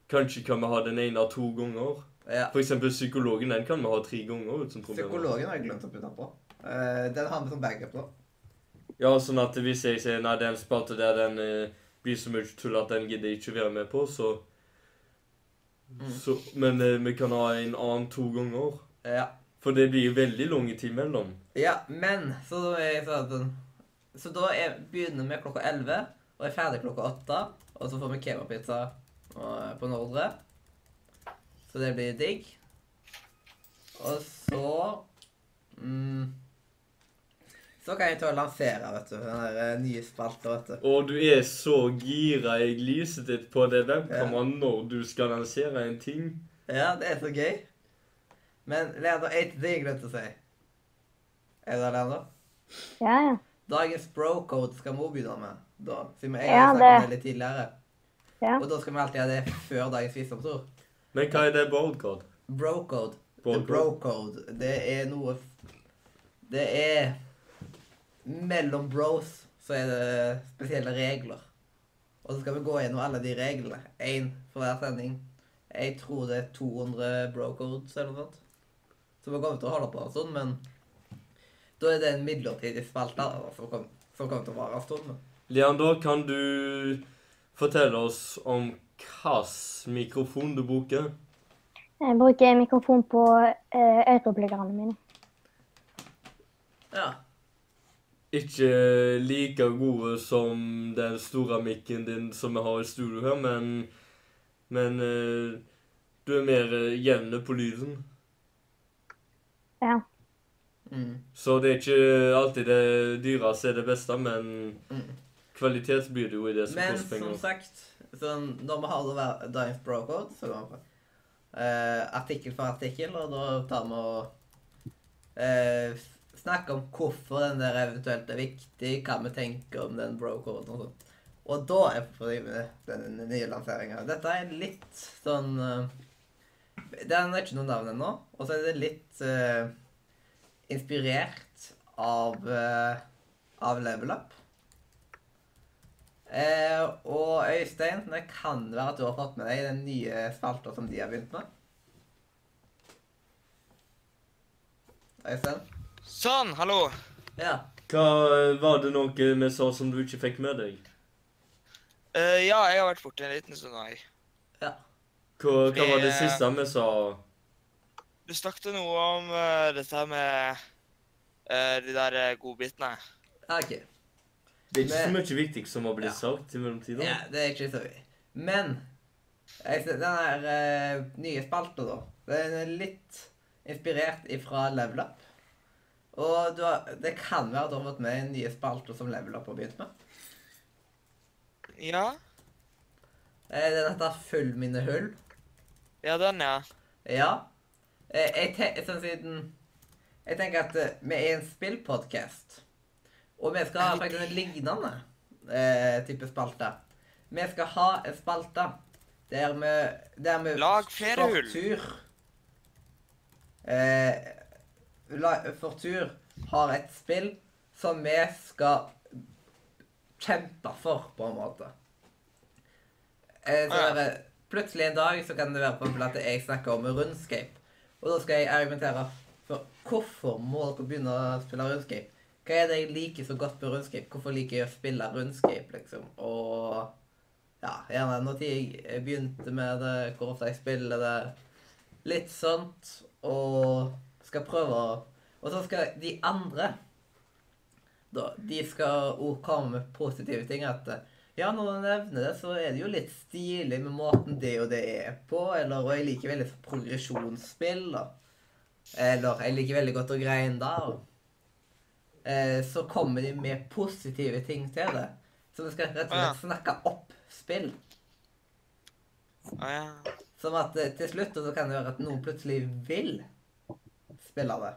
S2: Kanskje kan vi ha den ene to ganger.
S1: Ja.
S2: For eksempel psykologen, den kan vi ha tre ganger uten problemer.
S1: Psykologen har jeg glemt å putte på. Eh, Den har vi som backup nå.
S2: Ja, sånn at hvis jeg sier nei, den spalten der den eh, blir så mye tull at den gidder jeg ikke være med på, så, så Men eh, vi kan ha en annen to ganger.
S1: Ja.
S2: For det blir veldig lang tid mellom.
S1: Ja, men så da, er jeg sånn, at den- så da er, begynner vi klokka 11 og er ferdig klokka 8. Og så får vi kebabpizza eh, på Nordre. Så det blir digg. Og så mm, Så kan jeg ta og lansere vet du, den der eh, nye spalta, vet du.
S2: Og du er så gira i gliset ditt på det webkameraet når du skal lansere en ting.
S1: Ja, det er så gøy. Men Leander, én ting jeg glemte å si. Er det Leander?
S9: Ja, ja.
S1: Dagens bro-code skal vi også begynne med, da, siden vi egentlig
S9: Ja,
S1: snakket om
S9: det-
S1: det litt tidligere.
S9: ja.
S1: Og da skal vi alltid ha det før dagens visdomsord.
S2: Men hva er det boardcard?
S1: Brocode. The
S2: Brocode.
S1: brocode. Det er noe f- Det er Mellom bros så er det spesielle regler. Og så skal vi gå gjennom alle de reglene. Én for hver sending. Jeg tror det er 200 brocodes eller noe sånt. Så vi kommer til å holde på en stund, men da er det en midlertidig spalte da, som kom- som kommer til å vare en stund. men-
S2: Leander, kan du fortelle oss om hvilken mikrofon du bruker?
S9: Jeg bruker mikrofon på eh, ørebleggerne mine.
S1: Ja.
S2: ikke like gode som den store mikken din som vi har i studio her, men Men eh, du er mer eh, jevne på lyden.
S9: Ja.
S1: Mm.
S2: Så det er ikke alltid det dyreste er det beste, men kvalitet blir det jo i det som
S1: Men
S2: koster
S1: som
S2: penger.
S1: sagt, sånn, når vi har det hver- Dimes Brocode, så går vi på eh, artikkel for artikkel, og da tar vi og eh, snakker om hvorfor den der eventuelt er viktig, hva vi tenker om den brocoden og sånn. Og da er vi på med den nye lanseringa. Dette er litt sånn eh, Den er ikke noe navn ennå, og så er det litt eh, inspirert av, eh, av level up. Eh, og Øystein, det kan være at du har fått med deg den nye spalta som de har begynt med. Øystein?
S4: Sånn, hallo.
S1: Ja.
S2: Hva eh, var det noe vi sa som du ikke fikk med deg?
S4: Eh, ja, jeg har vært borte en liten stund nå, jeg.
S2: Hva, hva var det
S4: Eh.
S2: siste vi sa?
S4: Du snakket noe om eh, dette her med eh, de der eh, godbitene.
S1: ja, OK.
S2: Det er ikke så
S9: Men-
S2: mye viktig som har blitt
S9: Ja.
S2: sagt i mellomtida.
S9: Ja, det er ikke så mye. Men jeg synes den her eh, nye spalten, da, den er litt inspirert ifra Level Up. Og du har, det kan være du har fått med en nye spalte som Level Up har begynt med.
S4: Ja,
S9: Eh, Den heter Full mine hull.
S4: ja den, ja.
S9: Ja. Eh, Jeg, te sånn siden, jeg tenker at eh, vi er en spillpodkast, og vi skal ha faktisk en lignende eh, type spalte. Vi skal ha en spalte der vi, der vi
S4: Lag flere hull.
S9: tur eh, la, For tur har et spill som vi skal kjempe for, på en måte. Eh, så
S4: Ah, ja.
S9: er det, plutselig en dag så kan det være på en måte at jeg snakker om RuneScape. Og da skal jeg argumentere for hvorfor må dere begynne å spille RuneScape? Hva er det jeg liker så godt med RuneScape? Hvorfor liker jeg å spille RuneScape, liksom? Og ja, gjerne når jeg begynte med det, hvor ofte jeg spiller det. Litt sånt. Og skal prøve å Og så skal de andre da, De skal òg komme med positive ting. At eh, ja, når man nevner det, så er det jo litt stilig med måten det og det er på. Eller og jeg liker veldig progresjonsspill, da. Eller jeg liker veldig godt å greie der. Eh, så kommer de med positive ting til det. Så vi skal rett og slett snakke opp spill.
S4: Å ja.
S9: Som at eh, til slutt så kan det være at noen plutselig vil spille det.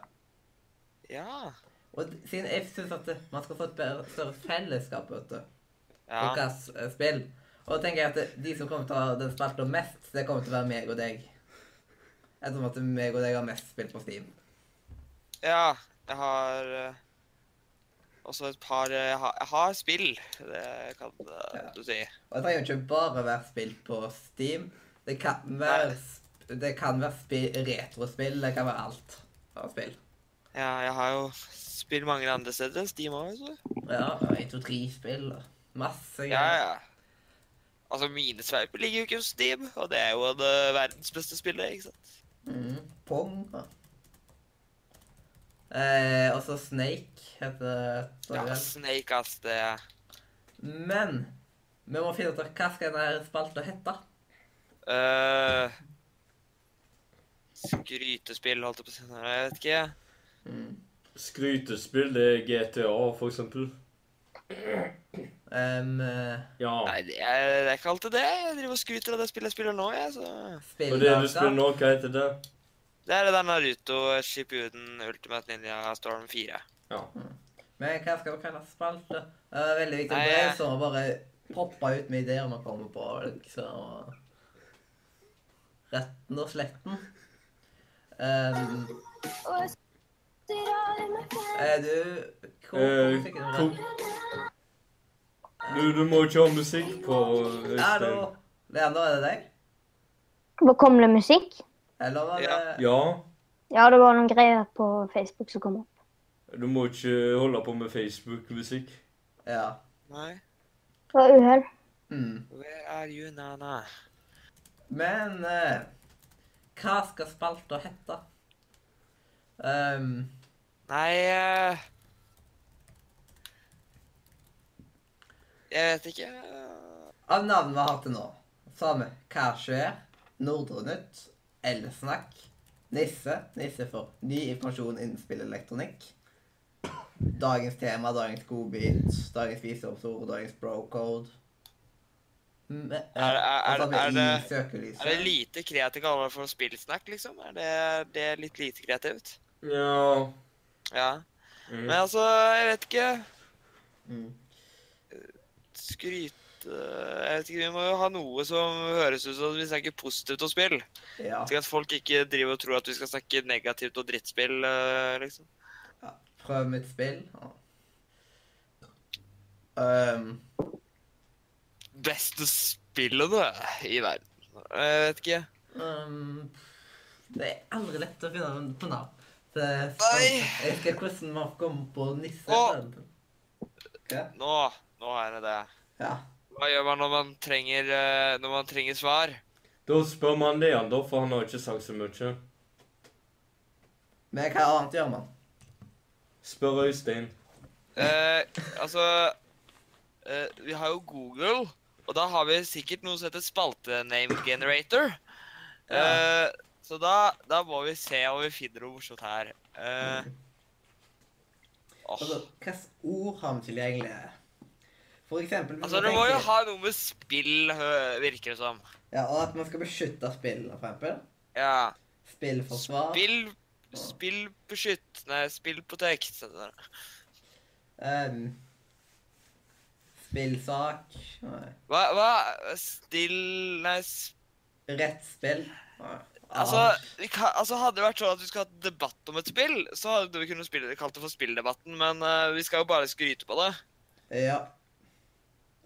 S4: Ja.
S9: Og d- siden jeg syns at eh, man skal få et bedre, større fellesskap vet du, om
S4: ja.
S9: hva s- eh, spill, og da tenker jeg at eh, de som kommer til å ha den spilt om mest, det kommer til å være meg og deg. Ettersom at meg og deg har mest spill på Steam.
S4: Ja, jeg har eh, også et par eh, Jeg har, jeg har spill, det kan eh,
S9: Ja.
S4: du si.
S9: Og det trenger jo ikke bare være spill på Steam. Det kan være,
S4: Nei.
S9: sp- det kan være spi- retrospill, det kan være alt av spill.
S4: Ja, jeg har jo spill mange andre steder. Steam òg, vet du.
S9: Ja, 1-2-3-spill og masse
S4: Ja,
S9: greier.
S4: ja. Altså, mine sveiper ligger jo ikke på Steam, og det er jo en, eh, verdens beste spiller, ikke sant?
S9: Mm, Pong. da. Eh, og så Snake heter det.
S4: Ja, Snake, ass, det
S9: Men vi må finne ut av hva skal denne spalta hete.
S4: eh, Skrytespill, holdt jeg på å si. Nei, Jeg vet ikke.
S2: Skrytespill, det er GTA, for eksempel.
S9: Um, eh,
S2: Ja.
S4: Nei, det er, det er ikke alltid det. Jeg driver og skryter av det spillet jeg spiller nå, jeg, så
S9: spill
S2: Og det du spiller nå, hva heter det?
S4: Det er det der Naruto Shippuden Ultimate Ninja Storm 4.
S9: Men hva skal vi kalle spalte? Det er veldig viktig
S4: Nei,
S9: for
S4: jeg-
S9: oss å bare poppe ut med ideer man kommer på. liksom. Retten og sletten. Um, er du Hvor
S2: Eh,
S9: hvor fikk du den?
S2: kok- Du, du må ikke ha musikk på
S9: Hallo?
S2: Øystein.
S9: Leander, er det deg?
S3: Nå kom det musikk.
S9: Eller var det
S4: Ja.
S2: Ja.
S3: Ja, det var noen greier på Facebook som kom opp.
S2: Du må ikke holde på med Facebook-musikk.
S9: Ja.
S4: Nei,
S3: Det var uhell.
S9: Mm.
S4: where are you, Nana?
S9: Men eh, hva skal spalta hete? Um,
S4: Nei eh, Jeg vet ikke.
S9: av navnene vi har hatt til nå, så har vi Hva skjer? Nordre Nytt, Elsnakk, Nisse, Nisse for ny informasjon innen spillelektronikk, Dagens tema, dagens godbit, dagens visdomsord, dagens brocode. Mm, eh,
S4: Er- er- er-
S1: altså,
S9: og så har vi
S4: er det-
S9: I søkelyset.
S4: Er det lite kreativt å kalle det for spillsnakk, liksom? Er det, det er litt lite kreativt?
S2: Ja.
S4: Ja.
S2: Mm.
S4: Men altså, jeg vet ikke.
S9: Mm.
S4: Skryte Jeg vet ikke, vi må jo ha noe som høres ut som vi snakker positivt om spill.
S9: Ja.
S4: Slik at folk ikke driver og tror at vi skal snakke negativt og drittspill, eh, liksom.
S9: Prøv mitt spill. Ja. Um,
S4: Beste spillene i verden. Jeg vet ikke.
S9: Um, det er aldri lett å finne en- på navn. Det er
S4: Nei.
S9: Jeg husker hvordan man kom på nisse.
S4: Å.
S9: Hva?
S4: Nå, nå er det det.
S9: Ja.
S4: Hva gjør man når man trenger, eh, når man trenger svar?
S2: Da spør man det han, da, for han har ikke sagt så mye.
S9: Men hva annet gjør man?
S2: Spør Øystein.
S4: Eh, altså eh, vi har jo Google, og da har vi sikkert noe som heter spaltename generator. Eh, så da, da må vi se om vi finner noe morsomt her. Eh, åh.
S9: Mm. Altså, hvilke ord har vi tilgjengelige? For eksempel hvis
S4: Altså,
S9: man
S4: du må jo
S9: tenker-
S4: ha noe med spill, hø- virker det som.
S9: Ja, og at man skal beskytte spillene, for eksempel.
S4: Ja.
S9: Spillforsvar.
S4: Spill, spill beskytt. Nei, spill protect. sånn der.
S9: ehm, spillsak. Nei.
S4: Hva, hva? Still, nei, s-
S9: Rettspill. Nei.
S4: Altså, vi kan, altså, hadde det vært sånn at vi skulle hatt debatt om et spill, så hadde vi kunnet spille, kalt det for spilldebatten, men eh, vi skal jo bare skryte på det.
S9: Ja.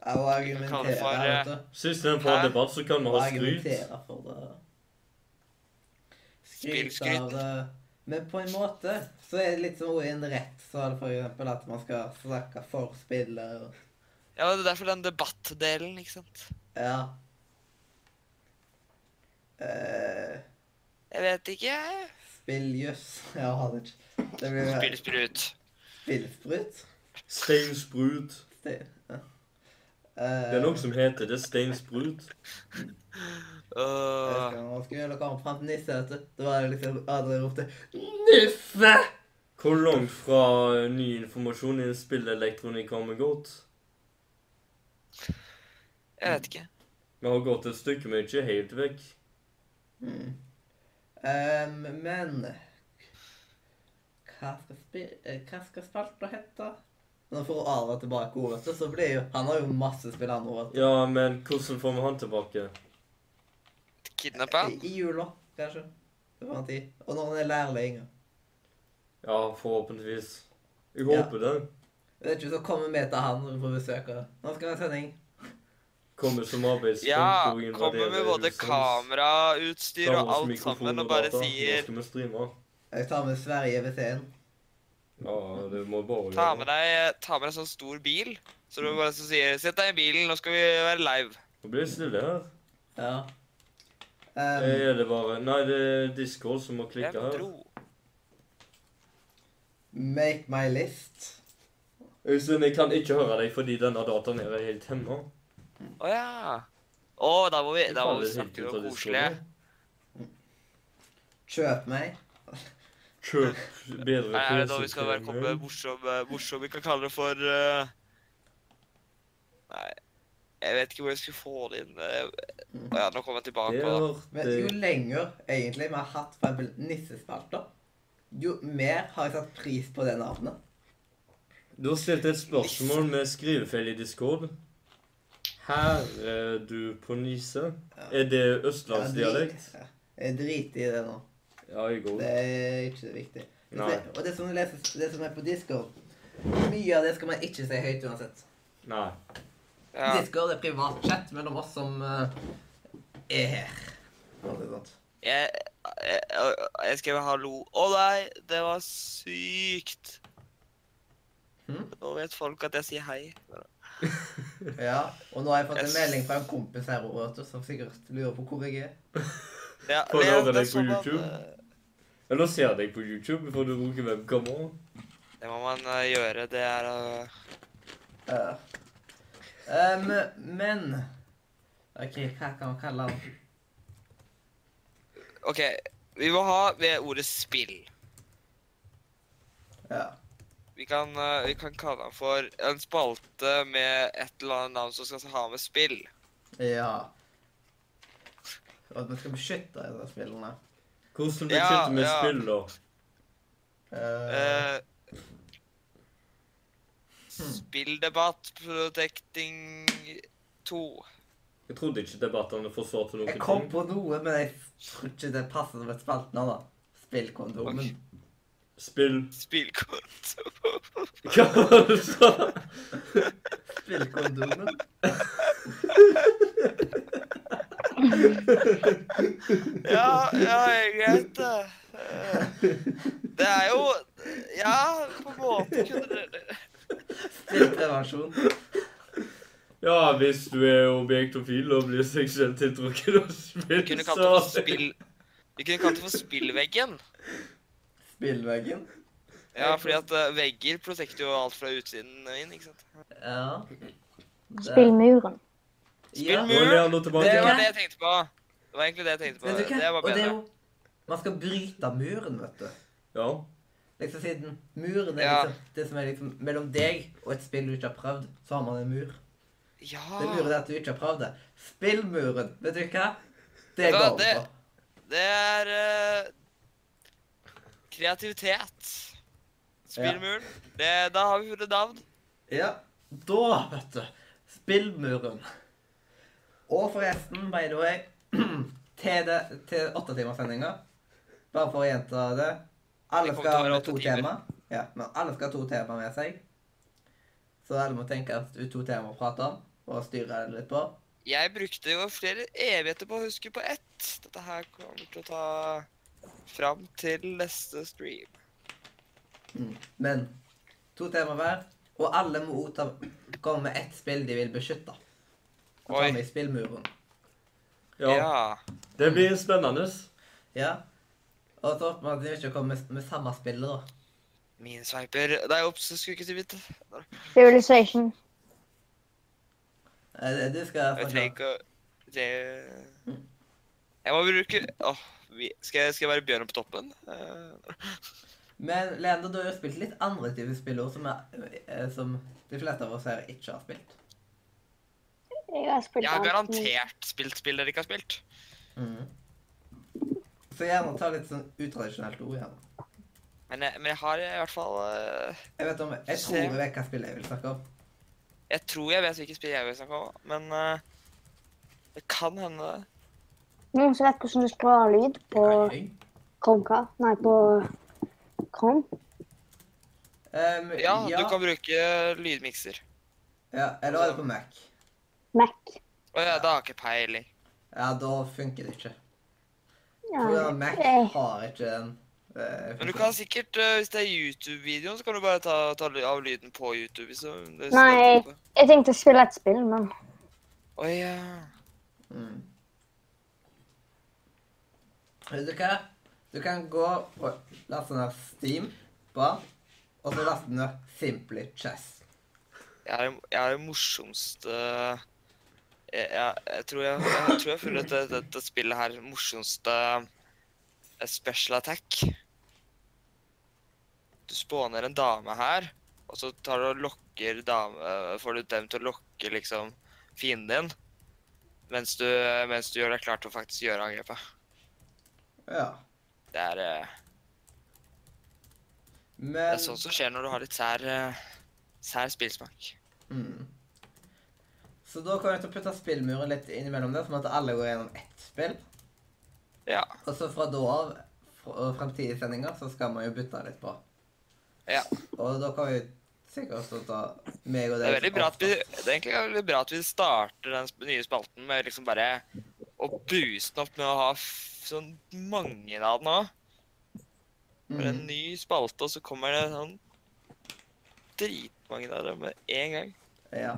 S9: Jeg
S4: Kan
S9: må
S4: det
S9: argumentere,
S4: for,
S9: vet du.
S2: Sist den får
S4: Hæ?
S2: debatt, så kan vi
S9: Må
S2: ha skryt.
S9: argumentere for det. Skryt
S4: Spillskryt.
S9: av det. Men på en måte så er det litt som ordet i en rett, så er det for eksempel at man skal snakke for spiller.
S4: Ja, men Det er derfor den debattdelen, ikke sant.
S9: Ja. Eh,
S4: Jeg vet ikke. jeg.
S9: Spilljøss. Jeg har det ikke. Det blir
S4: Spill sprut.
S9: spillsprut.
S2: Steinsprut.
S9: Det, ja. Eh,
S2: Det er noe som heter det. Steinsprut.
S9: Jeg
S4: Øh,
S9: husker når man skulle gjøre noe fram til Nisse, vet du. Da var det liksom Adrian ropte 'Nisse!'
S2: Hvor langt fra eh, ny informasjon i spillet Elektronikk har vi gått?
S4: jeg vet ikke.
S2: Vi har gått et stykke, men ikke helt vekk.
S9: Mm. Ehm, men hva skal, spi eh, hva skal spalta hete? Nå får Adrian tilbake ordet, vet du, så blir jo Han har jo masse spill, han òg.
S2: Ja, men hvordan får vi han tilbake?
S4: Kidnappa?
S9: I, I jula, kanskje. Det var en tid. Og når han er lærling.
S2: Ja, forhåpentligvis. Jeg
S9: Ja.
S2: håper det.
S9: Jeg vet ikke, så kommer vi til han når vi får besøk av Nå skal vi ha sending.
S2: Kommer som arbeidspunkt
S4: Ja,
S2: og invaderer
S4: kommer med både
S2: husets-
S4: kamerautstyr og
S2: Dagens
S4: alt
S2: mikrofon
S4: sammen og bare
S2: data. Nå
S4: sier
S2: skal vi streame.
S9: Jeg tar med Sverige ved scenen.
S2: Ja, det må bare
S4: Ta med deg, ta med deg sånn stor bil. Så du bare så sier 'Sett deg i bilen, nå skal vi være live'.
S2: Nå blir det stille her. Eh,
S9: Ja. Ehm,
S2: Er det bare Nei, det er Discord som må
S4: Hvem
S2: klikke her.
S4: dro?
S9: make my list.
S2: Øystein, jeg kan ikke høre deg fordi denne dataen her er helt hemma.
S4: Å ja. Å, da må vi, da må vi snakke om koselig.
S9: Kjøp meg.
S2: Kjøp bedre
S4: Nei, er det da vi skal være komme
S2: PC-systemer.
S4: morsomme, morsomme Vi kan kalle det for eh, Nei, jeg vet ikke hvor jeg skulle få det inn. eh, Å ja, nå kommer jeg tilbake.
S2: Det
S4: på det.
S9: Men
S2: ble
S9: jo lenger egentlig vi har hatt for eksempel nissespalter, jo mer har jeg satt pris på det navnet.
S2: Du har stilt et spørsmål med skrivefeil i Discord. Her er du på Nise. Er det østlandsdialekt?
S9: Jeg dri- Jeg driter i det nå.
S2: Ja, jeg går.
S9: Det er ikke så viktig. Men
S2: Nei.
S9: se, Og det som, du leser, det som er på Discord, mye av det skal man ikke si høyt uansett.
S2: Nei.
S4: Ja.
S9: Discord er privat chat mellom oss som eh, er her. Og det er sant.
S4: Jeg, jeg, jeg, jeg skrev hallo. Å nei, det var sykt.
S9: Hm?
S4: Nå vet folk at jeg sier hei.
S9: Ja, og nå har jeg fått en
S4: Yes.
S9: melding fra en kompis her også, vet du, som sikkert lurer på hvor jeg er.
S4: Ja,
S2: Får
S4: det-
S2: lagre
S4: det er
S2: deg på
S4: sånn man,
S2: YouTube?
S4: eh,
S2: Eller ser jeg deg på YouTube, for du bruker webkamera.
S4: Det må man eh, gjøre. Det er eh,
S9: Ja. Ehm, men OK, hva kan man kalle han?
S4: OK. Vi må ha ved ordet spill.
S9: Ja.
S4: Vi kan, eh, vi kan kalle den for en spalte med et eller annet navn som skal ha med spill.
S9: ja. Og at vi skal beskytte disse spillene.
S2: Hvordan
S4: Ja,
S2: beskytter vi
S4: ja.
S2: spill, da?
S9: Eh,
S4: Eh, spilldebatt, protecting 2.
S2: Jeg trodde ikke debattene forsvarte noen
S9: jeg kom
S2: ting.
S9: på noe, men jeg tror ikke det passer som et spaltenavn. da. Spillkondomen.
S4: Ok.
S2: Spill [laughs]
S4: Spillkonto.
S2: Hva var det du sa?
S9: Spillkondomen.
S4: [laughs] Ja, ja, jeg vet det. Eh, Det er jo Ja, på en måte kunne det
S9: Spillprevensjon.
S2: Ja, hvis du er objektofil og blir seksuelt tiltrukket av
S4: Vi
S2: spill,
S4: kunne kalt det for spill... Vi kunne kalt det for spillveggen.
S9: Spillveggen.
S4: Ja, fordi at eh, vegger protekter jo alt fra utsiden og inn, ikke sant.
S9: Ja. Spill muren.
S1: Ja.
S4: Spill
S2: Nå er han nå
S1: Det
S4: Det
S2: tilbake.
S1: er-
S4: var det jeg tenkte på. Det var egentlig det jeg tenkte på.
S1: Vet du hva?
S4: Det var
S1: Og det er
S4: bedre.
S1: jo Man skal bryte muren, vet du.
S2: Ja.
S1: Liksom siden muren er
S4: Ja.
S1: liksom det som er liksom mellom deg og et spill du ikke har prøvd, så har man en mur. Det muren
S4: Ja.
S1: er at du ikke har prøvd det. Spill muren. Vet du hva? Det
S4: Ja,
S1: går over.
S4: det- Det er eh, kreativitet.
S1: Ja.
S4: Spillmuren. Det, da har vi funnet navn.
S1: Ja, da, vet du. Spillmuren. Og forresten, by the way, [clears throat] til, det, til åttetimerssendinga, bare for å gjenta det Alle
S4: Det kommer til å
S1: skal
S4: være
S1: ha
S4: åtte
S1: to
S4: timer.
S1: tema. Ja, men alle skal ha to tema med seg. Så alle må tenke at ut to temaer å prate om, og styre det litt på.
S4: Jeg brukte jo flere evigheter på å huske på ett. Dette her kommer til å ta fram til neste stream.
S1: Men to temaer hver, og alle må også ta- komme med ett spill de vil beskytte. Og ta
S4: Oi.
S1: med i spillmuren.
S2: ja.
S4: Ja.
S2: Det blir spennende.
S1: Ja. Og så håper man at de ikke kommer med, med samme spiller, da.
S4: Minesveiper. Det er oppsett, skulle ikke si mitt.
S9: Civilization.
S1: Eh, det- Du skal
S4: Jeg trenger
S1: snakke
S4: ikke å det... Jeg må bruke Åh, vi... skal, jeg, skal jeg være bjørnen på toppen? Eh,
S1: Men Leander, du har jo spilt litt andre typer spill også, som, er, eh, som de fleste av oss her ikke har spilt.
S9: Jeg har spilt
S4: jeg har
S9: alt.
S4: garantert spilt spill dere ikke har spilt.
S1: Så gjerne ta litt sånn utradisjonelt ord igjen.
S4: Men jeg, men jeg har i hvert fall eh,
S1: Jeg vet om, jeg tror
S4: Se.
S1: jeg vet hva spillet jeg vil snakke om.
S4: Jeg tror jeg vet hvilket spill jeg vil snakke om, men eh, det kan hende
S9: Noen som vet hvordan du skal ha lyd på
S1: Oi.
S9: Chromecast? Nei, på Chrome?
S1: Um,
S4: Ja,
S1: ja,
S4: du kan bruke lydmikser.
S1: ja, eller er det på Mac?
S9: Mac?
S4: Å ja, da har jeg ikke peiling.
S1: Ja, da funker det ikke.
S9: Ja,
S1: For Mac
S9: eh,
S1: har ikke den. eh,
S4: Men du
S1: funksjonen.
S4: kan sikkert, eh, hvis det er YouTube-videoen, så kan du bare ta, ta ly- av lyden på YouTube. Hvis det står
S9: Nei.
S4: på.
S9: jeg tenkte å spille et spill, men
S4: Å ja.
S1: Mm. Vet du hva? Du kan gå og laste ned Steam på den, og så laste ned Simply Chess.
S4: Jeg er, jeg er det morsomste jeg, jeg, jeg tror jeg, jeg tror jeg har funnet dette, dette spillet her morsomste eh, special attack. Du spåner en dame her, og så tar du og lokker dame, eh, får du dem til å lokke liksom fienden din, mens du, mens du gjør deg klar til å faktisk gjøre angrepet.
S1: Ja.
S4: Det er, eh, det
S1: Men
S4: er sånt som skjer når du har litt sær, eh, sær spillsmak.
S1: mm. Så da kommer jeg til å putte spillmuren litt innimellom der, sånn at alle går gjennom ett spill.
S4: Ja,
S1: Og så fra da av fra- og fremtidige sendinger så skal man jo bytte litt på.
S4: ja.
S1: Og da kan vi sikkert også ta meg og deg
S4: Det er veldig
S1: som
S4: bra at vi,
S1: avstand.
S4: det er egentlig veldig bra at vi starter den sp- nye spalten med liksom bare å booste den opp med å ha f sånn mange av den òg. For en
S1: Mhm.
S4: ny spalte, og så kommer det sånn dritmange av dem med en gang.
S1: Ja.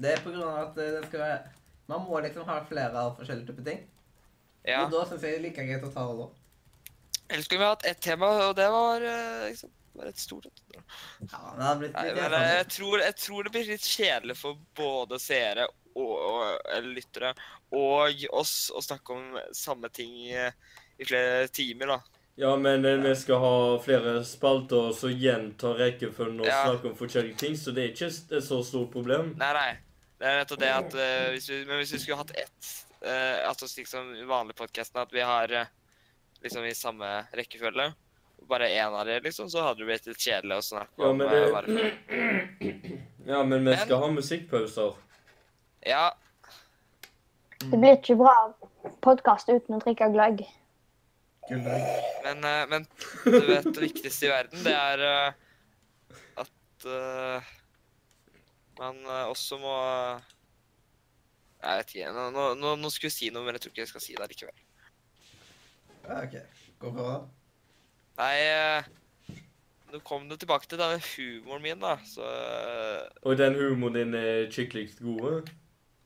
S1: Det er på grunn av at eh, det skal være Man må liksom ha flere av forskjellige typer ting.
S4: Ja.
S1: Og da syns jeg det er like greit å ta det nå.
S4: Ellers skulle vi hatt ett tema, og det var eh, liksom bare et stort et.
S1: Ja, men det sånn- hadde blitt
S4: Nei,
S1: litt
S4: men eh,
S1: ensomt.
S4: jeg tror, jeg tror det blir litt kjedelig for både seere og, og eller lyttere og oss å snakke om samme ting eh, i flere timer, da.
S2: Ja, men eh, vi skal ha flere spalter og så gjenta rekkefølgen og
S4: Ja.
S2: snakke om forskjellige ting, så det er ikke s- et så stort problem.
S4: Nei, nei. Det er nettopp det at eh, hvis vi, Men hvis vi skulle hatt ett eh, Altså slik som i vanlige podkasten, at vi har eh, liksom i samme rekkefølge Bare én av det, liksom, så hadde det blitt litt kjedelig å snakke
S2: Ja,
S4: om
S2: men
S4: eh,
S2: det-
S4: bare for-
S2: Ja, men vi
S4: Men-
S2: skal ha musikkpauser.
S4: Ja,
S9: det blir ikke bra podkast uten å drikke gløgg.
S4: men, eh, men du vet det viktigste i verden, det er eh, at eh, man eh, også må Jeg vet ikke. Nå, nå- nå, nå skulle jeg si noe, men jeg tror ikke jeg skal si det likevel.
S1: Ja, OK. Gå for det.
S4: Nei, eh, nå kom det tilbake til denne humoren min, da. Så eh,
S2: Og den humoren din er skikkelig eh? gode.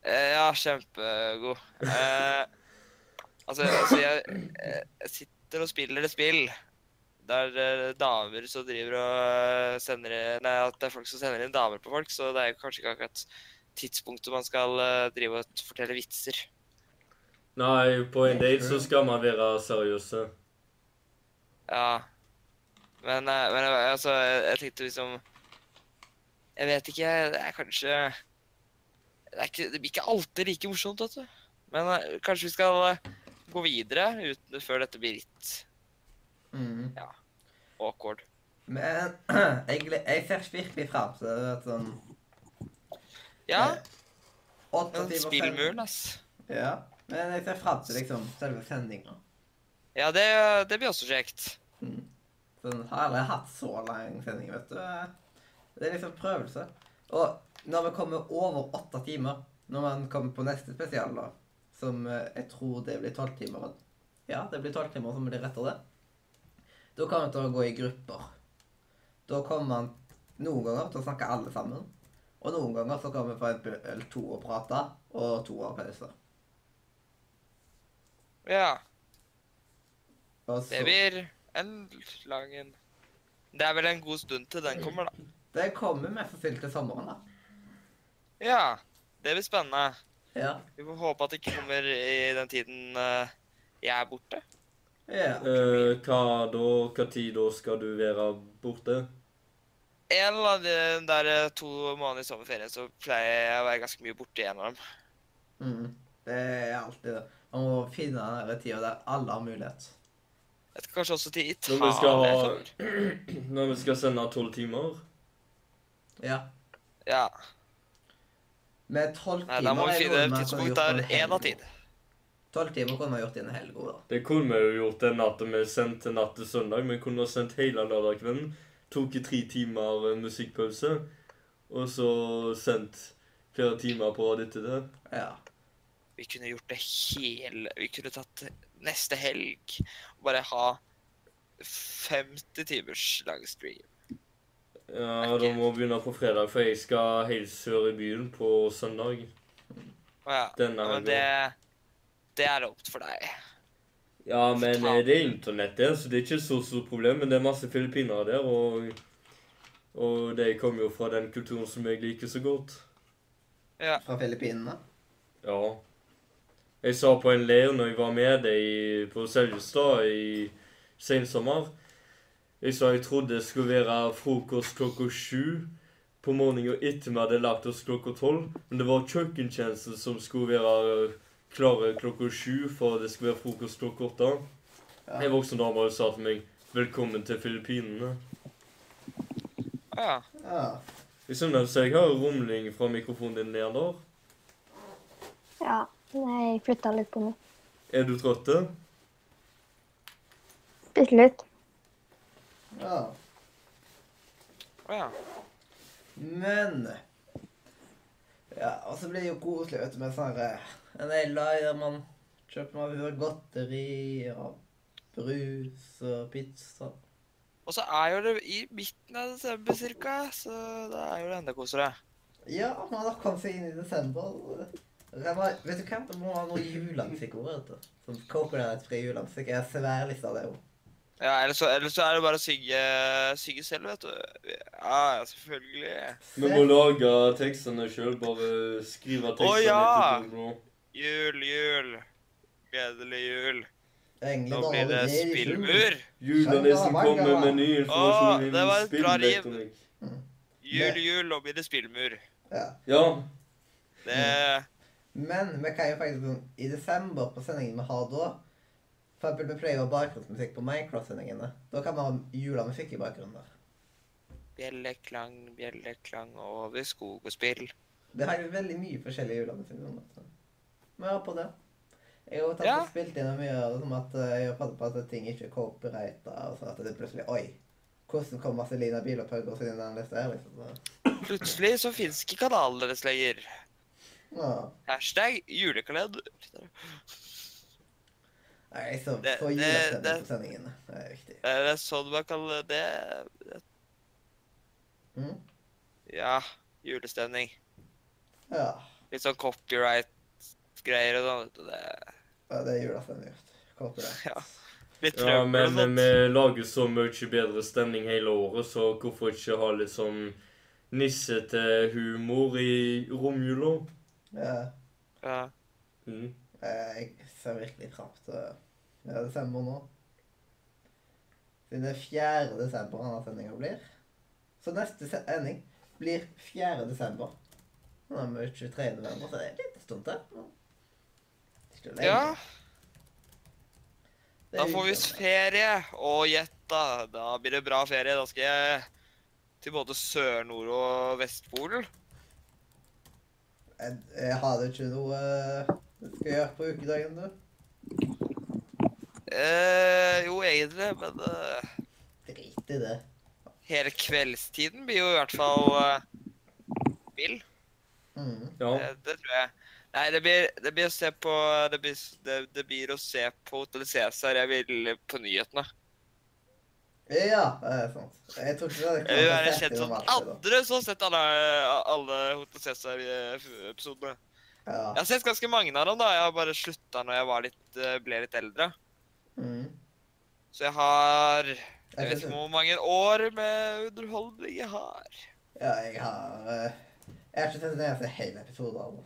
S4: eh, Ja, kjempegod. Eh, altså, altså jeg, eh, jeg sitter og spiller et spill der eh, damer som driver og eh, sender inn Nei, at det er folk som sender inn damer på folk, så det er jo kanskje ikke akkurat tidspunktet man skal eh, drive og fortelle vitser.
S2: Nei, på en date så skal man være eh. seriøse.
S4: Ja. Men, eh, men eh, altså, jeg, jeg tenkte liksom Jeg vet ikke. Det er kanskje Det, er ikke, det blir ikke alltid like morsomt, vet du. Men eh, kanskje vi skal eh, gå videre uten, før dette blir litt
S9: Mm.
S1: [clears throat]
S4: awkward.
S9: Men jeg, gle- jeg ser virkelig fram til det. vet du, Sånn,
S4: Ja,
S9: åtte
S4: men
S9: timer
S4: spillmuren,
S9: sending.
S4: ass.
S9: Ja, men jeg ser fram til liksom selve sendinga.
S4: Ja, det, det blir også kjekt.
S9: Sånn, har aldri hatt så lang sending, vet du. Det er liksom prøvelse. Og når vi kommer over åtte timer, når man kommer på neste spesial, da, som eh, jeg tror det blir tolv timer Ja, det blir tolv timer, så blir det rett av det. Da kommer man til å gå i grupper. Da kommer man noen ganger til å snakke alle sammen. Og noen ganger så kommer vi på en øl to og prate, og to har pause.
S4: Ja.
S9: Og
S4: Det
S9: så-
S4: blir en lang en. Det er vel en god stund til den kommer, da.
S9: Det kommer mest sannsynlig til sommeren, da.
S4: Ja. Det blir spennende.
S9: Ja.
S4: Vi får håpe at det ikke kommer i den tiden eh, jeg er borte.
S9: ja.
S2: Eh, hva da? Hva tid da skal du være borte?
S4: En eller annen der eh, to måneder i sommerferien så pleier jeg å være ganske mye borte i en av dem.
S9: Mm. Det er alltid det. Man må finne den der tida der alle har mulighet.
S4: Jeg tror kanskje også til
S2: Når
S4: Italia.
S2: vi skal ha
S4: eller?
S2: Når vi skal sende tolv timer?
S9: Ja.
S4: Ja.
S9: Med tolv
S4: Nei,
S9: timer
S4: da må
S9: er
S4: vi
S9: det
S4: finne
S9: noe
S4: et
S9: man kan
S4: tidspunkt
S9: gjort på
S4: der
S9: en
S4: én av
S9: helg.
S4: tid.
S9: Tolv timer kunne man gjort i en helg òg, da.
S2: Det kunne vi jo gjort den natten vi sendte natt til søndag. Vi kunne ha sendt hele lørdagskvelden. Tok i tre timer eh, musikkpause. Og så sendt flere timer på rad etter det.
S9: Ja.
S4: Vi kunne gjort det hele Vi kunne tatt neste helg og bare ha 50 timers lang stream.
S2: Ja, da må vi begynne på fredag, for jeg skal helt sør i byen på søndag.
S4: Å ja.
S2: Denne
S4: ja, men
S2: helgen.
S4: det Det er opp for deg.
S2: Ja, men eh, det er internett der, så det er ikke et så stort problem. Men det er masse filippinere der, og, og de kommer jo fra den kulturen som jeg liker så godt.
S9: Fra Filippinene.
S2: Ja. Jeg sa på en leir når jeg var med deg i- på Seljestad i sensommer Jeg sa jeg trodde det skulle være frokost klokka sju på morgenen og etter vi hadde lagt oss klokka tolv. Men det var kjøkkentjenesten som skulle være klare klokka sju, for det skulle være frokost klokka åtte.
S9: Ja.
S2: En voksen dame sa til meg 'Velkommen til Filippinene'.
S4: Å ja.
S9: Ja.
S2: Jeg skjønner, så jeg har rumling fra mikrofonen din, Leander.
S3: Ja. Nei, jeg flytta litt på meg.
S2: Er du trøtt?
S3: Bitte litt.
S9: ja.
S4: Å ja.
S9: Men Ja, og så blir det jo koselig, vet du, med sånn her En hel dag der man kjøper man godteri og brus og pizza.
S4: Og så er jo det i midten av desember cirka, så da er jo det enda koseligere.
S9: Ja, man har kommet seg inn i desember. Det var- Vet du hva? Det må ha noe julemusikkord. vet du. Som coconut-fri julemusikk. Jeg har svær liste av det. jo.
S4: Ja, eller så, eller så er det bare å synge, synge selv, vet du. Ja, ja, selvfølgelig.
S2: Vi må lage tekstene sjøl, bare skrive tekstene
S4: Å, ja!
S2: til Google.
S4: Jul, jul. Gledelig jul.
S9: Egentlig
S4: Nå
S9: bare
S4: blir det
S9: alle de i jul.
S4: spillmur.
S2: Julen er som kommer med ny
S4: Å,
S2: informasjon
S4: det var
S2: innen
S4: et bra rim.
S2: spillelektronikk.
S4: Jul, jul, nå blir det spillmur.
S9: Ja.
S2: Ja,
S4: Det
S9: Mm. Men vi kan jo faktisk sånn, i desember, på sendingen vi har da For eksempel, vi pleier å ha bakgrunnsmusikk på Minecraft-sendingene. Da kan vi ha julemusikk i bakgrunnen der.
S4: bjelleklang, bjelleklang over skog og spill.
S9: Det har jo veldig mye forskjellig julemusikk. sånn, vet du. Men hør på det. Jeg har jo tatt
S4: Ja.
S9: og spilt inn mye av det, som at eh, jeg har passet på at ting ikke er copyrighta, og sånn at det plutselig Oi! Hvordan kom Marcelina Bilopphøg også inn i den lista her, liksom? Så,
S4: Plutselig så finnes ikke kanalen deres lenger.
S9: ja.
S4: Hashtag julekalender.
S9: Nei, så
S4: Det-
S9: få
S4: det-
S9: julestemning
S4: det-
S9: på sendingene. Det er viktig.
S4: Er det sånn man kaller det?
S9: Mhm.
S4: Ja, julestemning.
S9: Ja.
S4: Litt sånn copyright-greier og sånn. vet du, Det
S9: ja det er julestemning. vet du. Copyright.
S4: Ja. Litt
S2: ja
S4: trøbbel og
S2: men
S4: sånt.
S2: vi lager så mye bedre stemning hele året, så hvorfor ikke ha litt sånn nissete humor i romjula.
S1: Ja.
S4: Ja.
S2: Mm.
S1: Eh, Jeg ser virkelig fram til ja, desember nå. Siden det er 4. desember denne sendinga blir. Så neste sending blir 4. desember. Nå er vi 23. november, så det er en liten stund til. Ikke lenge.
S4: ja.
S1: Det er
S4: Da får vi
S1: utlandet.
S4: ferie. Og gjett, da. Da blir det bra ferie. Da skal jeg til både Sør-, Nord- og Vestpolen.
S1: Jeg, jeg har jo ikke noe eh, du skal gjøre på ukedagen, du.
S4: Eh, jo, egentlig, men eh,
S1: Drit i det.
S4: hele kveldstiden blir jo i hvert fall eh, vill.
S1: Mm.
S2: Ja.
S4: Eh, det tror jeg. Nei, det blir, det blir å se på det blir, det, det blir å se på Hotell Cæsar. Jeg vil på nyhetene.
S1: Ja, det er sant. Jeg tror ikke det hadde
S4: Jeg
S1: klart
S4: vil
S1: å
S4: være
S1: sette
S4: kjent som
S1: gjennom alt det da.
S4: andre som har sett alle, alle Hotell Cæsar-episodene. Jeg
S1: Ja.
S4: har sett ganske mange av dem. da. Jeg har bare slutta når jeg var litt, eh, ble litt eldre.
S1: Mm.
S4: Så jeg har Jeg
S1: Jeg
S4: vet
S1: synes-
S4: ikke hvor mange år med underholdning jeg har.
S1: Ja, jeg har eh, Jeg har ikke sett en eneste hel episode av det.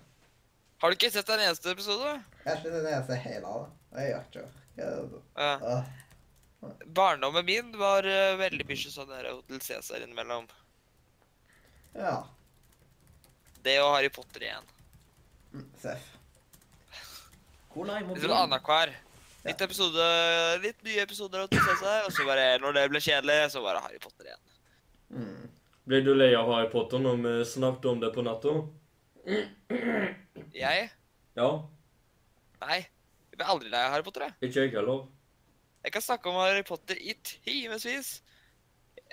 S4: Har du ikke sett en eneste episode?
S1: Jeg har ikke sett en eneste hel av det. Jeg har ikke jeg,
S4: Ja.
S1: uh,
S4: Barndommen min var eh, veldig mye sånn der Hotell Cæsar innimellom.
S1: Ja.
S4: Det og Harry Potter igjen.
S1: mm, Seff. Cola i
S4: Litt sånn annenhver.
S1: Ja.
S4: Litt, episode, litt nye episoder av Hotell Cæsar, og så bare når det ble kjedelig, så bare Harry Potter igjen.
S1: Mm.
S2: Ble du lei av Harry Potter når vi snakket om det på natta?
S4: Jeg?
S2: Ja.
S4: Nei. Jeg blir aldri lei av Harry Potter. Jeg.
S2: Ikke jeg heller.
S4: jeg kan snakke om Harry Potter i timevis.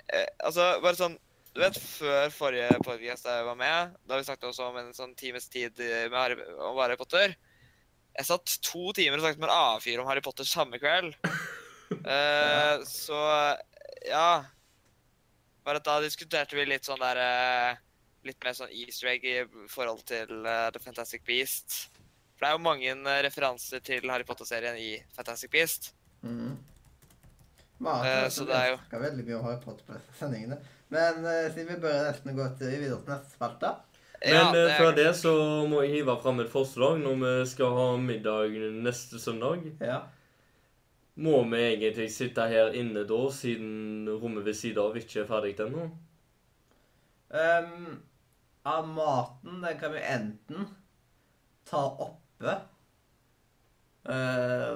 S4: Eh, altså, bare sånn Du vet, før forrige podcast jeg var med, da vi snakket også om en sånn times tid med Harry, om Harry Potter Jeg satt to timer og snakket med en A4 om Harry Potter samme kveld. Eh, så ja. Bare at da diskuterte vi litt sånn der eh, Litt mer sånn easter egg i forhold til eh, The Fantastic Beast. For det er jo mange eh, referanser til Harry Potter-serien i Fantastic Beast.
S1: Mm. Mara,
S4: Eh,
S1: jeg
S4: så
S1: tror
S4: det er
S1: vi
S4: jo-
S1: snakker veldig mye om Harry Potter på disse sendingene. Men eh, siden vi bør nesten gå til videre til neste spalte
S2: Men
S4: Ja,
S2: eh,
S4: det er
S2: før det så må jeg hive fram et forslag når vi skal ha middag neste søndag.
S1: Ja.
S2: Må vi egentlig sitte her inne da, siden rommet ved siden av ikke er ferdig ennå?
S1: Um, av maten, den kan vi enten ta oppe eh,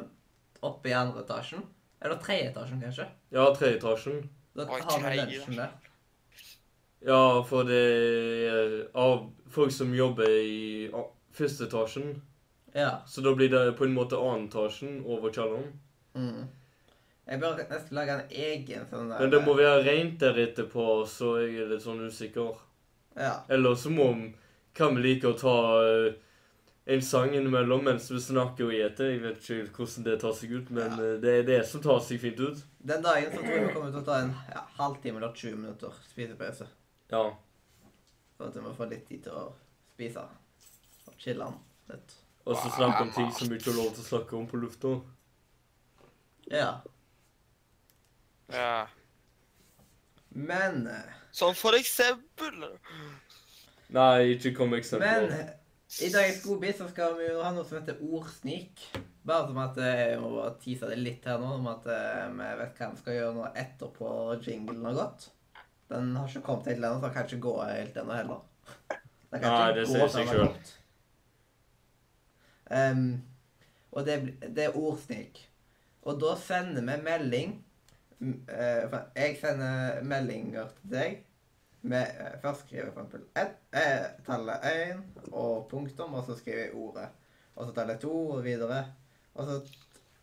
S1: Oppe i andre etasjen. Eller tredje etasjen, kanskje.
S2: Ja, tredje etasjen.
S1: Da
S4: Oi,
S1: har vi
S4: tredje.
S1: lunsjen der.
S2: Ja, for det er av folk som jobber i a- første etasjen.
S1: Ja.
S2: Så da blir det på en måte annen etasjen over kjelleren.
S1: Mm. Jeg bør nesten lage en egen sånn der
S2: Men det må være rent der etterpå, så jeg er litt sånn usikker.
S1: Ja.
S2: Eller så må, kan vi like å ta eh, en sang innimellom mens vi snakker og gjeter. Jeg vet ikke hvordan det tar seg ut, men eh, det er det som tar seg fint ut.
S1: Den dagen så tror jeg vi kommer til å ta en ja, halvtime eller 20 minutter spisepause.
S2: Ja.
S1: Sånn at vi må få litt tid til å spise og chille den litt.
S2: Og så snakke om ting som vi ikke har lov til å snakke om på lufta.
S1: Ja.
S4: Ja.
S1: Men eh,
S4: Som for eksempel
S2: Nei, ikke kom med
S1: Men eh,
S2: eksempler.
S1: i dagens godbit så skal vi jo ha noe som heter ordsnik. Bare som at eh, jeg må bare tease det litt her nå, om at eh, vi vet hva vi skal gjøre nå etterpå jinglen har gått. Den har ikke kommet helt ennå, så den kan ikke gå helt ennå heller. Den
S2: Nei, det sier seg
S1: den har
S2: selv.
S1: gått. Em, og det, bl- det er ordsnik. Og da sender vi melding m- eh, for- Jeg sender meldinger til deg. Med, eh, først skriver jeg for eksempel ett, eh, tallet 1 og punktum, og så skriver jeg ordet. Og så tallet 2 og videre. Og så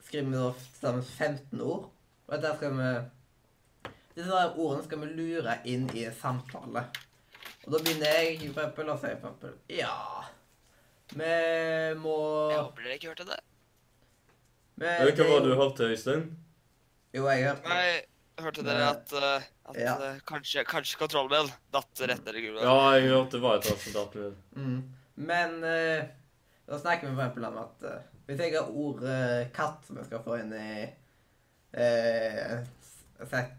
S1: skriver vi da til sammen 15 ord. Og dette skal vi Disse her ordene skal vi lure inn i en samtale. Og da begynner jeg for eksempel å si for eksempel Ja Vi må
S4: Jeg håper dere ikke hørte det.
S1: vi,
S2: Men Hva
S1: eh,
S2: var det du hørte, Øystein?
S1: Jo, jeg hørte det.
S4: Nei, hørte dere at, eh, at
S1: Ja.
S4: eh, kanskje, kanskje kontrollmel datt rett ned i gulvet?
S2: Ja, jeg hørte hva et resultat ble.
S1: Mm. Men eh, da snakker vi for eksempel om at eh, hvis jeg har ordet eh, katt som jeg skal få inn i eh, set,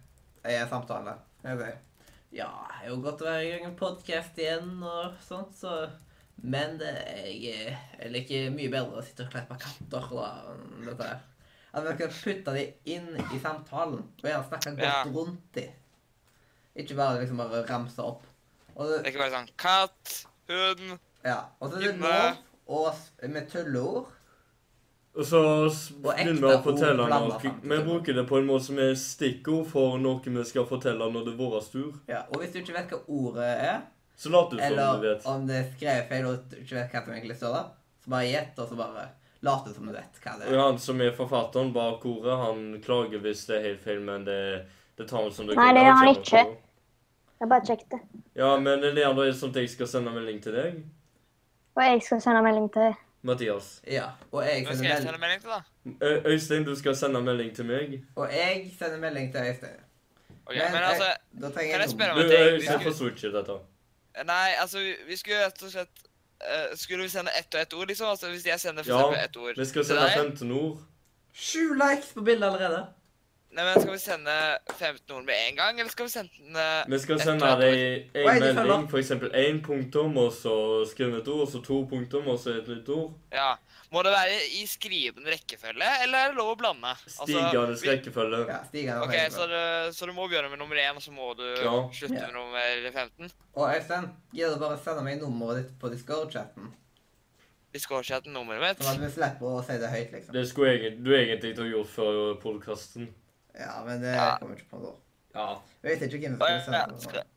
S1: i en samtale skal jeg si. Ja, det er jo godt å være i gang med podkast igjen og sånt, så Men det, jeg, jeg liker mye bedre å sitte og klippe katter da, enn dette her. At man kan putte de inn i samtalen og gjerne snakke godt
S4: Ja.
S1: rundt de. Ikke bare liksom bare ramse opp. Og
S4: Det er
S1: det,
S4: ikke bare sånn katt, hund
S1: ja, og så er det
S4: Inne.
S1: lov å s- med tulleord.
S2: Og så s-
S1: Og ekte
S2: begynner vi å
S1: ord
S2: fortelle
S1: blander
S2: noe.
S1: sammen.
S2: Vi bruker det på en måte som er stikkord for noe vi skal fortelle når det er vår tur.
S1: Ja, og hvis du ikke vet hva ordet er,
S2: Så lat du som du
S1: eller
S2: vet.
S1: om det er skrevet feil og du ikke vet hva som egentlig står der, så bare gjett, og så bare lat som du vet hva det
S2: Og
S1: er.
S2: han som er forfatteren bak ordet, han klager hvis det er helt feil, men det, det tar han som det
S9: Nei, det gjør han
S2: kjenner på.
S9: Jeg bare sjekket det.
S2: Ja, men Leander, er det sånn at jeg skal sende melding til deg?
S9: Og jeg skal sende melding til
S2: Mathias.
S1: Ja, og jeg
S4: Hvem skal
S1: sender
S4: jeg
S1: melding.
S4: sende melding til, da?
S2: Ø- Øystein, du skal sende melding til meg.
S1: Og jeg sender melding til Øystein.
S4: Ok, men altså,
S1: jeg, da trenger
S4: kan jeg
S1: nummer.
S4: spørre om-
S2: Du, eh,
S4: men det-
S2: Øystein
S4: vi
S2: får
S4: skulle-
S2: switche dette.
S4: Nei, altså, vi, vi skulle rett og slett eh, Skulle vi sende ett og ett ord, liksom? Altså, Hvis jeg sender for
S2: Ja,
S4: eksempel ett ord
S2: Vi skal
S4: til
S2: sende
S4: deg?
S2: 15 ord.
S1: Sju likes på bildet allerede.
S4: Nei, men Skal vi sende 15 ord med en gang, eller skal vi sende
S2: Vi skal
S4: Ett
S2: sende
S4: og ett
S2: deg
S1: Oi,
S2: en
S1: du følger.
S2: melding, for eksempel én punktum, og så skrive et ord, og så to punktum, og så et nytt ord.
S4: Ja. Må det være i skrivende rekkefølge, eller er det lov å blande? Altså,
S2: Stigende
S4: vi-
S2: rekkefølge.
S1: Ja, Stigan og
S4: Ok, så
S1: Øystein.
S4: du, så du må begynne med nummer én, og så må du
S2: Ja.
S4: slutte
S1: Ja.
S4: med nummer 15?
S1: Og Øystein, gidder du bare sende meg nummeret ditt på Discord-chatten?
S4: Vi skal ikke hete nummeret mitt.
S1: Sånn at vi slipper å si det høyt, liksom.
S2: Det skulle egentlig, du egentlig ha gjort før podkasten.
S1: Ja, men det
S4: Ja.
S1: kommer ikke på nå.
S2: Ja.
S1: Jeg vet ikke hvem som
S4: Å, ja,
S1: skal sende det.
S4: skal-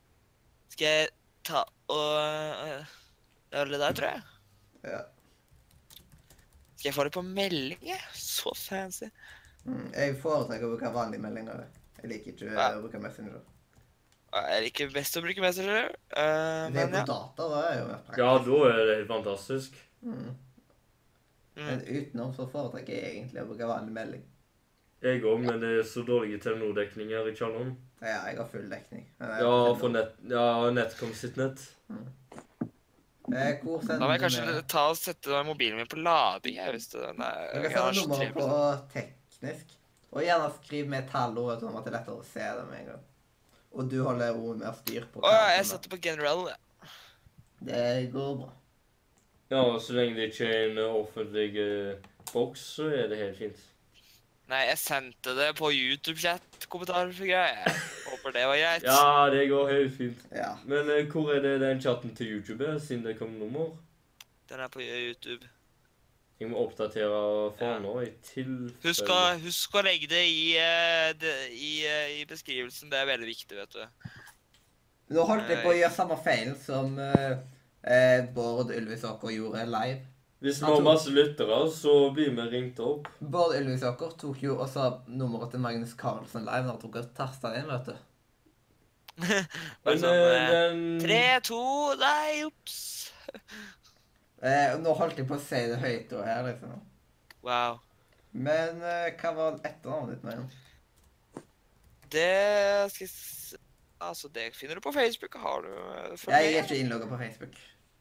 S4: Skal jeg ta og øh, Det er vel det der, tror jeg.
S1: Ja.
S4: Skal jeg få det på melding? jeg? Så fancy.
S1: Mm, Jeg foretrekker å bruke vanlige meldinger. Jeg liker ikke
S4: Ja.
S1: å bruke Messenger.
S4: Å, Jeg liker best å bruke Messenger, øh,
S1: Det
S4: men
S1: på
S4: ja.
S1: data da er jo mer praktisk.
S2: ja, da er det helt fantastisk.
S1: Mm. Men
S4: Mm.
S1: utenom så foretrekker jeg egentlig å bruke vanlig melding.
S2: Jeg òg, men det er så dårlig telenordekning her i Tjallon.
S1: Ja, jeg har full dekning. Men jeg-
S2: Ja, for nett, ja, Netcom sitt nett.
S1: Eh, Hvor
S4: Da
S1: sender du
S4: må jeg kanskje
S1: meg?
S4: ta og sette mobilen min på lading. jeg, hvis det... Nei,
S1: Du
S4: jeg har
S1: eh, kan
S4: sånn
S1: sende nummeret
S4: 23%.
S1: på teknisk. Og gjerne skriv med tallord, sånn at det er lettere å se det med en gang. Og du holder roen med å styre på
S4: Å ja,
S1: hva
S4: jeg
S1: som er.
S4: satte på general. ja.
S1: Det går bra.
S2: Ja, og så lenge det ikke er en eh, offentlig eh, boks, så er det helt fint.
S4: Nei, jeg sendte det på YouTube-chat. Kommentarer for greier. Jeg Håper det var greit.
S2: Ja, det går helt fint.
S1: Ja.
S2: Men eh, hvor er det den chatten til YouTube er, siden det kom nummer?
S4: Den er på YouTube.
S2: Jeg må oppdatere
S4: Ja.
S2: faen nå, i tilfelle
S4: Husk å, husk å legge det i, eh, det, i, eh, i beskrivelsen. Det er veldig viktig, vet du.
S1: Nå holdt jeg på å gjøre samme feilen som eh, eh, Bård Ylvisåker gjorde live.
S2: Hvis vi har masse lyttere, så blir vi ringt opp.
S1: Bård Ylvisåker tok jo også nummeret til Magnus Carlsen live når han tok og tasta inn, vet du.
S4: Bare
S2: Men
S4: sånn,
S2: eh,
S4: eh,
S2: den
S4: Tre, to Nei, ops.
S1: Eh, nå holdt jeg på å si det høyt og her, liksom.
S4: Wow.
S1: Men eh, hva var etternavnet ditt, Marion?
S4: Det skal jeg s- Altså, det finner du på Facebook. Har du eh, for
S1: Jeg er
S4: det?
S1: ikke innlogga på Facebook.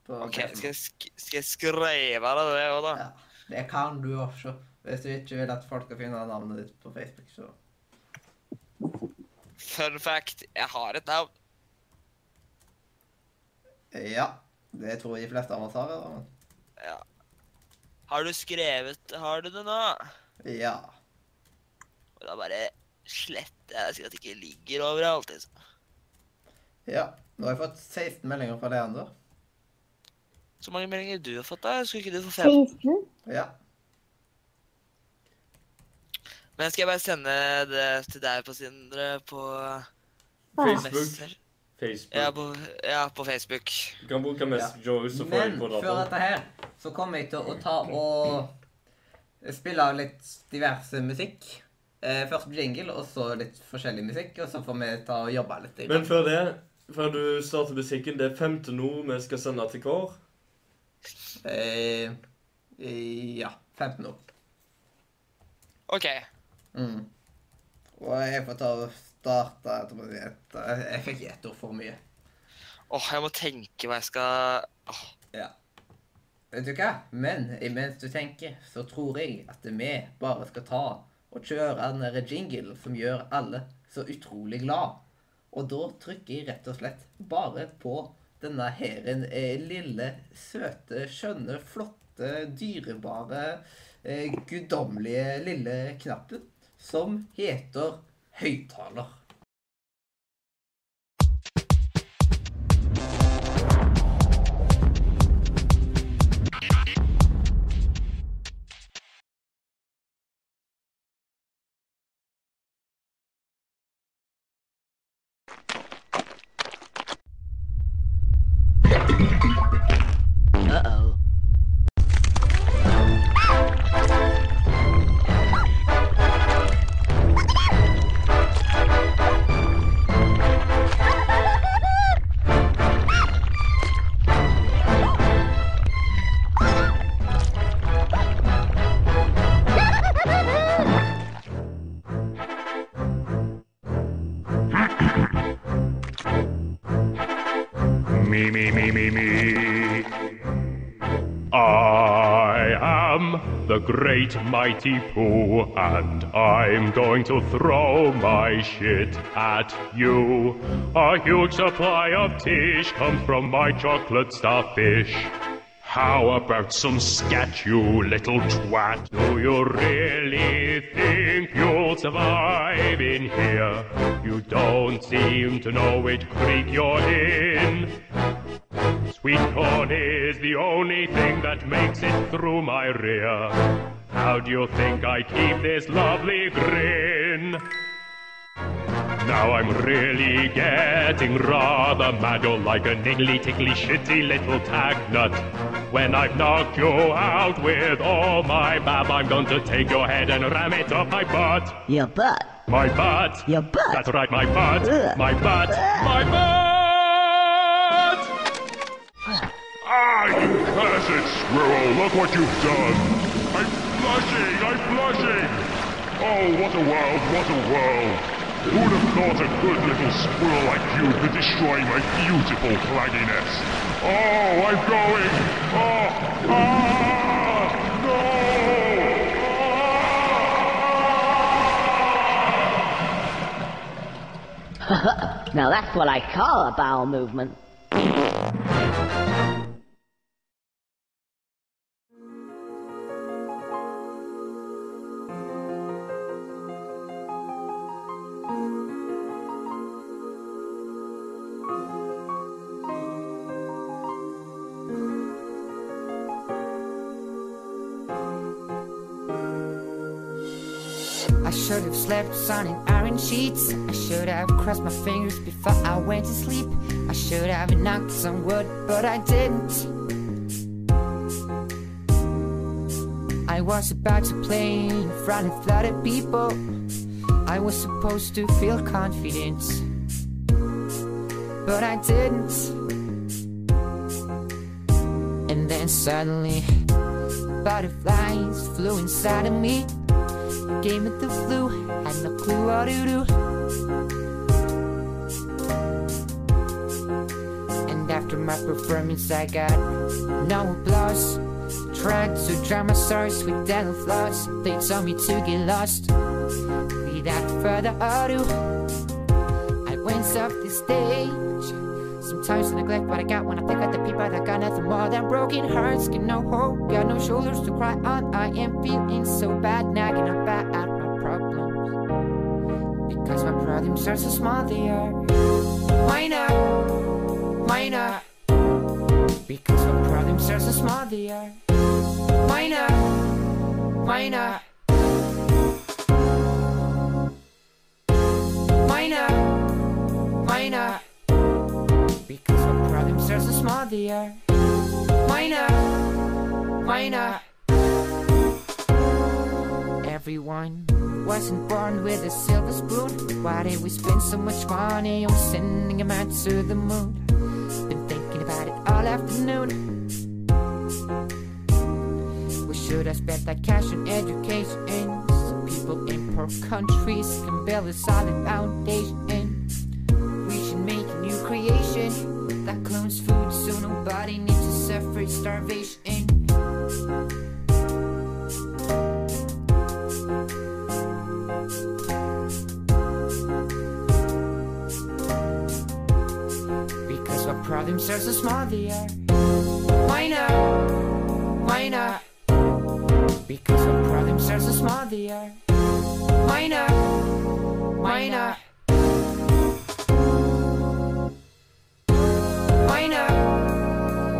S1: På
S4: OK,
S1: PC-en.
S4: skal jeg, sk skal jeg skrive deg det òg, da?
S1: Ja. Det kan du også. Hvis du ikke vil at folk skal finne navnet ditt på Facebook, så
S4: Fun fact, jeg har et navn.
S1: Ja. Det tror jeg de fleste av oss har. eller?
S4: Har du skrevet Har du det nå?
S1: Men ja.
S4: Og da bare sletter jeg det, slik at det ikke ligger overalt. liksom.
S1: ja. Nå har jeg fått 16 meldinger fra Leander.
S4: Så mange meldinger du har fått, da? Skulle ikke du få fem?
S9: 16.
S1: Ja.
S4: Men skal jeg bare sende det til deg på Sindre på
S9: Ja.
S2: Facebook.
S4: Ja,
S2: Facebook.
S4: på, ja, på Facebook.
S2: Du kan bruke Messenger, så får jeg
S1: Men
S2: på
S1: før
S2: dataen.
S1: dette her, så kommer jeg til å ta og spille av litt diverse musikk. Eh, først jingle, og så litt forskjellig musikk, og så får vi ta og jobbe litt. i gang.
S2: Men før det, før du starter musikken, det er femte ord vi skal sende til hver.
S1: Eh, eh, ja. 15 år.
S4: OK.
S1: Mm. Og jeg får ta og starte etterpå. Et, jeg fikk ett ord for mye.
S4: Åh, jeg må tenke hva jeg skal Åh,
S1: Vet du hva? Men imens du tenker, så tror jeg at vi bare skal ta og kjøre den der jingle som gjør alle så utrolig glad. Og da trykker jeg rett og slett bare på denne heren eh, lille, søte, skjønne, flotte, dyrebare, eh, guddommelige lille knappen som heter høyttaler.
S10: Me, me, me, me, me. I am the great mighty Pooh, and I'm going to throw my shit at you. A huge supply of tish comes from my chocolate starfish. How about some scat, you little twat? Do you really think you'll survive in here? You don't seem to know which creek you're in. Sweet corn is the only thing that makes it through my rear. How do you think I keep this lovely grin? Now I'm really getting rather mad. You're like a niggly, tickly, shitty little tag nut. When I've knocked you out with all my bab, I'm going to take your head and ram it up my butt.
S11: Your butt.
S10: My butt.
S11: Your butt.
S10: That's right, my butt.
S11: Ugh.
S10: My butt. My butt. Ah, you cursed squirrel! Look what you've done. I'm flushing. I'm flushing. Oh, what a world! What a world! Who'd have thought a good little squirrel like you could destroy my beautiful flaggy nest? Oh, I'm going. Oh, ah, no. Ah.
S11: Now that's what I call a bowel movement.
S12: I should have slept on an iron sheets. I should have crossed my fingers before I went to sleep. I should have knocked some wood, but I didn't. I was about to play in front of a lot of people. I was supposed to feel confident, but I didn't. And then suddenly, butterflies flew inside of me game at the flu, had no clue what to do. And after my performance, I got no applause. Tried to dramatize with dental floss. They told me to get lost. Without further ado, I went off the stage. Sometimes I neglect what I got when I think of the people that got nothing more than broken hearts. Get no hope, got no shoulders to cry on. I am feeling so bad, nagging about my problems. Because my problems are so small, they are minor, minor. Because my problems are so small, they are minor, minor. Minor, minor. Because my problems are so small, they are minor, minor. Everyone wasn't born with a silver spoon. Why did we spend so much money on sending a man to the moon? Been thinking about it all afternoon. We should have spent that cash on education. So people in poor countries can build a solid foundation. We should make a new creation that clones food so nobody needs to suffer starvation. themselves a smaller. Why not? Why not? Because they'll pride themselves a smaller. Why not? Why not? Why not?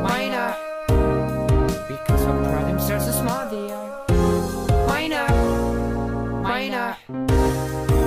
S12: Why not? Because they'll pride themselves a smaller. Why not? Why not?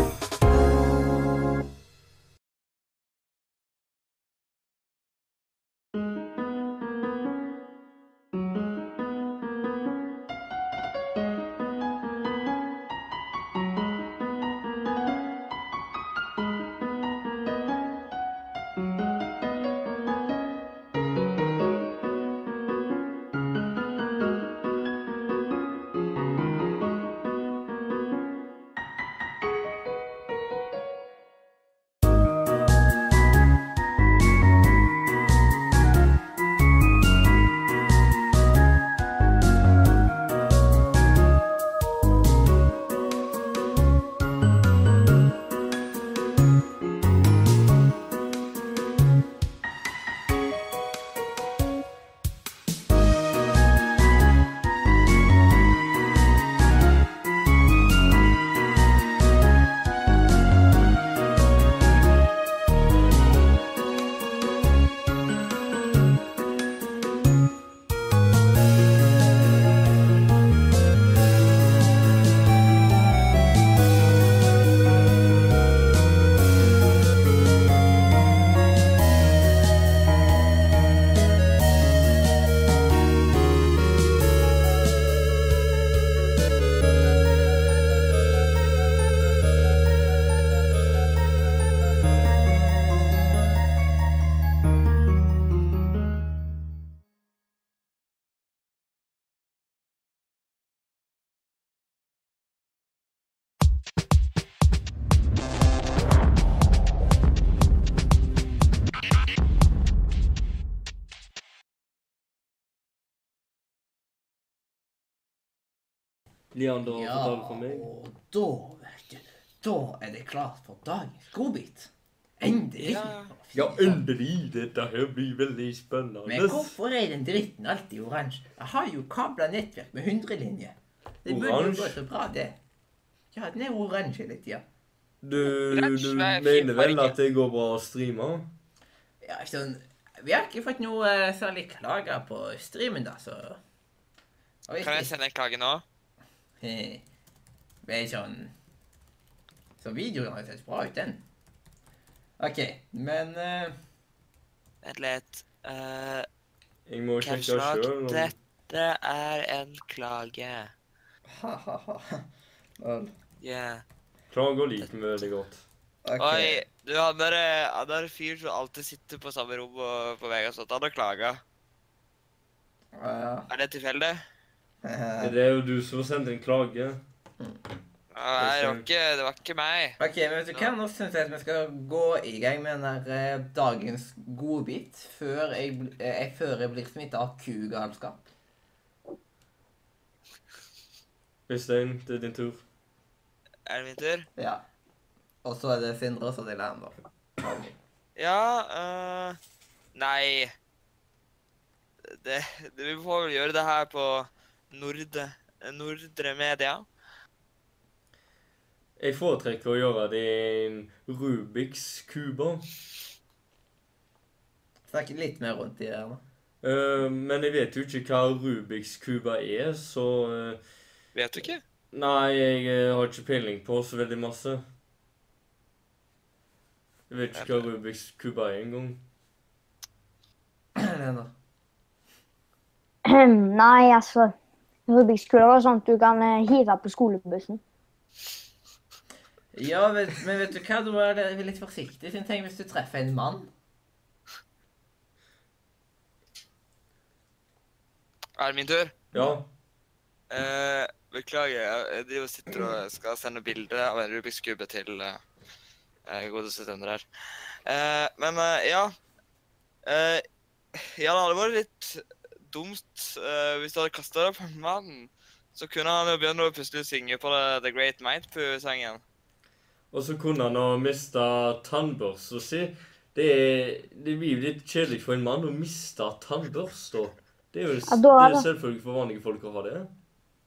S2: Leander
S9: Ja,
S2: fortalte for meg.
S9: og da, vet du, da er det klart for dagens godbit. Endelig.
S2: Ja, endelig! Dette her blir veldig spennende.
S9: Men hvorfor er den dritten alltid oransje? Jeg har jo kabla nettverk med 100 linjer. Det burde jo
S2: Oransje?
S9: gå så bra, det. Ja, den er oransje hele tida.
S2: Du, du
S9: Oransje er fin
S2: mener vel
S9: farge.
S2: at det går bra å streame?
S9: Ja, sånn, vi har ikke fått noe eh, særlig klager på streamen, da, så Og
S4: Kan jeg
S9: ikke-
S4: sende en klage nå?
S9: eh, Det er sånn Så videoen har sett bra ut, den. OK, men eh,
S4: Vent litt. Eh,
S2: Jeg må sjekke
S4: Kanskje
S2: sjøl.
S4: dette er en klage.
S9: Ha-ha-ha. Vel,
S4: Yeah.
S2: Klager liker vi veldig godt.
S4: Oi, du, han der, eh, han der fyr som alltid sitter på samme rom og, på vei og sånt, han har klaga.
S9: ja. eh,
S4: Er det tilfeldig?
S2: Det er jo du som har sendt en klage.
S4: Nei, det var ikke, det var ikke meg.
S9: OK, men vet du hva? Nå syns jeg at vi skal gå i gang med den der eh, dagens godbit før jeg, bl- eh, jeg- før jeg blir smitta av kugalskap.
S2: Øystein, det er din tur.
S4: Er det min tur?
S9: Ja. Og så er det Sindre, og så er det Leander.
S4: Ja eh, Nei. Det, det, vi får vel gjøre det her på Nordre, Nordre Media.
S2: Jeg foretrekker å gjøre det i en Rubiks kuber.
S9: Snakk litt mer rundt i det her nå. [clears throat]
S2: Eh, men jeg vet jo ikke hva Rubiks kuba er, så eh,
S4: Vet du ikke?
S2: Nei, jeg eh, har ikke peiling på så veldig masse. Jeg vet ikke hva Rubiks kuba er engang.
S9: Leander.
S3: [clears throat] Nei, altså Rubiks kule var sånn at du kan eh, hive på skolebussen.
S9: Ja, vet, men vet du hva? Da er det litt forsiktig. siden Tenk hvis du treffer en mann.
S4: Er det min tur?
S2: Ja.
S4: Eh, beklager, jeg jeg driver og sitter og skal sende bilde av en Rubiks kube til eh, eh, gode september her. Eh, men eh, ja Eh, Ja, det hadde vært litt dumt eh, hvis du hadde kasta det på en mann. Så kunne han jo begynne å plutselig synge på The, the Great Mindpoo-sangen.
S2: Og så kunne han ha mista tannbørsa si. Det, er, det blir jo litt kjedelig for en mann å miste tannbørsta. Det er jo s-
S3: Ja,
S2: det
S3: da er
S2: er
S3: det-
S2: selvfølgelig for vanlige folk å ha det.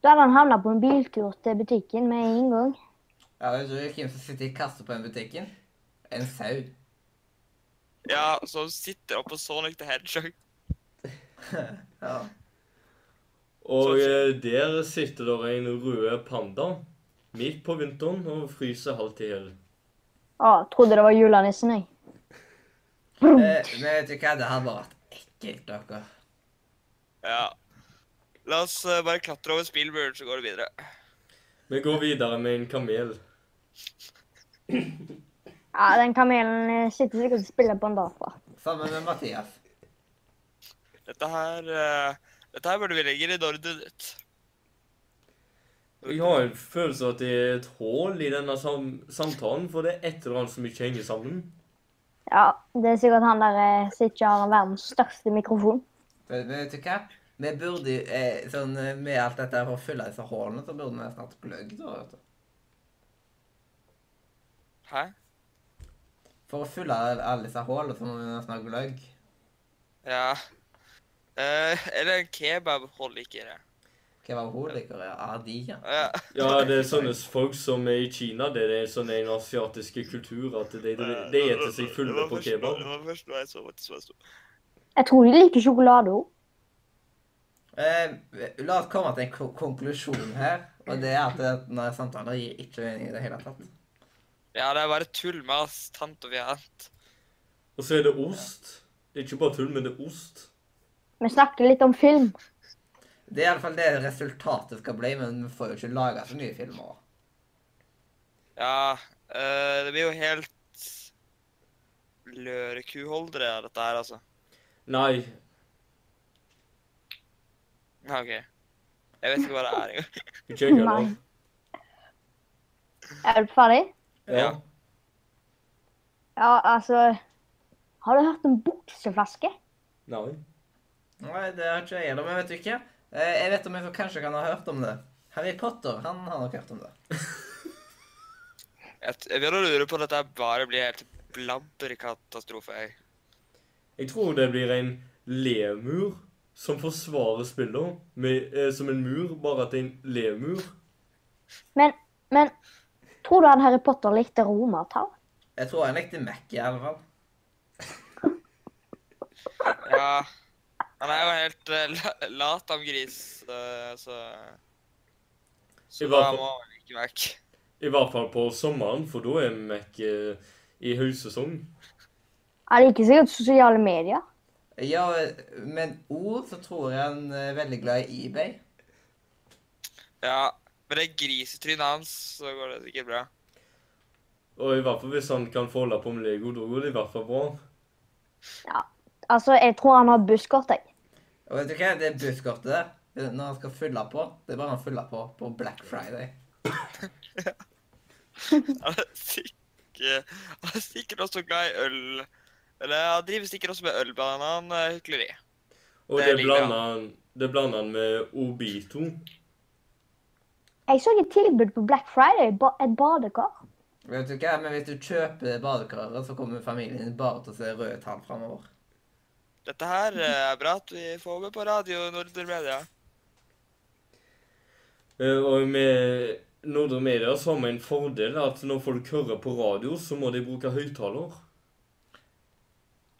S3: Da hadde han havnet på en biltur til butikken med en gang.
S9: Ja, vet du hvem som sitter i kassa på den butikken? En sau.
S4: Ja, som sitter oppe på Sonic the Hedgehog.
S9: Ja.
S2: Og eh, der sitter der en rød panda midt på vinteren og fryser halvt i hjel.
S3: Å, trodde det var julenissen, jeg.
S9: Eh, men vet du hva, det hadde bare vært ekkelt, dere.
S4: Ja. La oss eh, bare klatre over Spielberg, så går det videre.
S2: Vi går videre med en kamel.
S3: Ja, den kamelen eh, sitter sikkert og spiller på en data.
S9: Sammen med Mathias.
S4: Dette her eh, Dette her burde vi legge i ordre ditt.
S2: Jeg har en følelse av at det er et hull i denne sam samtalen, for det er et eller annet som ikke henger sammen.
S3: Ja, det er sikkert han der eh, som ikke har verdens største mikrofon.
S9: Men men vet du hva? Vi burde jo, eh, sånn, eh, med alt dette for å fylle disse hullene, så burde vi snart gløgg, da, vet du.
S4: Hæ?
S9: For å fylle alle disse hullene, så må vi nesten ha gløgg.
S4: Ja. Eh, eller en kebab holder ikke det.
S9: Hva var hovedlikere? Ah, de, ja.
S4: Ja.
S2: Ja, det er sånne folk som er i Kina. Det er sånn en asiatiske kultur at de, de, de eter seg fulle på kebab.
S4: Det var først nå jeg så faktisk hva det sto.
S3: Jeg tror de liker sjokolade òg.
S9: Eh, la oss komme til en ko- konklusjon her, og det er at denne samtalen gir ikke mening i det hele tatt.
S4: Ja, det er bare tull med oss, tant og fjant.
S2: Og så er det ost. Det er ikke bare tull, men det er ost.
S3: Vi snakket litt om film.
S9: Det er iallfall det resultatet skal bli, men vi får jo ikke laga så nye filmer.
S4: Ja, eh, det blir jo helt lørekuholdere, dette her, altså.
S2: Nei.
S4: Ja, OK. Jeg vet ikke hva det er engang.
S2: Ikke jeg heller.
S3: Er du ferdig?
S2: Ja.
S3: Ja, altså Har du hørt om bukseflaske?
S2: Nei.
S9: Nei, det har ikke jeg heller, men vet du ikke? Eh, jeg vet om jeg kanskje kan ha hørt om det. Harry Potter, han har nok hørt om det.
S4: Jeg, jeg begynner å lure på om dette her bare blir helt blabberkatastrofe. jeg.
S2: Jeg tror det blir en lemur som forsvarer spillet med, eh, som en mur, bare at det er en lemur.
S3: Men, men Tror du han Harry Potter likte romertall?
S9: Jeg tror han likte Mac i alle fall.
S4: Ja. Han er jo helt eh, la- lat av gris, eh, så Så
S2: I
S4: da
S2: hvert fall-
S4: må han ikke vekk.
S2: I hvert fall på sommeren, for da er Mac eh, i høysesong.
S3: Han liker sikkert sosiale medier.
S9: Ja, men ord så tror jeg han er veldig glad i eBay.
S4: Ja. Med det grisetrynet hans, så går det sikkert bra. [laughs]
S2: Og i hvert fall hvis han kan få holde på med Lego, da går det i hvert fall bra.
S3: Altså, jeg tror han har busskort, jeg.
S9: Og vet du hva, det busskortet der, når han skal fylle på, det er bare han fyller på på Black Friday.
S4: Han er sikkert, han er sikkert også glad i øl. Eller han driver sikkert også med ølbanan eh, hykleri.
S2: Og
S4: Det
S2: det,
S4: liker
S2: blander han, det blander han med Obito.
S3: Jeg så et tilbud på Black Friday, ba et badekar.
S9: Vet du hva, men hvis du kjøper badekaret, så kommer familien din bare til å se røde tall framover.
S4: Dette her eh, er bra at vi får med på radio Nordre Media.
S2: Eh, Og med Nordre Media så har vi en fordel at når folk hører på radio, så må de bruke høyttaler.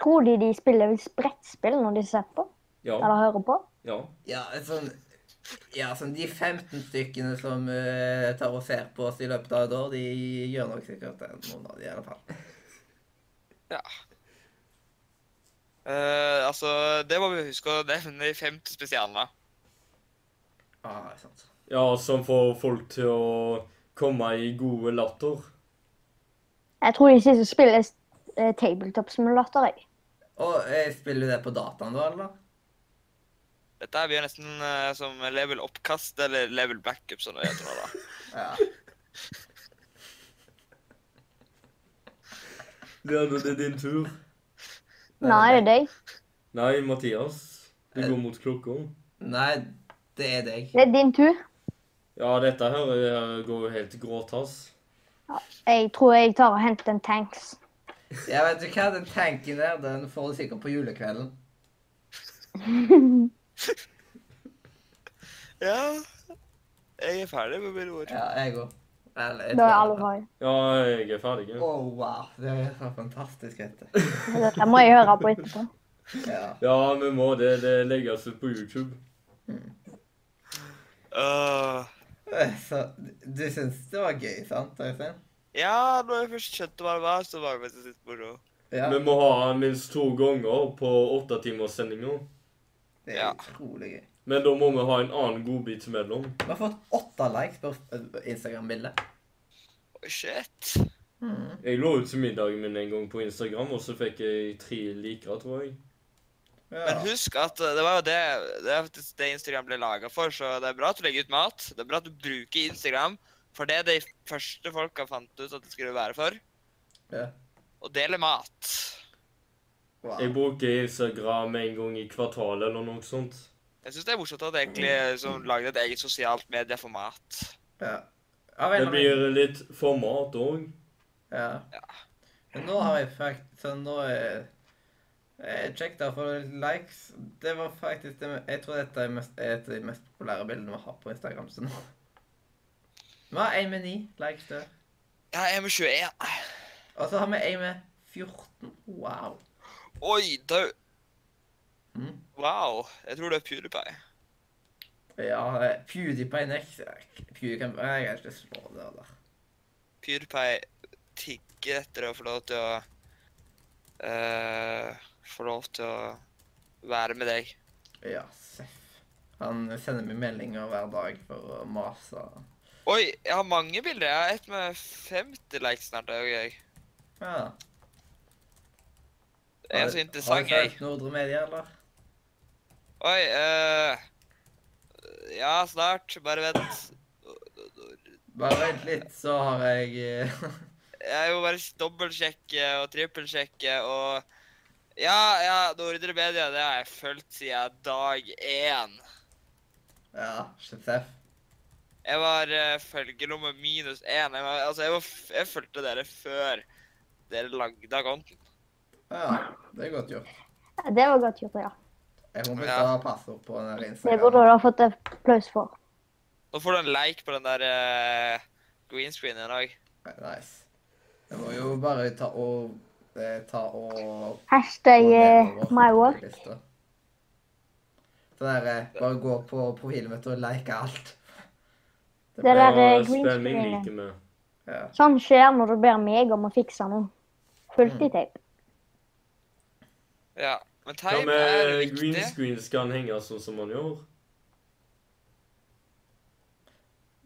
S3: Tror de de spiller brettspill når de ser på?
S2: Ja.
S3: Eller hører på?
S2: ja.
S9: Ja, sånn Ja, sånn de 15 stykkene som eh, tar og ser på oss i løpet av et år, de gjør nok sikkert det, noen av de i alle fall.
S4: Ja. Eh, altså, det må vi huske å nevne i femte spesialen, da.
S9: Ja, ah, sant.
S2: ja, som får folk til å komme i gode latter.
S3: Jeg tror de sitter og spiller eh, tabletop simulator, jeg.
S9: Og eh, spiller du det på dataen da, eller?
S4: Dette her blir jo nesten eh, som level oppkast eller level backup, som det heter nå, da.
S9: Ja.
S2: Ja, nå er det din tur.
S3: Nei, det er deg.
S2: Nei, Mathias. Du
S4: Eh.
S2: går mot klokka.
S9: Nei, det er deg.
S3: Det er din tur.
S2: Ja, dette her eh, går jo helt gråtass.
S3: Jeg tror jeg tar og henter en tanks.
S9: Ja, vet du hva? Den tanken der, den får du sikkert på julekvelden.
S4: [laughs] Ja, jeg er ferdig med mine ord.
S9: Ja, jeg òg.
S3: Da er alle ferdige.
S2: Ja, jeg er ferdig.
S9: Å, wow. Det er så fantastisk, vet du.
S3: Dette må jeg høre på etterpå.
S9: Ja.
S2: Ja, vi må det. Det legges ut på YouTube.
S4: Øh,
S9: Eh, Så du syns det var gøy, sant, Øystein?
S4: ja, når jeg først skjønte hva det var, så var det faktisk litt moro.
S9: Ja.
S2: Vi må ha den minst to ganger på åttetimerssendinga.
S9: Det er
S4: Ja.
S9: utrolig gøy.
S2: Men da må vi ha en annen godbit imellom.
S9: Vi har fått åtte likes på Instagram-bildet.
S4: Oi, shit.
S2: Jeg lå ut til middagen min en gang på Instagram, og så fikk jeg tre liker, tror jeg.
S4: Men husk at eh, det var jo det, det, er faktisk det Instagram ble laga for, så det er bra at du legger ut mat. Det er bra at du bruker Instagram, for det er de første folka fant ut at det skulle være for.
S9: Ja.
S4: Å dele mat.
S9: Wow.
S2: Jeg bruker Instagram en gang i kvartalet eller noe sånt.
S4: Jeg syns det er morsomt at det egentlig liksom, lagde et eget sosialt medie for mat.
S9: Ja. Av
S2: Det
S9: en eller annen-
S2: blir litt format òg.
S9: Ja. Men nå har jeg faktisk Så nå er jeg sjekket av for likes. Det var faktisk det, Jeg tror dette er, mest, er et av de mest populære bildene vi har på Instagram. Så nå Vi har én med ni likes der.
S4: Ja, jeg er med 21.
S9: Og så har vi én med 14. Wow.
S4: Oi, dau.
S9: Mm.
S4: Wow. Jeg tror det er PewDiePie.
S9: Ja, eh, PewDiePie next. PewDiePie, jeg kan ikke slå det der.
S4: PewDiePie tigger etter å få lov til å eh, Få lov til å være med deg.
S9: Ja, seff. Han sender meg meldinger hver dag for å mase.
S4: Oi, jeg har mange bilder. Jeg har et med 50 likes snart. Jeg, jeg.
S9: Ja.
S4: jeg er så interessant,
S9: Har du
S4: jeg.
S9: sett Nordre Media, eller?
S4: Oi eh, Ja, snart. Bare vent.
S9: Bare vent litt, så har jeg eh, [laughs]
S4: Jeg må bare dobbeltsjekke og trippelsjekke og Ja, ja, Nordre Media, det har jeg fulgt siden dag én.
S9: Ja, Seff.
S4: Jeg var uh, følgenummer minus én. Jeg, var, altså, jeg, var, f- jeg fulgte dere før dere lagde konten.
S9: Ja, det er godt gjort.
S3: Det var godt gjort, ja.
S9: Jeg må bytte
S4: Ja.
S9: passord på den der
S3: Det burde
S9: Instagram.
S3: du ha fått applaus for.
S4: Nå får du en like på den der eh, green screenen òg.
S9: Nice. Jeg må jo bare ta og eh, ta og
S3: Hashtag eh, my work.
S9: Lista. Så der, eh, bare gå på profilen mitt og like alt.
S3: Det der eh, green
S2: spenning
S3: screenen.
S2: liker vi.
S9: Ja.
S3: Sånn skjer når du ber meg om å fikse noe. Fullt i teip.
S4: Ja. Men
S2: Hva
S4: time er
S2: med eh,
S4: viktig.
S2: green screen skal han henge sånn som han gjør?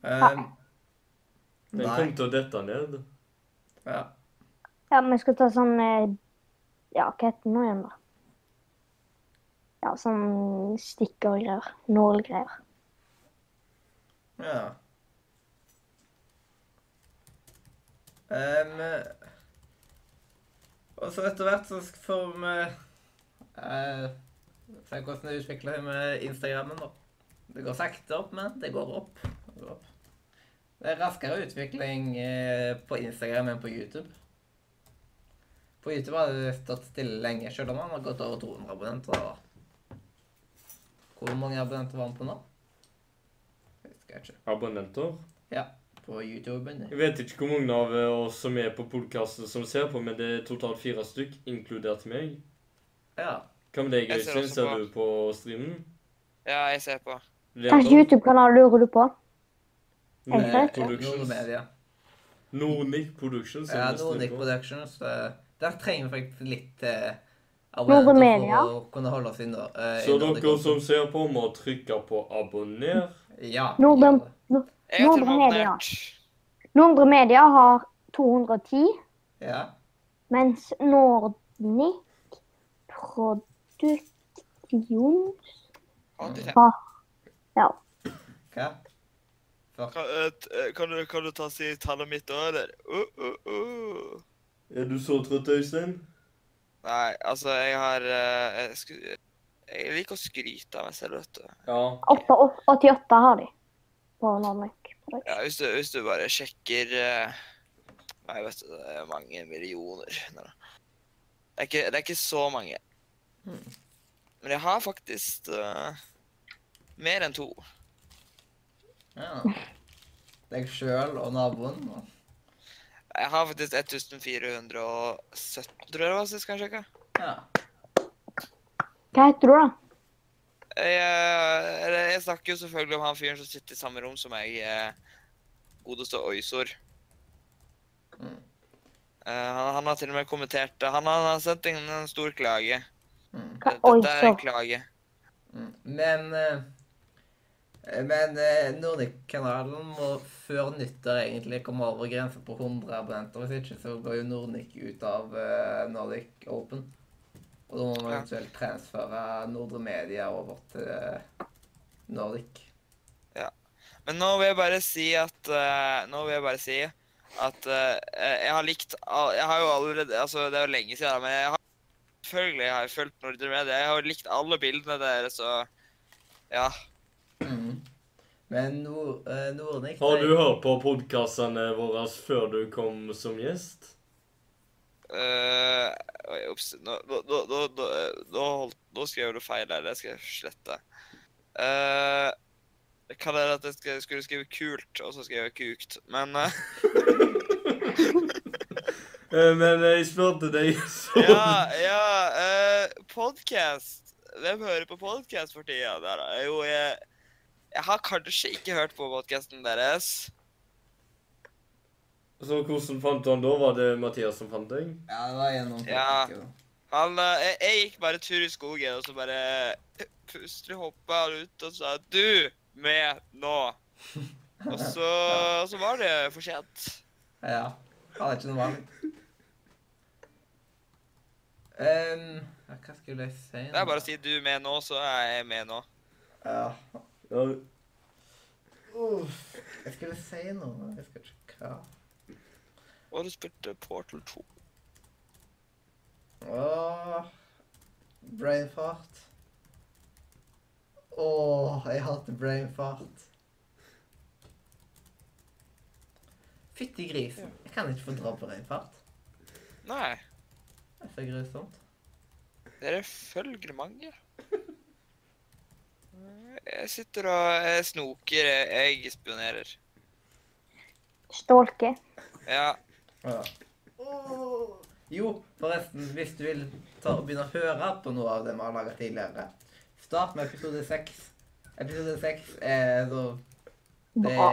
S9: Um,
S2: Den
S9: Nei.
S2: kom til å dette ned.
S9: ja.
S3: Ja, men jeg skal ta sånn eh, Ja, hva heter det nå igjen, da? Ja, sånn stikker og greier. Nålgreier.
S9: Ja. Um, og så etter hvert så sk- får vi eh, se hvordan det utvikler seg med Instagrammen, da. Det går sakte opp, men det går opp. Det, går opp. det er raskere utvikling eh, på Instagram enn på YouTube. På YouTube har det stått stille lenge, selv om man har gått over 200 abonnenter. Da. Hvor mange abonnenter var han på nå? Jeg husker ikke.
S2: Abonnenter.
S9: Ja, på YouTuben.
S2: Jeg vet ikke hvor mange av eh, oss som er på podkasten som ser på, men det er totalt fire stykk, inkludert meg.
S9: Ja.
S2: Hva med deg,
S4: Jeg ser
S2: Øystein?
S4: også
S2: Ser
S4: på.
S2: du på streamen?
S4: Ja, jeg ser på.
S3: Hvilken YouTube-kanal lurer du på?
S2: Nord-
S3: Jeg ser på.
S2: Productions.
S9: Nordmedia.
S2: Nordic Productions. er
S9: Ja,
S2: det streamen
S9: Nordic
S2: på.
S9: Productions. eh, Der trenger vi faktisk litt eh,
S3: Nordre
S9: abonnenter
S3: Media.
S9: for å kunne holde oss i Nor- eh, i
S2: Så
S9: Nordic
S2: dere som
S9: Productions.
S2: ser på, må trykke på abonner.
S9: Ja.
S3: Nordre-
S9: gjør det.
S4: Jeg har
S3: Nordre
S4: til og med
S3: Media.
S4: abonnert.
S3: Nordre Media har 210,
S9: Ja.
S3: mens Nordic Produksjon
S4: Aldri tenkt.
S3: har Ja.
S9: Hva?
S4: Kan, eh, t- eh, kan, du, kan du ta si tallet mitt òg, eller? Uh, uh, uh.
S2: Er du så trøtt, Øystein?
S4: Nei, altså, jeg har eh, jeg, sku, jeg liker å skryte av meg selv, vet du.
S2: Ja.
S3: 88 har de på Nordic Produksjon.
S4: Ja, hvis du, hvis du bare sjekker eh, Nei, vet du, det er mange millioner. Nei, da. Det er ikke, det er ikke så mange.
S1: Hmm.
S4: Men jeg har faktisk eh, mer enn to.
S1: Ja. Deg sjøl og naboen. og-
S4: Jeg har faktisk 1417, tror jeg det var sist, kanskje ikke?
S1: Ja.
S9: Hva heter du, da?
S4: Jeg, eh, eller jeg snakker jo selvfølgelig om han fyren som sitter i samme rom som meg. Eh, godeste Oysor.
S1: Mm.
S4: Eh, han, han har til og med kommentert det. Han, han har sendt inn en stor klage.
S1: Mm.
S9: Hva,
S4: Dette
S9: oi,
S4: er
S9: så.
S4: en klage.
S1: Mm. Men eh, Men eh, Nordic-kanalen må før nyttår egentlig komme over grensen på 100 abonnenter. Hvis ikke så går jo Nordic ut av eh, Nordic Open. Og da må man
S4: Ja.
S1: eventuelt transfere Nordre Media over til eh, Nordic.
S4: Men nå vil jeg bare si at eh, Nå vil jeg bare si at eh, jeg har likt all- Jeg har jo allerede Altså, det er jo lenge siden, da, men jeg har selvfølgelig har jeg fulgt Nordre Media. Jeg har jo likt alle bildene deres og Ja.
S1: Mm. Men Nord, eh, Nordic
S2: Har
S1: de-
S2: du hørt på podkastene våre før du kom som gjest?
S4: eh, Oi, ops. Nå, nå, nå, nå, nå, nå, holdt, nå skrev du feil her. Det skal jeg slette. Eh, Hva er det at jeg skal- skulle skrive 'kult', og så skrev jeg 'kukt'? Men eh,
S2: Eh, Men jeg spurte deg [laughs] så
S4: Ja, ja eh, Podcast. Hvem hører på podcast for tida? Der, da? jo, jeg, jeg har kanskje ikke hørt på podcasten deres.
S2: Så hvordan fant du han da? Var det Mathias som fant deg?
S1: Ja, det var gjennom
S4: Ja.
S1: Nordic, jo.
S4: Han, eh, jeg, jeg gikk bare tur i skogen, og så bare plutselig hoppa han ut og sa 'du med nå'. Og så, så var det for sent.
S1: Ja. Han er ikke noe valg. Ehm, ja, hva skulle jeg si
S4: Det er bare å si 'du med nå', så er jeg med nå.
S1: Ja.
S2: Ja.
S1: Uff. Jeg skulle si noe, men jeg husker ikke hva.
S4: Og du spilte Portal 2.
S1: Åh, brainfart. Åh, jeg hater brainfart. Fytti grisen. Jeg kan ikke få dra på brainfart.
S4: Nei,
S1: Det er så grusomt.
S4: dere følger mange. Jeg sitter og jeg snoker, jeg, jeg spionerer.
S9: Stalker.
S4: Ja.
S1: Ja. Jo, forresten, hvis du vil ta og begynne å høre på noe av det vi har laget tidligere, start med episode 6. Episode 6 er da det,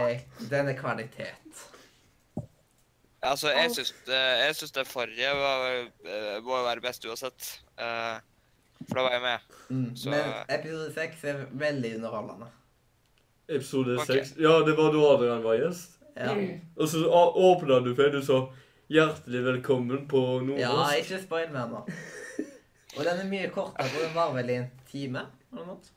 S1: Den er kvalitet.
S4: Altså, jeg syns, det- jeg syns det forrige var, eh, må være best uansett. Eh, For da var jeg med.
S1: Mm.
S4: Så-
S1: Men episode 6 er veldig underholdende.
S2: Episode
S4: Ok. Mm.
S2: seks. Ja, det var da Adrian var gjest.
S1: Ja,
S2: Og så å- åpna du for du sa 'hjertelig velkommen på
S1: ja
S2: Nordås'.
S1: ikke spoil mer nå. Og den er mye kortere, for den var vel i en time? eller noe sånt.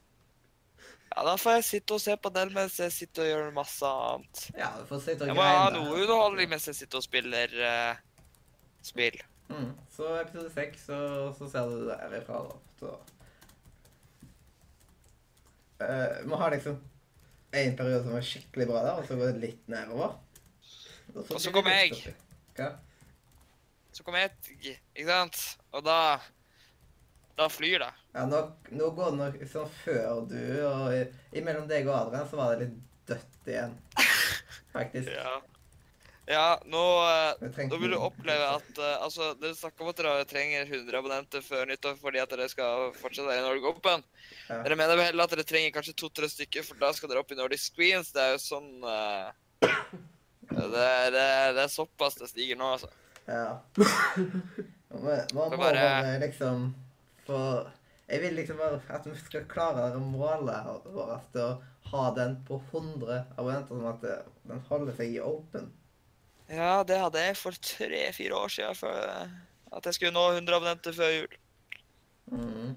S4: Ja, Da får jeg sitte og se på den mens jeg sitter og gjør masse annet.
S1: Ja, du får sitte
S4: Jeg
S1: og
S4: må ha
S1: greine.
S4: noe underholdning mens jeg sitter og spiller eh, spill.
S1: Mm. Så episode 6, så, så ser du det derifra. da. Så. Eh, vi har liksom en periode som er skikkelig bra der, og så går det litt nedover.
S4: Og så kommer jeg.
S1: Hva?
S4: Så kommer jeg, t- ikke sant? Og da Da flyr det.
S1: Ja, nå, nå går det nok sånn før du og i- Imellom deg og Adrian så var det litt dødt igjen. Faktisk.
S4: Ja. Ja, nå eh,
S1: Vi trengte
S4: Nå vil du
S1: noen.
S4: oppleve at eh, altså, Dere snakker om at dere trenger 100 abonnenter før nyttår fordi at dere skal fortsette i Nordic Open.
S1: Ja.
S4: Dere mener vel heller at dere trenger kanskje to-tre stykker, for da skal dere opp i Nordic Screens. Det er jo sånn eh, det, er- det, er- det er såpass det stiger nå, altså.
S1: Ja. Man må
S4: Det
S1: bare...
S4: er bare-
S1: liksom få Jeg vil liksom bare at vi skal klare det målet vårt til å ha den på 100 abonnenter, sånn at det- den holder seg i open.
S4: Ja, det hadde jeg for tre-fire år siden. For, eh, at jeg skulle nå 100 abonnenter før jul.
S1: Mhm.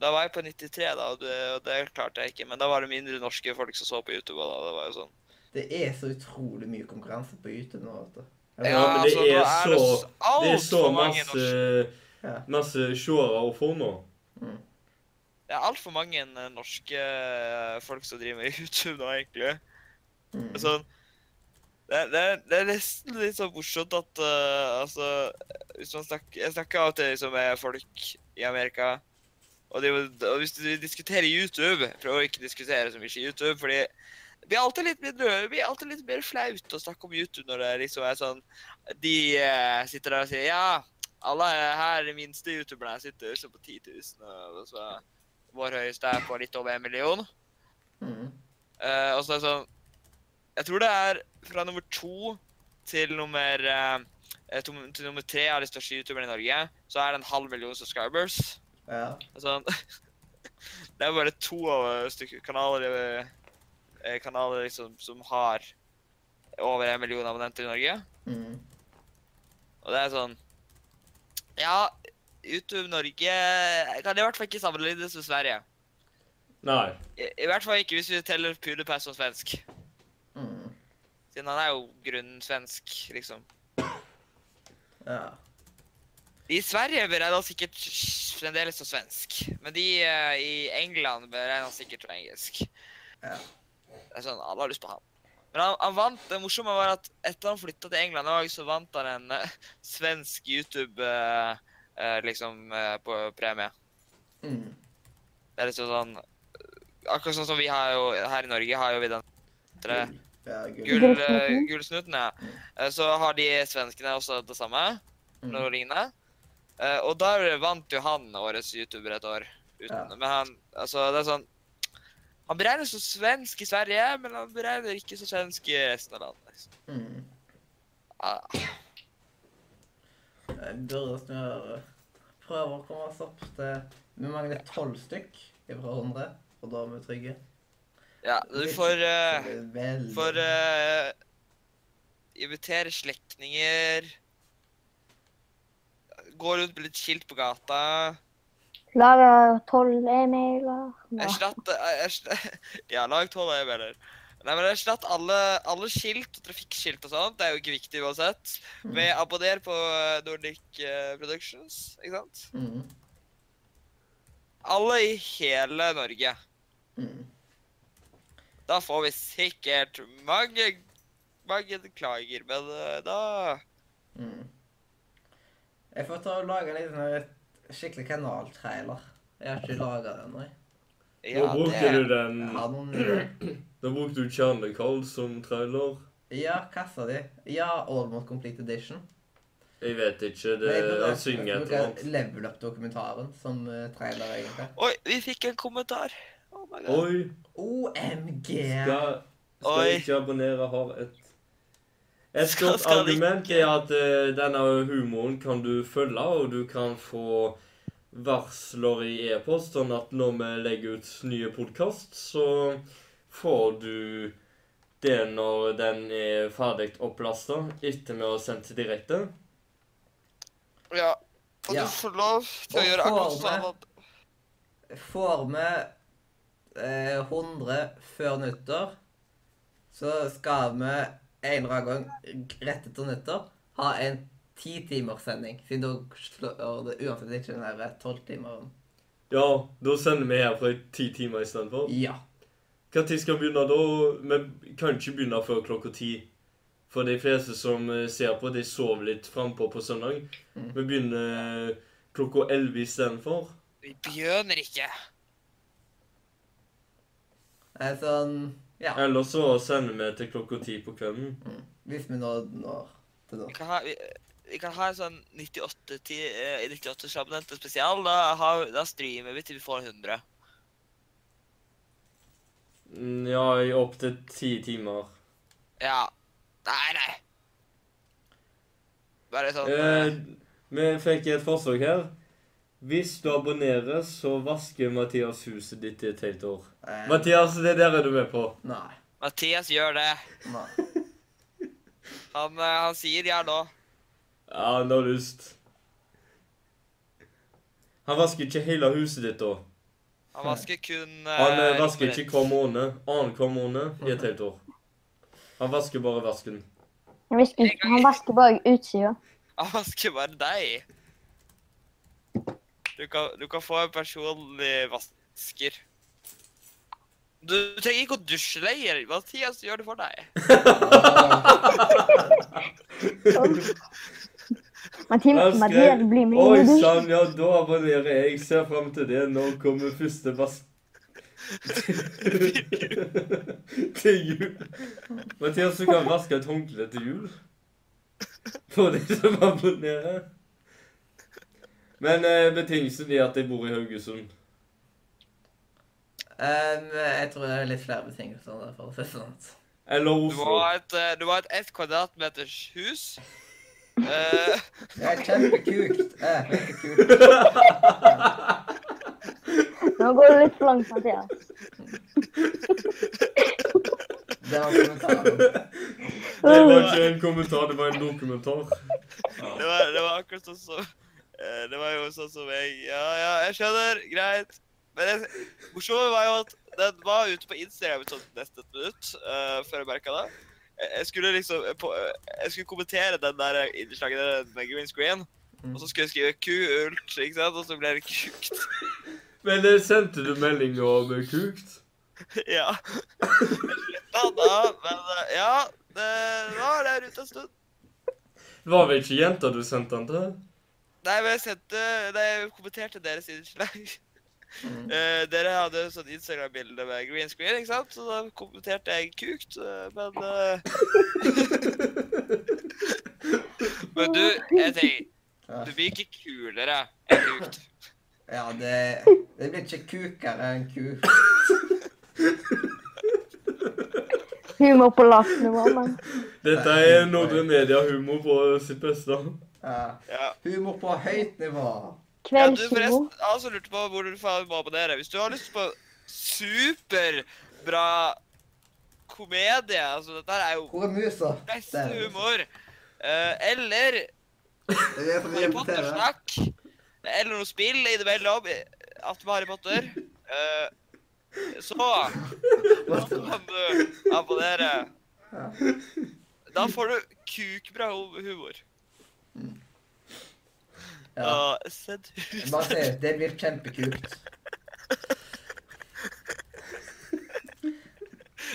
S4: Da var jeg på 93, da, og det, og det klarte jeg ikke. Men da var det mindre norske folk som så på YouTube. og da, det var jo sånn.
S1: Det er så utrolig mye konkurranse på YouTube nå, vet du.
S4: Ja,
S2: Ja, men det
S4: altså, nå
S2: er
S4: er det
S2: så Det er så
S4: altfor mange
S2: masse,
S1: Ja.
S2: masse seere å få nå.
S4: Det er altfor mange eh, [laughs] norske eh, folk som driver med YouTube nå, egentlig.
S1: Mm.
S4: Sånn, Det, det, det er nesten litt sånn morsomt at eh, altså hvis man snakker, Jeg snakker av og til liksom, med folk i Amerika. Og, det, er jo- og hvis du diskuterer YouTube Prøv å ikke diskutere så mye YouTube, fordi det blir alltid litt mindre, det blir alltid litt mer flaut å snakke om YouTube når det liksom er sånn De eh, sitter der og sier Ja, alle her, de minste youtuberne, sitter liksom på 10 000, og så vår høyeste er på litt over en million.
S1: Mm.
S4: Eh, og så er det sånn Jeg tror det er fra nummer to til nummer eh, eh, to, til nummer tre av de største youtuberne i Norge, så er det en halv million subscribers.
S1: Ja.
S4: Og Sånn. [laughs] Det er bare to av stykker kanaler, eh, kanaler liksom, som har over en million abonnenter i Norge.
S1: Mm.
S4: Og det er sånn Ja, YouTube Norge eh, kan i hvert fall ikke sammenlignes med Sverige.
S2: Nei.
S4: I, I hvert fall ikke hvis vi teller PewDiePie som svensk.
S1: Mm.
S4: Siden han er jo grunnen svensk, liksom.
S1: Ja.
S4: I Sverige beregner han sikkert fremdeles som svensk. Men de eh, i England beregner han sikkert som engelsk.
S1: Ja.
S4: Det er sånn, alle har lyst på han. Men han, han vant, det morsomme var at etter han flyttet til England også, så vant han en eh, svensk YouTube eh, eh, liksom eh, på premie.
S1: Mm.
S4: Det er liksom sånn, akkurat sånn som vi har jo, her i Norge har jo vi den eh, tre,
S1: Ja, gull.
S4: gull, eh, gullsnutten, ja. Eh, Så har de svenskene også det samme,
S1: Mm.
S4: noe lignende. Eh, Og der vant jo han årets YouTuber et år. Uten,
S1: Ja.
S4: Men han, altså det er sånn, han beregner som svensk i Sverige, men han beregner ikke som svensk i resten av landet. Liksom.
S1: Mm.
S4: Ah,
S1: Jeg burde snøre. Prøve å komme oss opp til Vi mangler tolv stykk ifra 100, og da er vi trygge.
S4: Ja, du får,
S1: Det
S4: eh,
S1: blir veldig-
S4: får eh, invitere slektninger, gå rundt med litt skilt på gata,
S9: Lager tolv e-mailer. Ja.
S4: Erstatt, erstatt [laughs] Ja, lag tolv er bedre. Nei, men erstatt alle, alle skilt og trafikkskilt og sånt, det er jo ikke viktig uansett,
S1: Mm.
S4: med abonner på eh, Nordic eh, Productions, ikke sant?
S1: Mm.
S4: Alle i hele Norge.
S1: Mm.
S4: Da får vi sikkert mange, mange klager, men eh, da
S1: Mm. Jeg får ta og lage litt sånn her et skikkelig kanaltrailer. Jeg har ikke laga den ennå. jeg.
S2: Nå
S4: Ja,
S2: brukte
S4: det
S2: du den
S1: Jeg har noen ideer.
S2: Da brukte du Chandler Carl som trailer.
S1: Ja, kassa di. Ja, Almost Complete Edition.
S2: Jeg vet ikke.
S1: Nei,
S2: det
S1: men
S2: Han
S1: jeg-
S2: synger
S1: jeg
S2: Eh, et eller
S1: bruker
S2: annet.
S1: Level Up-dokumentaren som eh, trailer, egentlig.
S4: Oi, vi fikk en kommentar. Oh my god.
S2: Oi.
S1: OMG!
S2: Skal, skal
S4: Oi.
S2: ikke abonnere har et Et
S4: Skal-
S2: godt
S4: skal
S2: argument
S4: ikke-
S2: er at eh, denne humoren kan du følge, og du kan få varsler i e-post, sånn at når vi legger ut nye podkast, så får du det når den er ferdig opplasta, etter vi har sendt det direkte.
S4: Ja. Og
S1: Ja.
S4: du får lov til å
S1: Og
S4: gjøre akkurat
S1: får
S4: sånn
S1: med-
S4: at
S1: Får vi eh, 100 før nyttår, så skal vi en eller annen gang rett etter nyttår ha en titimerssending. Siden da slår det uansett ikke den derre tolvtimeren.
S2: Ja, da sender vi herfra i ti timer istedenfor.
S1: Ja.
S2: Når skal vi begynne da? Vi kan ikke begynne før klokka ti. For de fleste som eh, ser på, de sover litt frampå på søndag. Vi begynner eh, klokka elleve istedenfor.
S4: vi begynner ikke.
S1: Det er sånn Ja.
S2: Eller så sender vi til klokka ti på kvelden.
S1: Hvis vi nå når til nå.
S4: Vi kan ha, vi, vi kan ha en sånn 98 ti- eh, 98 abonnenter spesial. Da, har, da streamer vi til vi får 100.
S2: Mm, Ja, i opptil ti timer.
S4: Ja. Nei, nei. Bare sånn
S2: Eh,
S4: eh,
S2: vi fikk et forslag her. Hvis du abonnerer, så vasker Mathias huset ditt i et helt år.
S1: Eh,
S2: Mathias, det der er du med på.
S1: Nei.
S4: Mathias gjør det.
S1: Nei.
S4: Han, eh, han sier ja nå.
S2: Ja, han har lyst. Han vasker ikke hele huset ditt, da.
S4: Han vasker kun
S2: [laughs]
S4: eh,
S2: Han eh, vasker
S4: rommet
S2: ikke
S4: ditt.
S2: hver måned. Annenhver måned i et helt år. Han vasker bare vasken.
S9: Jeg visste ikke, Han vasker bare utsida.
S4: Han vasker bare deg. Du kan, du kan få en personlig vasker. Du trenger ikke å dusje lenger. Mathias gjør det for deg.
S1: Ah,
S9: Sånn. Mathias,
S2: Her
S9: Mathias
S2: skrev-
S9: blir med
S2: Oi
S9: i dusjen.
S2: sann, ja, da abonnerer jeg. Ser fram til det. Nå kommer første vask... [laughs] til jul. Mathias, du kan vaske et håndkle til jul. For de som abonnerer. Men eh, betingelsen er at jeg bor i Haugesund.
S1: Em, jeg tror det er litt flere betingelser der, for å si det sånn.
S2: Eller
S4: Du
S2: Oslo.
S4: var et, eh, du var et ett kvadratmeters hus. Eh, [laughs]
S1: Det er kjempekukt. Eh, kjempekult.
S9: Nå går det litt for langt, Mathias.
S1: Det var kommentaren.
S2: [laughs] Det var ikke en kommentar, det var en dokumentar.
S4: det, var, det var akkurat sånn som eh, Det var jo sånn som jeg Ja, ja, jeg skjønner. Greit. Men det morsomme var jo at den var ute på Instagram i sånn nesten et minutt eh, før jeg merka det. Jeg- Jeg skulle liksom eh, på, eh, Jeg skulle kommentere den der eh, innslaget der med green screen. Og så skulle jeg skrive 'kult', ikke sant? og så ble det kukt.
S2: Men eh, sendte du melding om eh, kukt?
S4: [laughs] Ja. Da, da, men eh, ja, det var der ute en stund.
S2: Det var vel ikke jenta du sendte den til?
S4: Nei, men jeg sendte Nei, jeg kommenterte deres innslag. [laughs] Eh, dere hadde sånn Instagram-bilde med green screen, ikke sant? Så da kommenterte jeg kukt, eh, men eh, [laughs] Men du, en ting. Du blir ikke kulere enn kukt.
S1: Ja, det, det blir ikke kukere enn kuk.
S9: Humor på lavt nivå, men
S2: Dette er Nordre Media-humor på sitt beste.
S1: Ja.
S4: Ja.
S1: Humor på høyt nivå.
S4: ja du, forresten,
S9: kveldshumor.
S4: jeg altså lurte på hvor du faen må abonnere. Hvis du har lyst på superbra komedie Altså, dette her er jo
S1: Hvor er musa?
S4: beste
S1: Der.
S4: humor. Eh, eller
S1: Det er det som
S4: Harry
S1: irriterer.
S4: Potter-snakk. Eller noe spill innimellom. At med Harry Potter. Eh, så Da [laughs] kan du abonnere. Da får du kukbra hu- humor.
S1: Mm. Ja.
S4: Og send Eh, ut
S1: Bare si det blir kjempekukt.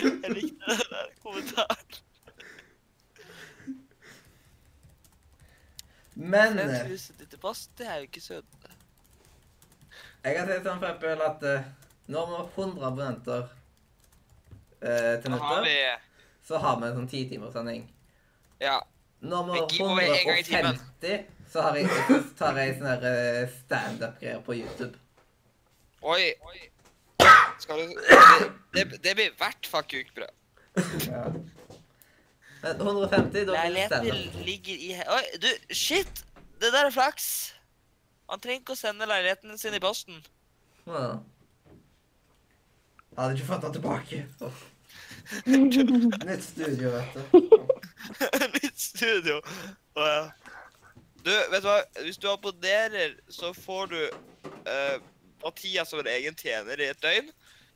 S4: Jeg likte den der kommentaren.
S1: Men
S4: Men
S1: eh,
S4: tusen liter pass, det er jo ikke søtt.
S1: jeg kan si sånn for eksempel at eh, når vi har 100 abonnenter eh, til
S4: Da har
S1: nyttår,
S4: vi
S1: så har vi en sånn 10 timers sending.
S4: Ja.
S1: Når
S4: Vi
S1: vi
S4: gir over
S1: har
S4: en gang i timen.
S1: 150, så har jeg, så tar jeg sånne her, eh, standup-greier på YouTube.
S4: Oi. Skal du Det, det, det blir i hvert fall kukbra.
S1: Ja. Men 150, da blir det standup.
S4: Leiligheten ligger i he- Oi, du, shit! Det der er flaks. Han trenger ikke å sende leiligheten sin i posten. [laughs]
S1: Ja. Jeg hadde ikke fått den
S4: [laughs]
S1: tilbake. Uff. Nytt studio, vet du.
S4: Nytt studio. Å, ja. Du, vet du hva? Hvis du abonnerer, så får du eh, Mathias som en egen tjener i et døgn.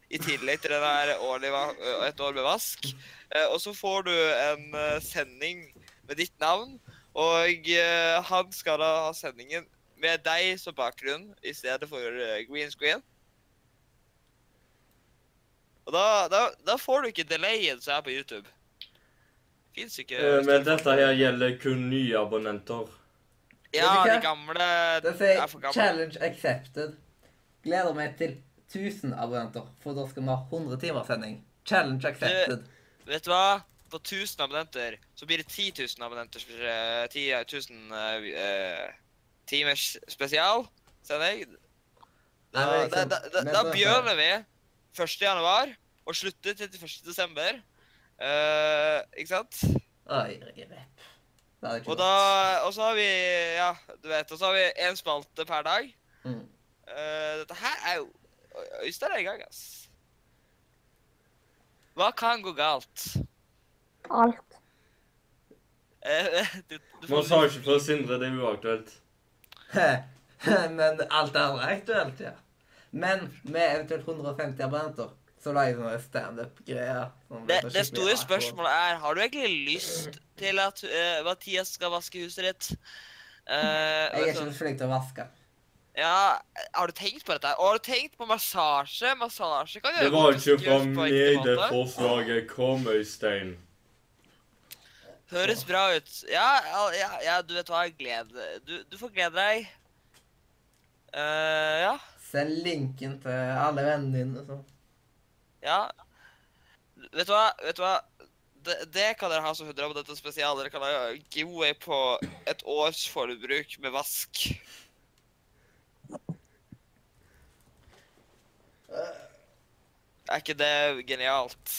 S4: I tillegg til den her årlig va- eh, et år med vask. Eh, og så får du en eh, sending med ditt navn. Og eh, han skal da ha sendingen med deg som bakgrunn i stedet for eh, green screen. Og da, da, da får du ikke delayen som er på YouTube. Fins ikke.
S2: Eh, Men dette her gjelder kun nye abonnenter.
S4: Ja,
S1: Vet du hva?
S4: de gamle
S1: Det
S4: er for
S1: sier
S4: gamle.
S1: challenge accepted. Gleder meg til 1000 abonnenter, for da skal vi ha 100 timers sending. Challenge accepted.
S4: Vet du hva? På 1000 abonnenter så blir det 10 000 abonnenter. eh, 10 000 eh, vi- eh, timers spesial, sender
S1: Nei,
S4: jeg. Da,
S1: men
S4: da,
S1: liksom,
S4: da, da,
S1: men
S4: da
S1: så-
S4: begynner vi 1. januar og slutter 31. desember. Eh, ikke sant?
S1: Oi, jeg vet. Det hadde ikke
S4: Og
S1: vært.
S4: da Og så har vi Ja, du vet. Og så har vi én spalte per dag.
S1: Mm.
S4: Eh, dette her er jo Øy- Øystein er i gang, ass. Hva kan gå galt?
S9: Alt.
S4: Eh, du, du får
S2: Massasje fra Sindre, det er uaktuelt.
S1: [laughs] Men alt er aktuelt, ja. Men med eventuelt 150 abonnenter, så lager vi noe standup-greier. sånn
S4: Det,
S1: at
S4: det
S1: skikkelig
S4: store
S1: awkward.
S4: spørsmålet er Har du egentlig lyst til at eh, Mathias skal vaske huset ditt? Eh,
S1: Jeg er
S4: vet
S1: ikke
S4: du-
S1: så flink til å vaske.
S4: ja, har du tenkt på dette? her? Og har du tenkt på massasje? Massasje kan
S2: Det
S4: gjøre
S2: var
S4: godt
S2: ikke fra
S4: gjøres på
S2: meg
S4: ekte
S2: det
S4: måte.
S2: forslaget kom, Øystein.
S4: Høres bra ut. Ja, ja, ja, ja du vet hva. Glede Du, du får glede deg. Eh, ja.
S9: Send linken til alle vennene dine. Så.
S4: Ja. Vet du hva? Vet du hva? Det, det kan dere ha som hundre på dette spesialet. Dere kan ha giveaway på et års forbruk med vask. Er ikke det genialt?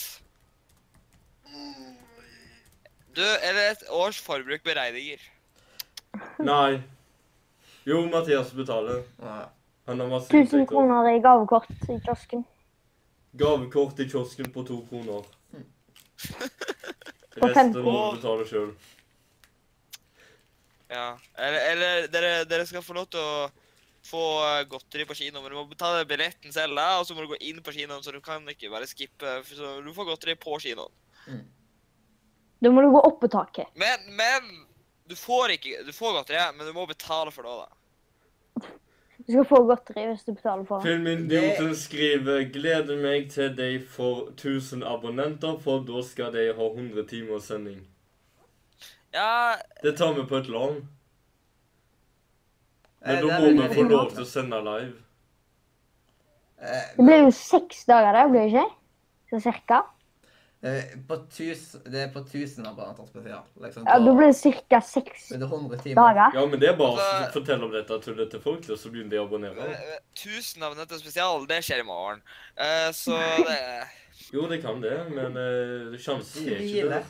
S4: Du, eller et års forbruk med regninger.
S2: Nei. Jo, Mathias betaler. Han har masse
S3: 1000
S2: inntekter.
S3: kroner i gavekort i kiosken.
S2: Gavekort i kiosken på to kroner.
S3: Og
S2: Resten
S3: femti.
S2: må du betale sjøl.
S4: Ja. Eller, eller dere, dere skal få lov til å få eh, godteri på kino, men du må betale billetten selv, da, og så må du gå inn på kinoen, så du kan ikke bare skippe. for Så du får godteri på kinoen.
S3: Da må du gå opp på taket.
S4: Men, men du får ikke Du får godteri, men du må betale for det òg, da.
S3: Du skal få godteri hvis du betaler for det.
S2: Filmidioten skriver 'Gleder meg til de får 1000 abonnenter, for da skal de ha 100 timer sending'.
S4: Ja,
S2: Det tar vi på et lån.
S9: Eh,
S2: Men
S9: det
S2: da
S9: er
S2: må
S9: veldig
S2: vi få
S9: fint.
S2: lov til å sende live.
S3: Det blir jo seks dager der, blir det ikke? Så cirka.
S9: Eh, På tus, det er på 1000 abonnenter spesial. Liksom,
S3: Ja,
S9: da-
S3: Da blir det cirka seks
S9: blir det 100 timer.
S3: dager.
S2: Ja, men det er bare å fortelle om dette tullet til folk, og så begynner de å abonnere.
S4: eh, eh, 1000 av dette spesial, det skjer i morgen. Eh, så det
S2: Jo, det kan det, men eh, sjansen er ikke
S9: Tvile.
S2: der.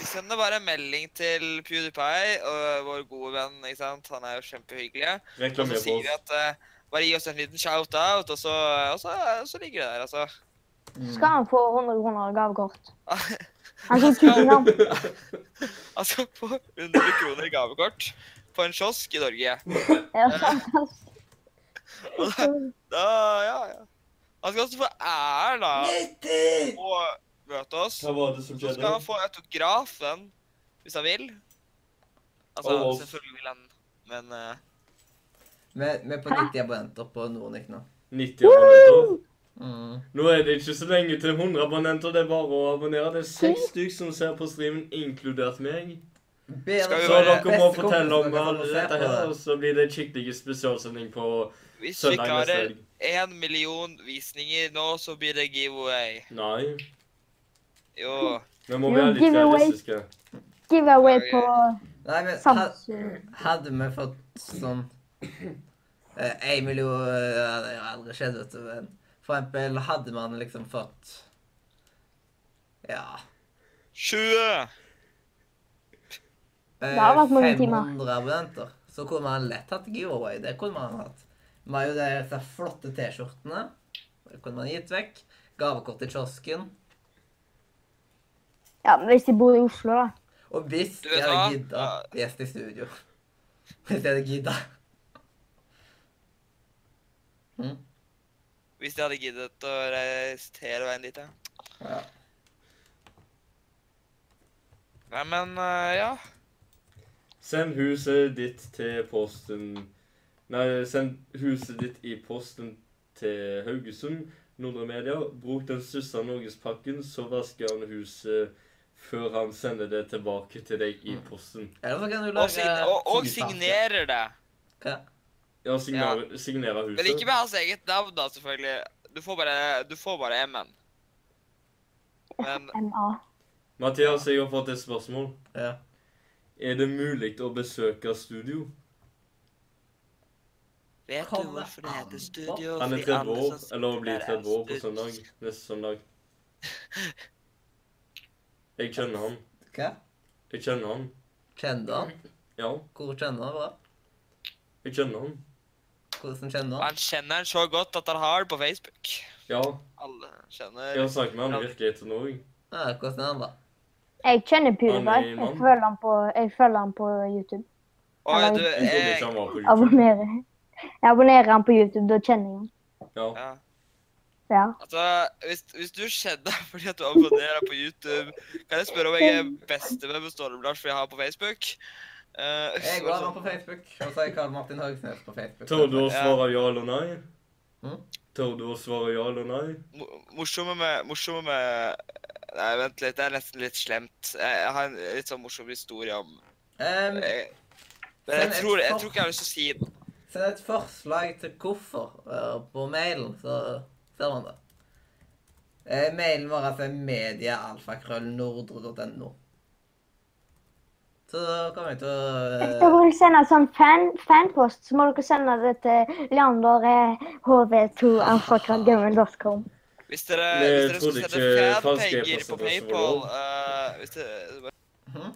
S4: Vi sender bare en melding til PewDiePie, og vår gode venn, ikke sant. Han er jo kjempehyggelig. Og
S2: Reklamer
S4: så
S2: for
S4: sier vi
S2: oss.
S4: at eh, bare gi oss en liten shout-out, og, så, eh, og så, så ligger det der, altså.
S3: Skal han få 100 kroner i gavekort?
S4: Han
S3: Han fikk 1000 kroner.
S4: [laughs] skal få 100 Altså, kroner i gavekort på en kiosk i Norge.
S3: Ja, fantastisk.
S4: [laughs] Og da, da ja, ja. Han skal også få æren av å møte oss.
S2: Hva var det som
S4: Så skal
S2: skjedde?
S4: han få autografen hvis han vil. Altså,
S2: Og-
S4: selvfølgelig vil han, men eh,
S9: Vi vi er på 90 abonnenter på Nordic nå.
S2: 90 abonnenter.
S9: Mm.
S2: Nå er det ikke så lenge til 100 abonnenter. Det er bare å abonnere. Det er seks stykker som ser på streamen, inkludert meg.
S9: Bedre
S4: Skal vi
S2: Så
S9: for
S4: være
S2: dere må
S9: beste
S2: fortelle om alt
S9: kompisen dere får se
S2: dette
S9: på
S2: her,
S9: det.
S2: og så blir det en skikkelig spesialsending på
S4: hvis vi
S2: søndag neste
S4: klarer
S2: helg.
S4: én million visninger nå, så blir det giveaway.
S2: Nei.
S4: Jo.
S2: Vi må
S3: Jo,
S2: være litt
S3: giveaway.
S2: realistiske.
S3: Giveaway på
S9: Nei, men had,
S3: Samsung.
S9: hadde vi fått sånn Én million eh, ja, Det har aldri skjedd, vet du. Men for eksempel hadde man liksom fått Ja
S4: 20!
S9: eh,
S3: Det har vært mange timer.
S9: 500 eh, abonnenter. Så kunne man lett hatt giveaway. Det kunne man hatt. Vi har jo de disse flotte T-skjortene. Det kunne man gitt vekk. Gavekort til kiosken.
S3: Ja, men hvis de bor i Oslo, da.
S9: Og hvis
S4: Du
S9: jeg
S4: vet
S9: hadde
S4: hva?
S9: gidda gjest i studio [laughs] Hvis jeg hadde gidda. Hm?
S4: Hvis de hadde giddet å reise hele veien dit, ja.
S9: Ja.
S4: Nei, men eh, ja.
S2: Send huset ditt til posten Nei, send huset ditt i posten til Haugesund, Nordre Media. Bruk den største norgespakken, så vasker han huset før han sender det tilbake til deg
S9: Mm.
S2: i posten.
S9: Eller så kan du
S4: Og, sign
S9: lage
S4: og, og
S9: titalls-
S4: signerer det.
S9: Hva?
S2: Ja, signer, signerer
S4: Men ikke
S2: huset.
S4: med hans eget navn, da, selvfølgelig. Du får bare, du får bare M-en. Men
S3: MA.
S2: Mathias, jeg har fått et spørsmål.
S9: Ja.
S2: Er det mulig å besøke studio?
S4: vet du
S9: Kommer
S4: hvorfor det
S9: an
S4: heter studio?
S2: Han er 30
S4: Fordi alle
S2: år,
S4: som
S2: eller
S4: sitter
S2: blir
S4: der sånn- er
S2: 30 år på
S4: studio.
S2: søndag. Neste
S4: [laughs]
S2: søndag. Jeg kjenner han.
S9: Hva?
S2: Jeg kjenner han.
S9: Kjenner du han?
S2: Ja,
S9: Hvor kjenner du han fra?
S2: jeg kjenner han.
S9: Hvordan kjenner du han?
S4: Han kjenner han så godt at han har det på Facebook.
S2: Ja,
S4: Alle
S2: jeg
S4: kjenner
S2: har snakket med han i virkeligheten òg.
S9: Ja, hvordan er han, da?
S3: Jeg kjenner
S2: Han er
S3: PewDiePie. Jeg
S2: mann.
S3: følger han på, jeg følger han på YouTube.
S4: Oi,
S3: han-
S4: du,
S2: Jeg trodde
S4: jeg
S2: ikke han var på YouTube.
S3: Abonnerer. Jeg abonnerer han på YouTube, da kjenner jeg han.
S2: Ja.
S4: ja.
S3: Ja.
S4: Altså, hvis, hvis du kjenner fordi at du abonnerer på YouTube, kan jeg spørre om jeg er bestevenn med Storm-Lars fordi jeg har han på Facebook? Eh,
S9: Jeg går an på Facebook. Og så er Karl Martin Haugsnes på Facebook.
S2: Tør du å svare ja eller nei?
S9: Mm?
S2: Tør du å svare ja eller nei?
S4: Mo- morsomme med, morsomme med Nei, vent litt. Det er nesten litt slemt. Jeg jeg har en litt sånn morsom historie om
S1: Um,
S4: jeg, Men jeg
S1: Send et
S4: tror, jeg
S1: for-
S4: tror ikke jeg har lyst til å si den.
S1: send et forslag til hvorfor eh, på mailen, så ser man det. Eh, mailen vår er altså mediaalfakrøllnordre.no. Så kommer jeg til
S9: Hvis
S1: å
S9: dere
S1: eh,
S9: vil sende en sånn fan, fanpost, så må dere sende det til leanderhv2alfakrøllgammel.com.
S4: Hvis dere,
S2: Nei, jeg
S4: hvis dere
S2: trodde
S4: skal
S2: ikke
S4: sende
S2: falske
S4: fanpenger
S2: e-poster
S4: på
S2: var så
S4: PayPal
S2: lov.
S4: eh, hvis, dere,
S1: Mhm.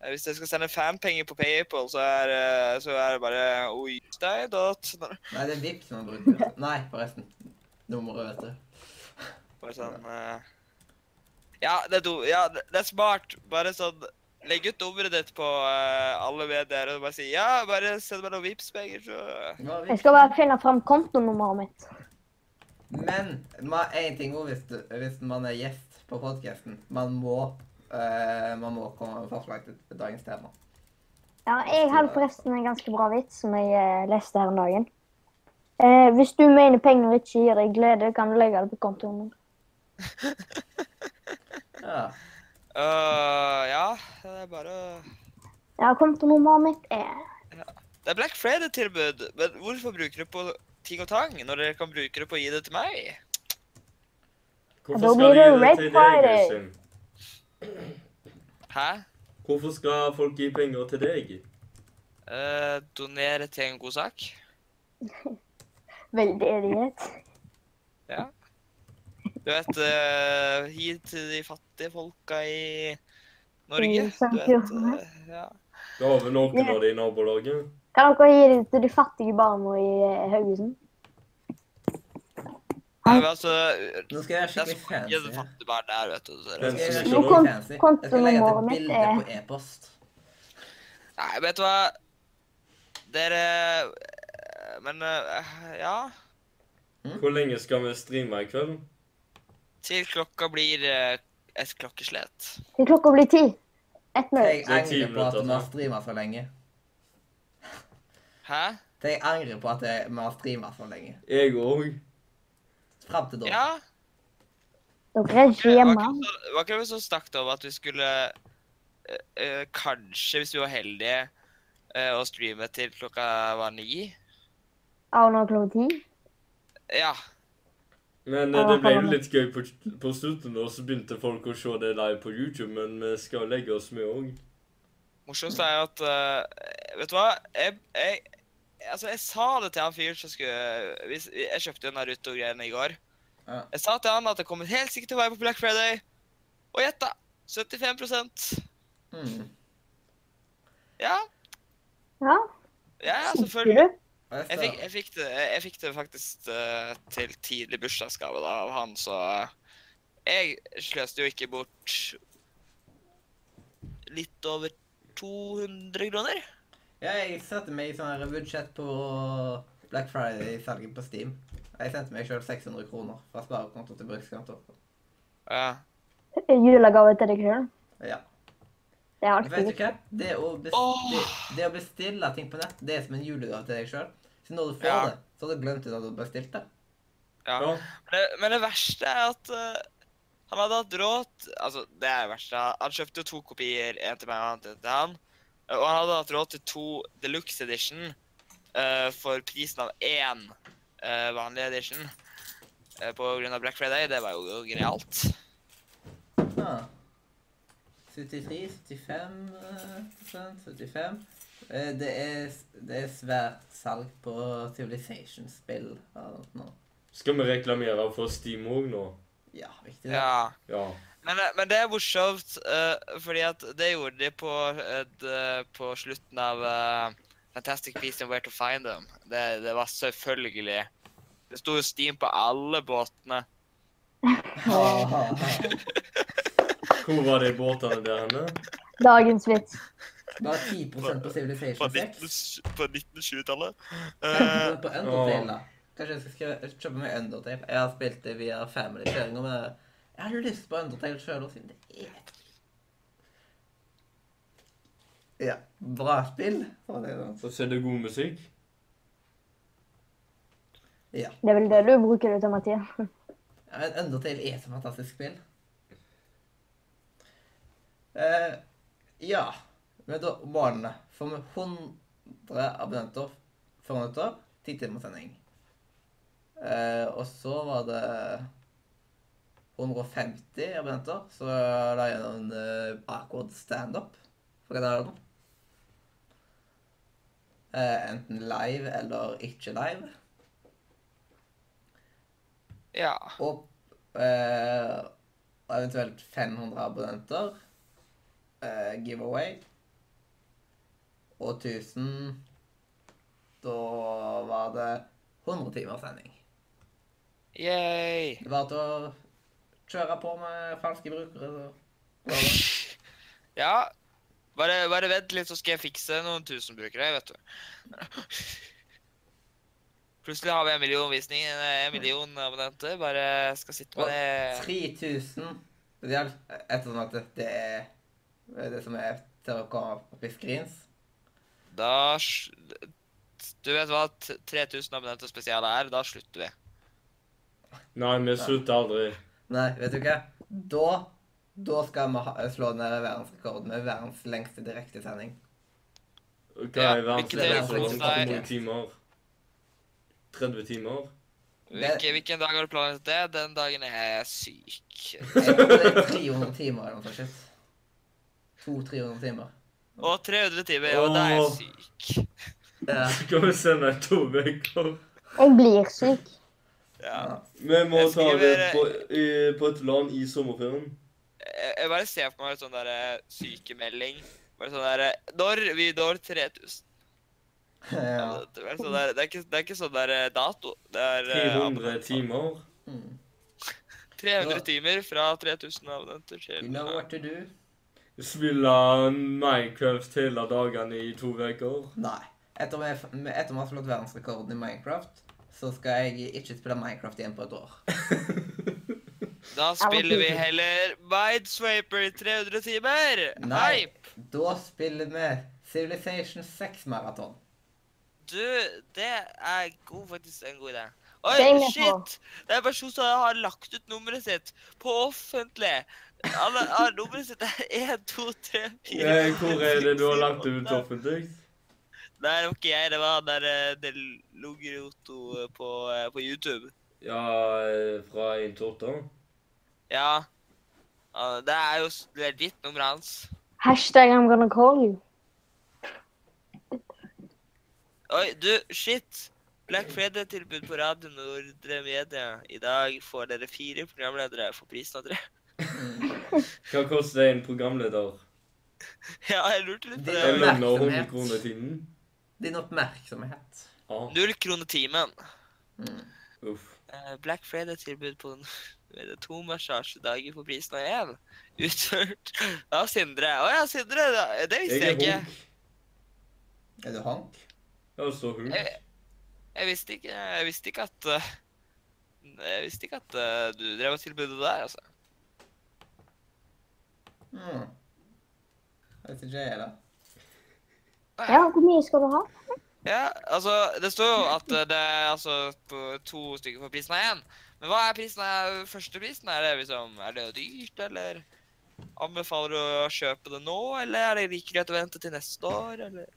S4: eh, hvis dere skal sende fanpenger på PayPal, så er, eh, så er det bare oh, oystei dot-
S1: Nei, det er Vipps man bruker. Nei, forresten. Nummeret, vet du.
S4: [laughs] Bare sånn eh, Ja, det er, do, ja, det det er smart. Bare sånn Legg ut nummeret ditt på eh, alle medier og bare si ja, bare send meg noen Vipps-penger, så eh,
S1: Nå er
S9: Jeg
S1: Vipps.
S9: skal bare finne fram kontonummeret mitt.
S1: Men ma- en ting også hvis, du- hvis man er gjest på podcasten. Man må, eh, man må komme med forslag til dagens tema.
S9: Ja, jeg hadde forresten en ganske bra vits som jeg eh, leste her om dagen. Eh, hvis du mener penger ikke gir deg glede, kan du legge det på kontoen min.
S1: Ja.
S4: Øh, Ja, det er bare å
S9: Ja, kontonummeret mitt er
S4: Det er Black Friday-tilbud, men hvorfor bruker du på ting og tang når dere kan bruke det på å gi det til meg?
S9: Da
S2: Hvorfor
S9: blir
S2: skal de
S9: det
S2: gi det
S9: Red
S2: til deg,
S9: Friday.
S2: Øystein?
S4: Hæ?
S2: Hvorfor skal folk gi penger til deg?
S4: Eh, donere til en god sak?
S9: veldig idiot.
S4: Ja. Du vet, eh, gi til de fattige folka i Norge.
S9: I St.
S4: Du vet,
S9: Johan.
S4: eh, ja.
S2: Gaver noen av de i nabolaget?
S9: Kan dere gi det til de fattige barna i eh, Haugesund?
S4: Nei, men altså,
S1: Nå skal jeg være
S4: det er
S1: skikkelig
S4: så mye
S1: fancy.
S4: det fattige barn der, vet du. så
S1: Nå skal
S4: det-
S1: jeg være
S2: Men
S1: skikkelig fancy. Jeg skal legge til
S9: kontonummeret mitt
S1: bilde
S9: er-
S1: på e-post.
S4: Nei, vet du hva? Dere eh, Men eh, ja.
S2: Hvor lenge skal vi streame i kveld?
S4: Til klokka blir eh, et klokkeslett.
S9: Til klokka blir ti. Ett minutt.
S1: Jeg
S2: Det er altså. ti
S1: angrer på at vi
S2: minutter,
S1: har
S2: så.
S1: streama så lenge.
S4: Hæ?
S1: Jeg angrer på at jeg- vi har streama så lenge.
S2: Jeg òg.
S1: Fram til da.
S4: Ja.
S9: Dere er ikke hjemme.
S4: Var ikke det så- var ikke det vi som snakket om at vi skulle eh, eh, Kanskje, hvis vi var heldige, eh, å streame til klokka var ni?
S9: Ja, nå er klokka ti.
S4: Ja.
S2: Men eh, det ble jo litt gøy på, på slutten, og så begynte folk å se det live på YouTube, men vi skal legge oss med òg.
S4: Morsomst er jo at eh, Vet du hva? Jeg, jeg, altså, jeg sa det til han fyren som skulle hvis, Jeg kjøpte jo Naruto-greiene i går.
S1: Ja.
S4: Jeg sa til han at det kommer helt sikkert til å være på Black Friday. Og gjett, da! 75
S1: Mm.
S4: Ja,
S9: Ja,
S4: ja, ja
S9: sitter
S4: selvfølgelig.
S9: du?
S1: Jeg
S4: Jeg fikk,
S1: ser.
S4: jeg fikk, det, jeg fikk det faktisk eh, til tidlig bursdagsgave da, av han, så eh, jeg sløste jo ikke bort litt over 200 kroner.
S1: Ja, jeg satte meg i sånn her budsjett på Black Friday-salget på Steam. Jeg sendte meg sjøl 600 kroner fra sparekonto til brukskonto.
S4: Ja.
S9: Julegave til deg sjøl.
S1: Ja.
S9: Det er
S1: Men Vet
S9: alltid
S1: du hva? Det å, bestille, det å bestille ting på nett, det er som en julegave til deg sjøl. Så når du får
S4: Ja.
S1: det, så har du glemt ut at du bestilte.
S4: ja.
S2: Ja.
S4: Men, det, men det verste er at eh, han hadde hatt råd Altså, det er det verste. Han kjøpte jo to kopier, en til meg og en til- til han. Og han hadde hatt råd til to deluxe edition eh, for prisen av én eh, vanlig edition. eh, På grunn av Black Friday, det var jo genialt.
S1: Ah. 73, 75 eh, sånn, 75. Eh, Det er, det er svært salg på Civilization-spill. og sånt nå.
S2: Skal vi reklamere for Steam òg nå?
S1: Ja, viktig. det.
S4: Ja.
S2: Ja.
S4: Men, det- men det er morsomt, eh, fordi at det gjorde de på, eh, det- på slutten av eh, Fantastic Beasts and Where to Find Them. Det, det var selvfølgelig Det sto jo Steam på alle båtene.
S2: Hvor var de båtene der henne?
S9: dagens vits.
S1: Bare 10 på
S4: På,
S1: Civilization 6.
S4: 19, på 1920-tallet. Eh,
S1: På Undertale, da. Kanskje jeg skal skrive, kjøpe meg Undertale. Jeg har spilt det via Family-kjøring. og bare- Jeg har lyst på Undertale sjøl, siden det er Ja. Bra spill. var det sånn. da.
S2: Og så er det god musikk.
S1: Ja.
S9: Det er vel det du bruker det til, Mathias.
S1: Ja, Men Undertale er et fantastisk spill. Eh, ja. Men da månedene. For med 100 abonnenter før nyttår, ti timer sending. Eh, og så var det 150 abonnenter, så la jeg gjennom eh, awkward standup på kanalen. Eh, enten live eller ikke live.
S4: Ja.
S1: Og eh, eventuelt 500 abonnenter. Eh, giveaway. Og 1000 Da var det 100 timer sending.
S4: Yay.
S1: Det var til å kjøre på med falske brukere. Så.
S4: Ja. Bare, bare vent litt, så skal jeg fikse noen tusen brukere, vet du. [laughs] Plutselig har vi en million visninger, en million abonnenter. Bare skal sitte
S1: Og
S4: med det.
S1: 3000 spesielt, ettersom at det er det som er til å komme opp i screens.
S4: Da sl- Du vet hva t- 3000 abonnenter spesial er? Da slutter vi.
S2: Nei, vi slutter aldri.
S1: Nei, vet du hva? Da, da skal vi ha, slå ned verdensrekorden med verdens lengste direktesending.
S2: Hva er
S4: Ja,
S1: lykke til,
S2: verdens så langt?
S1: lykke til.
S2: Hvor mange timer? 30 timer?
S4: Hvilke, hvilken dag har du planlagt det? Den dagen er jeg
S1: [laughs]
S4: syk.
S1: Jeg tror det er 300 timer eller noe sånt. 200-300 timer.
S4: Og 300 timer, og da er jeg
S2: Åh.
S4: syk.
S1: Ja.
S2: Skal vi sende i to uker?
S9: Jeg blir syk.
S4: Ja.
S2: Vi må
S4: Jeg
S2: ta det
S4: skriver-
S2: på, i, på et land i sommerferien.
S4: Jeg, jeg bare ser for meg en sånn der eh, sykemelding. Bare sånn der eh, Når vi når 3000.
S1: [laughs] ja.
S4: Det, er sånn der, det, er ikke, det er ikke sånn der eh, dato. Det er eh,
S2: 300
S4: abonnenter.
S2: timer.
S1: Mm.
S4: 300 timer fra 3000 abonnenter til
S1: You know what to do?
S2: Spille Minecraft hele dagene i to
S4: [laughs]
S2: uker.
S1: Nei. Etter vi etter vi har slått verdensrekorden i Minecraft, så skal jeg ikke spille Minecraft igjen på et år.
S4: Da spiller vi heller Mideswaper i 300 timer!
S1: Nei.
S4: Hei!
S1: Da spiller vi Civilization 6-maraton.
S4: Du, det er god, faktisk en god idé. Oi,
S9: Det er jeg med på.
S4: shit! Det er en person som har lagt ut nummeret sitt på offentlig. Han har- har nummeret sitt er 1, 2, 3, 4
S2: Eh, Hvor er det du har lagt det ut offentlig?
S4: Nei, det var ikke jeg. Det var han der eh, Del Logrioto eh, på, eh, på YouTube.
S2: Ja, eh, fra 1 til 8?
S4: Ja. Ah, Det er jo s- det er ditt nummer hans.
S9: Hashtag I'm gonna call you.
S4: Oi, du, shit! Black Friday-tilbud på Radio Nordre Media. I dag får dere fire programledere for prisen av tre. [laughs]
S2: Hva koster en programleder?
S4: Ja, jeg lurte litt på
S1: Det
S4: det.
S2: Jeg lønner 100
S1: Oppmerksomhet.
S2: kroner i timen.
S1: Din oppmerksomhet.
S2: Ja,
S4: Null kroner timen.
S2: uff.
S4: Eh, Black Friday-tilbud på [laughs] n- er det to massasjedager for prisen av én. [laughs] Utført av Sindre. Å ja, Sindre! da- Det
S2: Jeg
S4: visste jeg
S2: er
S4: ikke.
S2: hunk.
S1: Er du hank?
S2: Jeg står hunk.
S4: Jeg- Jeg visste ikke, jeg visste ikke at eh, Jeg visste ikke at eh, du drev og tilbudde der, altså.
S1: Mm. Jeg vet ikke jeg er det. E,
S9: Ja, hvor mye skal du ha?
S4: Ja, altså, det står jo at eh, det er altså på to stykker for prisen av én. Men hva er prisen av første prisen? Er det liksom, er det dyrt, eller anbefaler du å kjøpe det nå, eller er det like greit å vente til neste år, eller?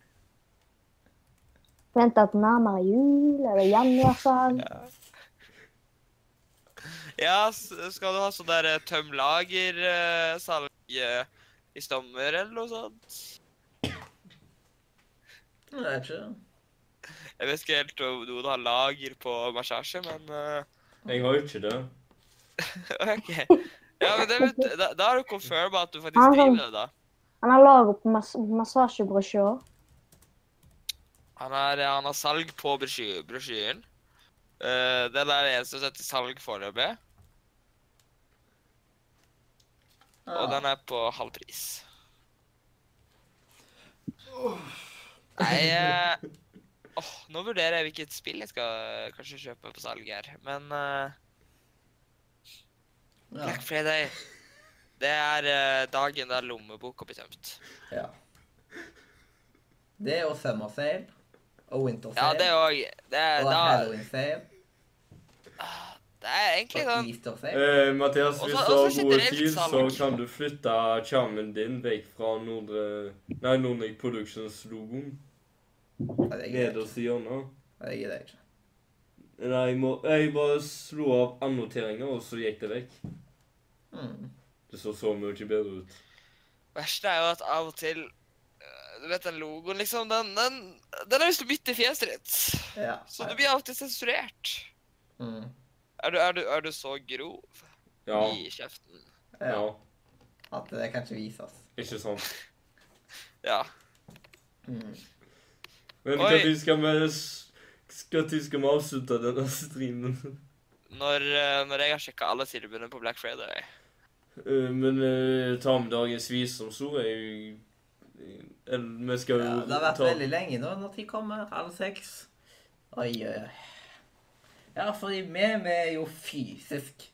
S9: Vent at nærmere jul eller januar, sa han.
S4: Ja, s- skal du ha sånn der eh, tøm lager, eh, salg eh, i stammer, eller noe sånt?
S1: Jeg vet ikke.
S4: Jeg vet ikke helt om noen har lager på massasje, men eh, [laughs]
S2: Jeg har jo ikke det.
S4: OK. Ja, men det, vet- da, da har du confirma at du
S9: Ja,
S4: faktisk
S9: sånn.
S4: driver med det, da.
S9: Han har laget på mas massasjebrosjyrer.
S4: Han har, han har salg på brosjy- brosjyren. Eh, den er det eneste som setter salg foreløpig,
S1: Ah.
S4: og den er på halv pris. Nei eh, åh, Nå vurderer jeg hvilket spill jeg skal eh, kanskje kjøpe på salg her, men eh,
S1: Ja.
S4: Black Friday Det er eh, dagen der lommeboka blir tømt.
S1: ja. Det er jo summer sale. Og winter
S4: Ja,
S1: sale.
S4: det òg. Det, er-
S1: og
S4: da-
S1: halloween sale.
S4: det Det er egentlig sånn
S1: Easter seg.
S2: Eh, Mathias, hvis
S4: Også-
S2: du har
S4: også
S2: god
S4: generelt
S2: tid, så
S4: sammen.
S2: kan du flytte skjermen din vekk fra Nordre Nei, Nordic Productions-logoen.
S1: Nei, det gidder jeg ikke.
S2: Nederst i hjørnet.
S1: Nei, det gidder jeg ikke.
S2: Nei, jeg, må, jeg bare slo av annoteringer, og så gikk det vekk.
S1: Mm.
S2: Det så så mye bedre ut.
S4: Verst er jo at av og til øh, Du vet den logoen, liksom. Den, den, den er liksom midt i fjeset ditt.
S1: Ja.
S4: Så du blir alltid sensurert.
S1: Mm.
S4: Er du, er du, er du så grov
S2: Ja.
S4: i kjeften?
S1: ja.
S2: Ja.
S1: At det kan ikke vises.
S2: Ikke sant.
S4: Ja.
S1: Mm.
S2: Men
S4: Oi.
S2: når skal vi s- Når skal vi avslutte denne streamen? [laughs]
S4: Når, øh, når jeg har sjekka alle tilbudene på Black Friday.
S2: Eh, Men uh, ta med dagens visdomsord er jo Eller vi skal jo
S1: Ja, det har vært
S2: ta
S1: veldig lenge nå. Når tid kommer? Halv seks? Oi, oi, oi. Ja, fordi vi, vi er jo fysisk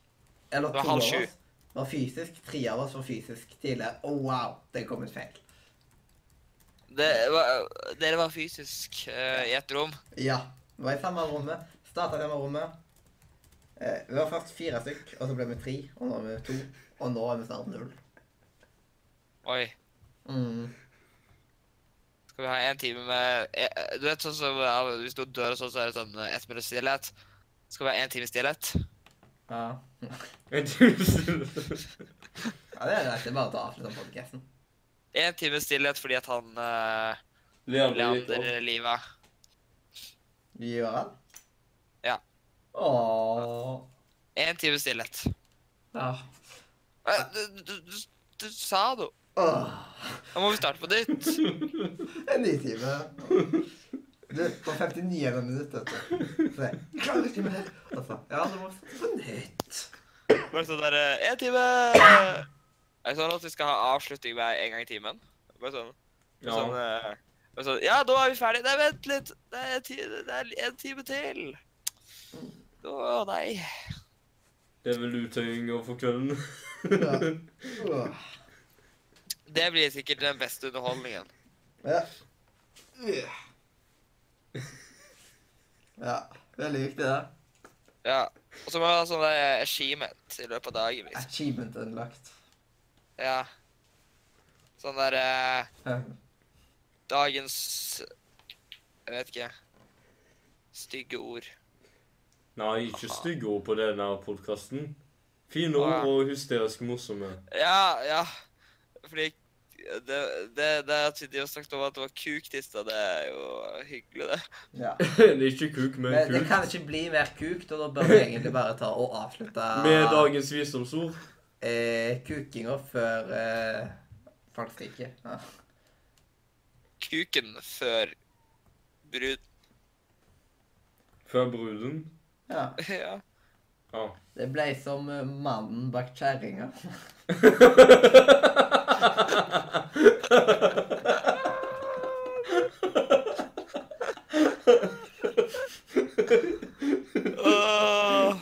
S1: Eller
S4: Det var
S1: to
S4: halv
S1: av
S4: sju.
S1: oss var fysisk. Tre av oss var fysisk tidligere. Å, wow, det kom ut feil.
S4: Det var, dere var fysisk øh, i ett rom.
S1: Ja. Vi var i samme rommet. Starta samme rommet. Eh, vi var først fire stykk, og så ble vi tre, og nå er vi to. Og nå er vi snart null.
S4: Oi.
S1: Mm.
S4: Skal vi ha en time med eh, Du vet sånn som ja, hvis du dør og sånn, så er det sånn eh, ett minutts stillhet. Skal vi ha en time stillhet?
S1: Ja.
S2: [laughs] en time.
S1: ja, det er greit. Det er bare å avslutte podkasten.
S4: En time stillhet fordi at han uh,
S2: Leander gikk opp.
S4: Leander livet.
S1: Gjør han?
S4: Ja.
S1: Ååå.
S4: En time stillhet.
S1: Ja.
S4: Eh, Du, du, du, du sa det jo.
S1: Åh.
S4: Da må vi starte på nytt. [laughs]
S1: En ny time. Du, på 59 minutt, vet du. Så jeg klarer ikke mer. Og så, ja, det må på nytt.
S4: Bare sånn derre En time! Er det sånn at vi skal ha avslutning med en gang i timen? Bare sånn. Bare
S2: Ja.
S4: sånn, eh, bare sånn Ja, da er vi ferdige. Nei, vent litt. Det er en time, det er en time til. Å, nei.
S2: Det er vel uttøyinga for kvelden. [laughs]
S1: Åh.
S4: Det blir sikkert den beste underholdningen.
S1: Ja. Ja, veldig viktig det.
S4: Ja. Og så må vi ha sånn der achievement i løpet av dagen. Liksom.
S1: Achievement unlocked.
S4: Ja. Sånn der eh,
S1: Ja.
S4: Dagens Jeg vet ikke. Stygge ord.
S2: Nei, ikke stygge ord på denne podkasten. Fine ord og hysterisk [laughs] morsomme.
S4: Ja, ja. Fordi det, det, det at vi har snakket om at det var kuktista, det er jo hyggelig, det.
S1: ja.
S2: det er ikke kuk, men
S1: Men Eh, det
S2: kuk.
S1: kan ikke bli mer kukt, og da bør vi egentlig bare ta og avslutte
S2: Med dagens visdomsord.
S1: eh, kukinga før eh, folk skriker. Ja.
S4: Kuken før brud... [laughs]
S2: Før bruden.
S1: ja.
S4: Ja.
S2: Ja.
S1: Det ble som eh, mannen bak kjerringa.
S4: Åh.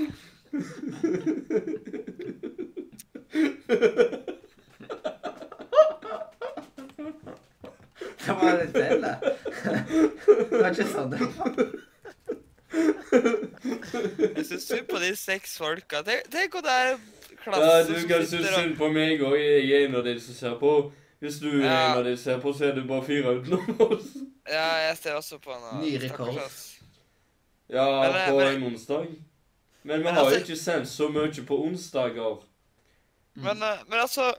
S1: Det var litt feil, det. Det var ikke sånn det var.
S4: Jeg syns synd på de seks folka. Tenk, tenk om det er en klasse
S2: Ja, du
S4: som
S2: kan
S4: sitter
S2: synes
S4: og-
S2: synd på meg òg. Jeg er en av de som ser på. Hvis du er
S4: Ja.
S2: en av de som ser på, så er det bare fire utenom oss.
S4: Ja, jeg ser også på han. og-
S1: Ny
S4: Stakkars
S1: rekord.
S4: ass.
S2: [laughs] Ja,
S4: Men, eh,
S2: på
S4: men-
S2: en onsdag. Men vi
S4: Men
S2: har jo
S4: altså-
S2: ikke sendt så mye på onsdager. Mm.
S4: Men, eh, men altså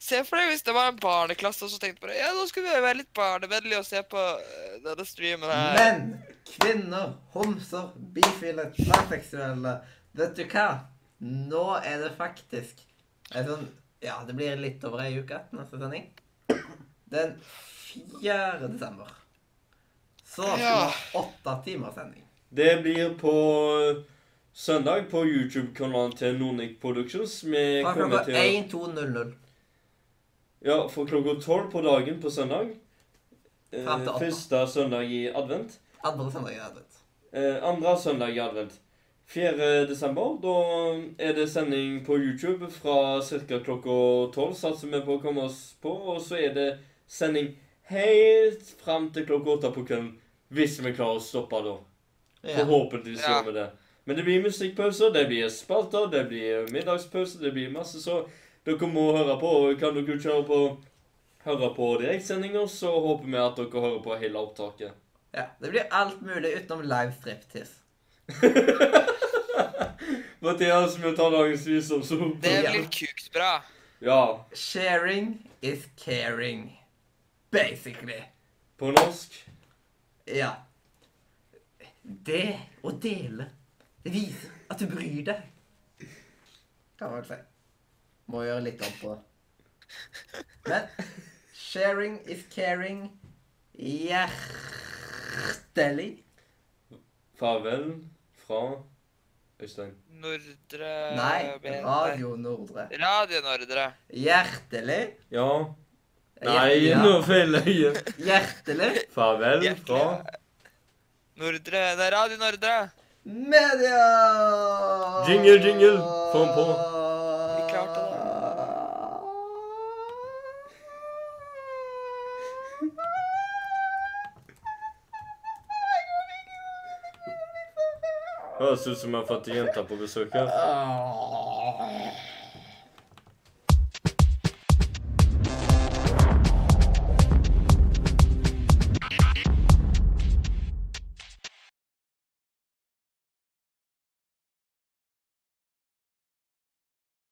S4: Se for deg hvis det var en barneklasse og så tenkte på det. Ja, nå skal vi være litt barnevennlige og se på eh, denne streamen her.
S1: Men kvinner, homser, bifile, transseksuelle Vet du hva? Nå er det faktisk en sånn Ja, det blir litt over ei uke til neste sending. Den 4. desember. Så skal vi
S4: Ja.
S1: ha åtte timers sending.
S2: Det blir på eh, søndag på YouTube-kanalen til Nornic Productions. Vi
S1: Fra
S2: kommer
S1: klokka
S2: til å
S1: 12.00.
S2: Ja, fra klokka tolv på dagen på søndag. Eh,
S1: Fram til åtta.
S2: første søndag i advent.
S1: Andre søndag i advent.
S2: Eh, andre søndag i advent. 4. desember. Da er det sending på YouTube fra ca. klokka tolv. Satser vi på å komme oss på. Og så er det sending helt fram til klokka åtte på kvelden. Hvis vi klarer å stoppe da.
S1: Ja.
S2: Forhåpentligvis gjør
S4: Ja.
S2: vi det. Men det blir musikkpauser, det blir spalter, det blir middagspause, det blir masse så. Dere må høre på, og kan dere ikke høre på, høre på direktsendinger, så håper vi at dere hører på hele opptaket.
S1: Ja, det blir alt mulig utenom live striptease.
S2: Mathias, vi tar dagens visdomsord.
S4: Det blir kukt bra.
S2: Ja.
S1: Sharing is caring. Basically.
S2: På norsk.
S1: Ja. Det å dele, det viser at du bryr deg. Kan man si. Må gjøre litt om på det. Men sharing is caring. Hjertelig.
S2: Farvel fra Øystein.
S4: Nordre
S1: Nei,
S4: Ben-
S1: Radio Nordre.
S4: Radio Nordre.
S1: Hjertelig.
S2: Ja. Nei, nå feil øye.
S1: Hjertelig
S2: Farvel fra
S4: Nordre. Det er Radio Nordre.
S1: media!
S2: Jingle, jingle. Få den på.
S4: Vi klarte det.
S2: Høres ut som jeg har fått jenter på besøk her.
S1: Åh.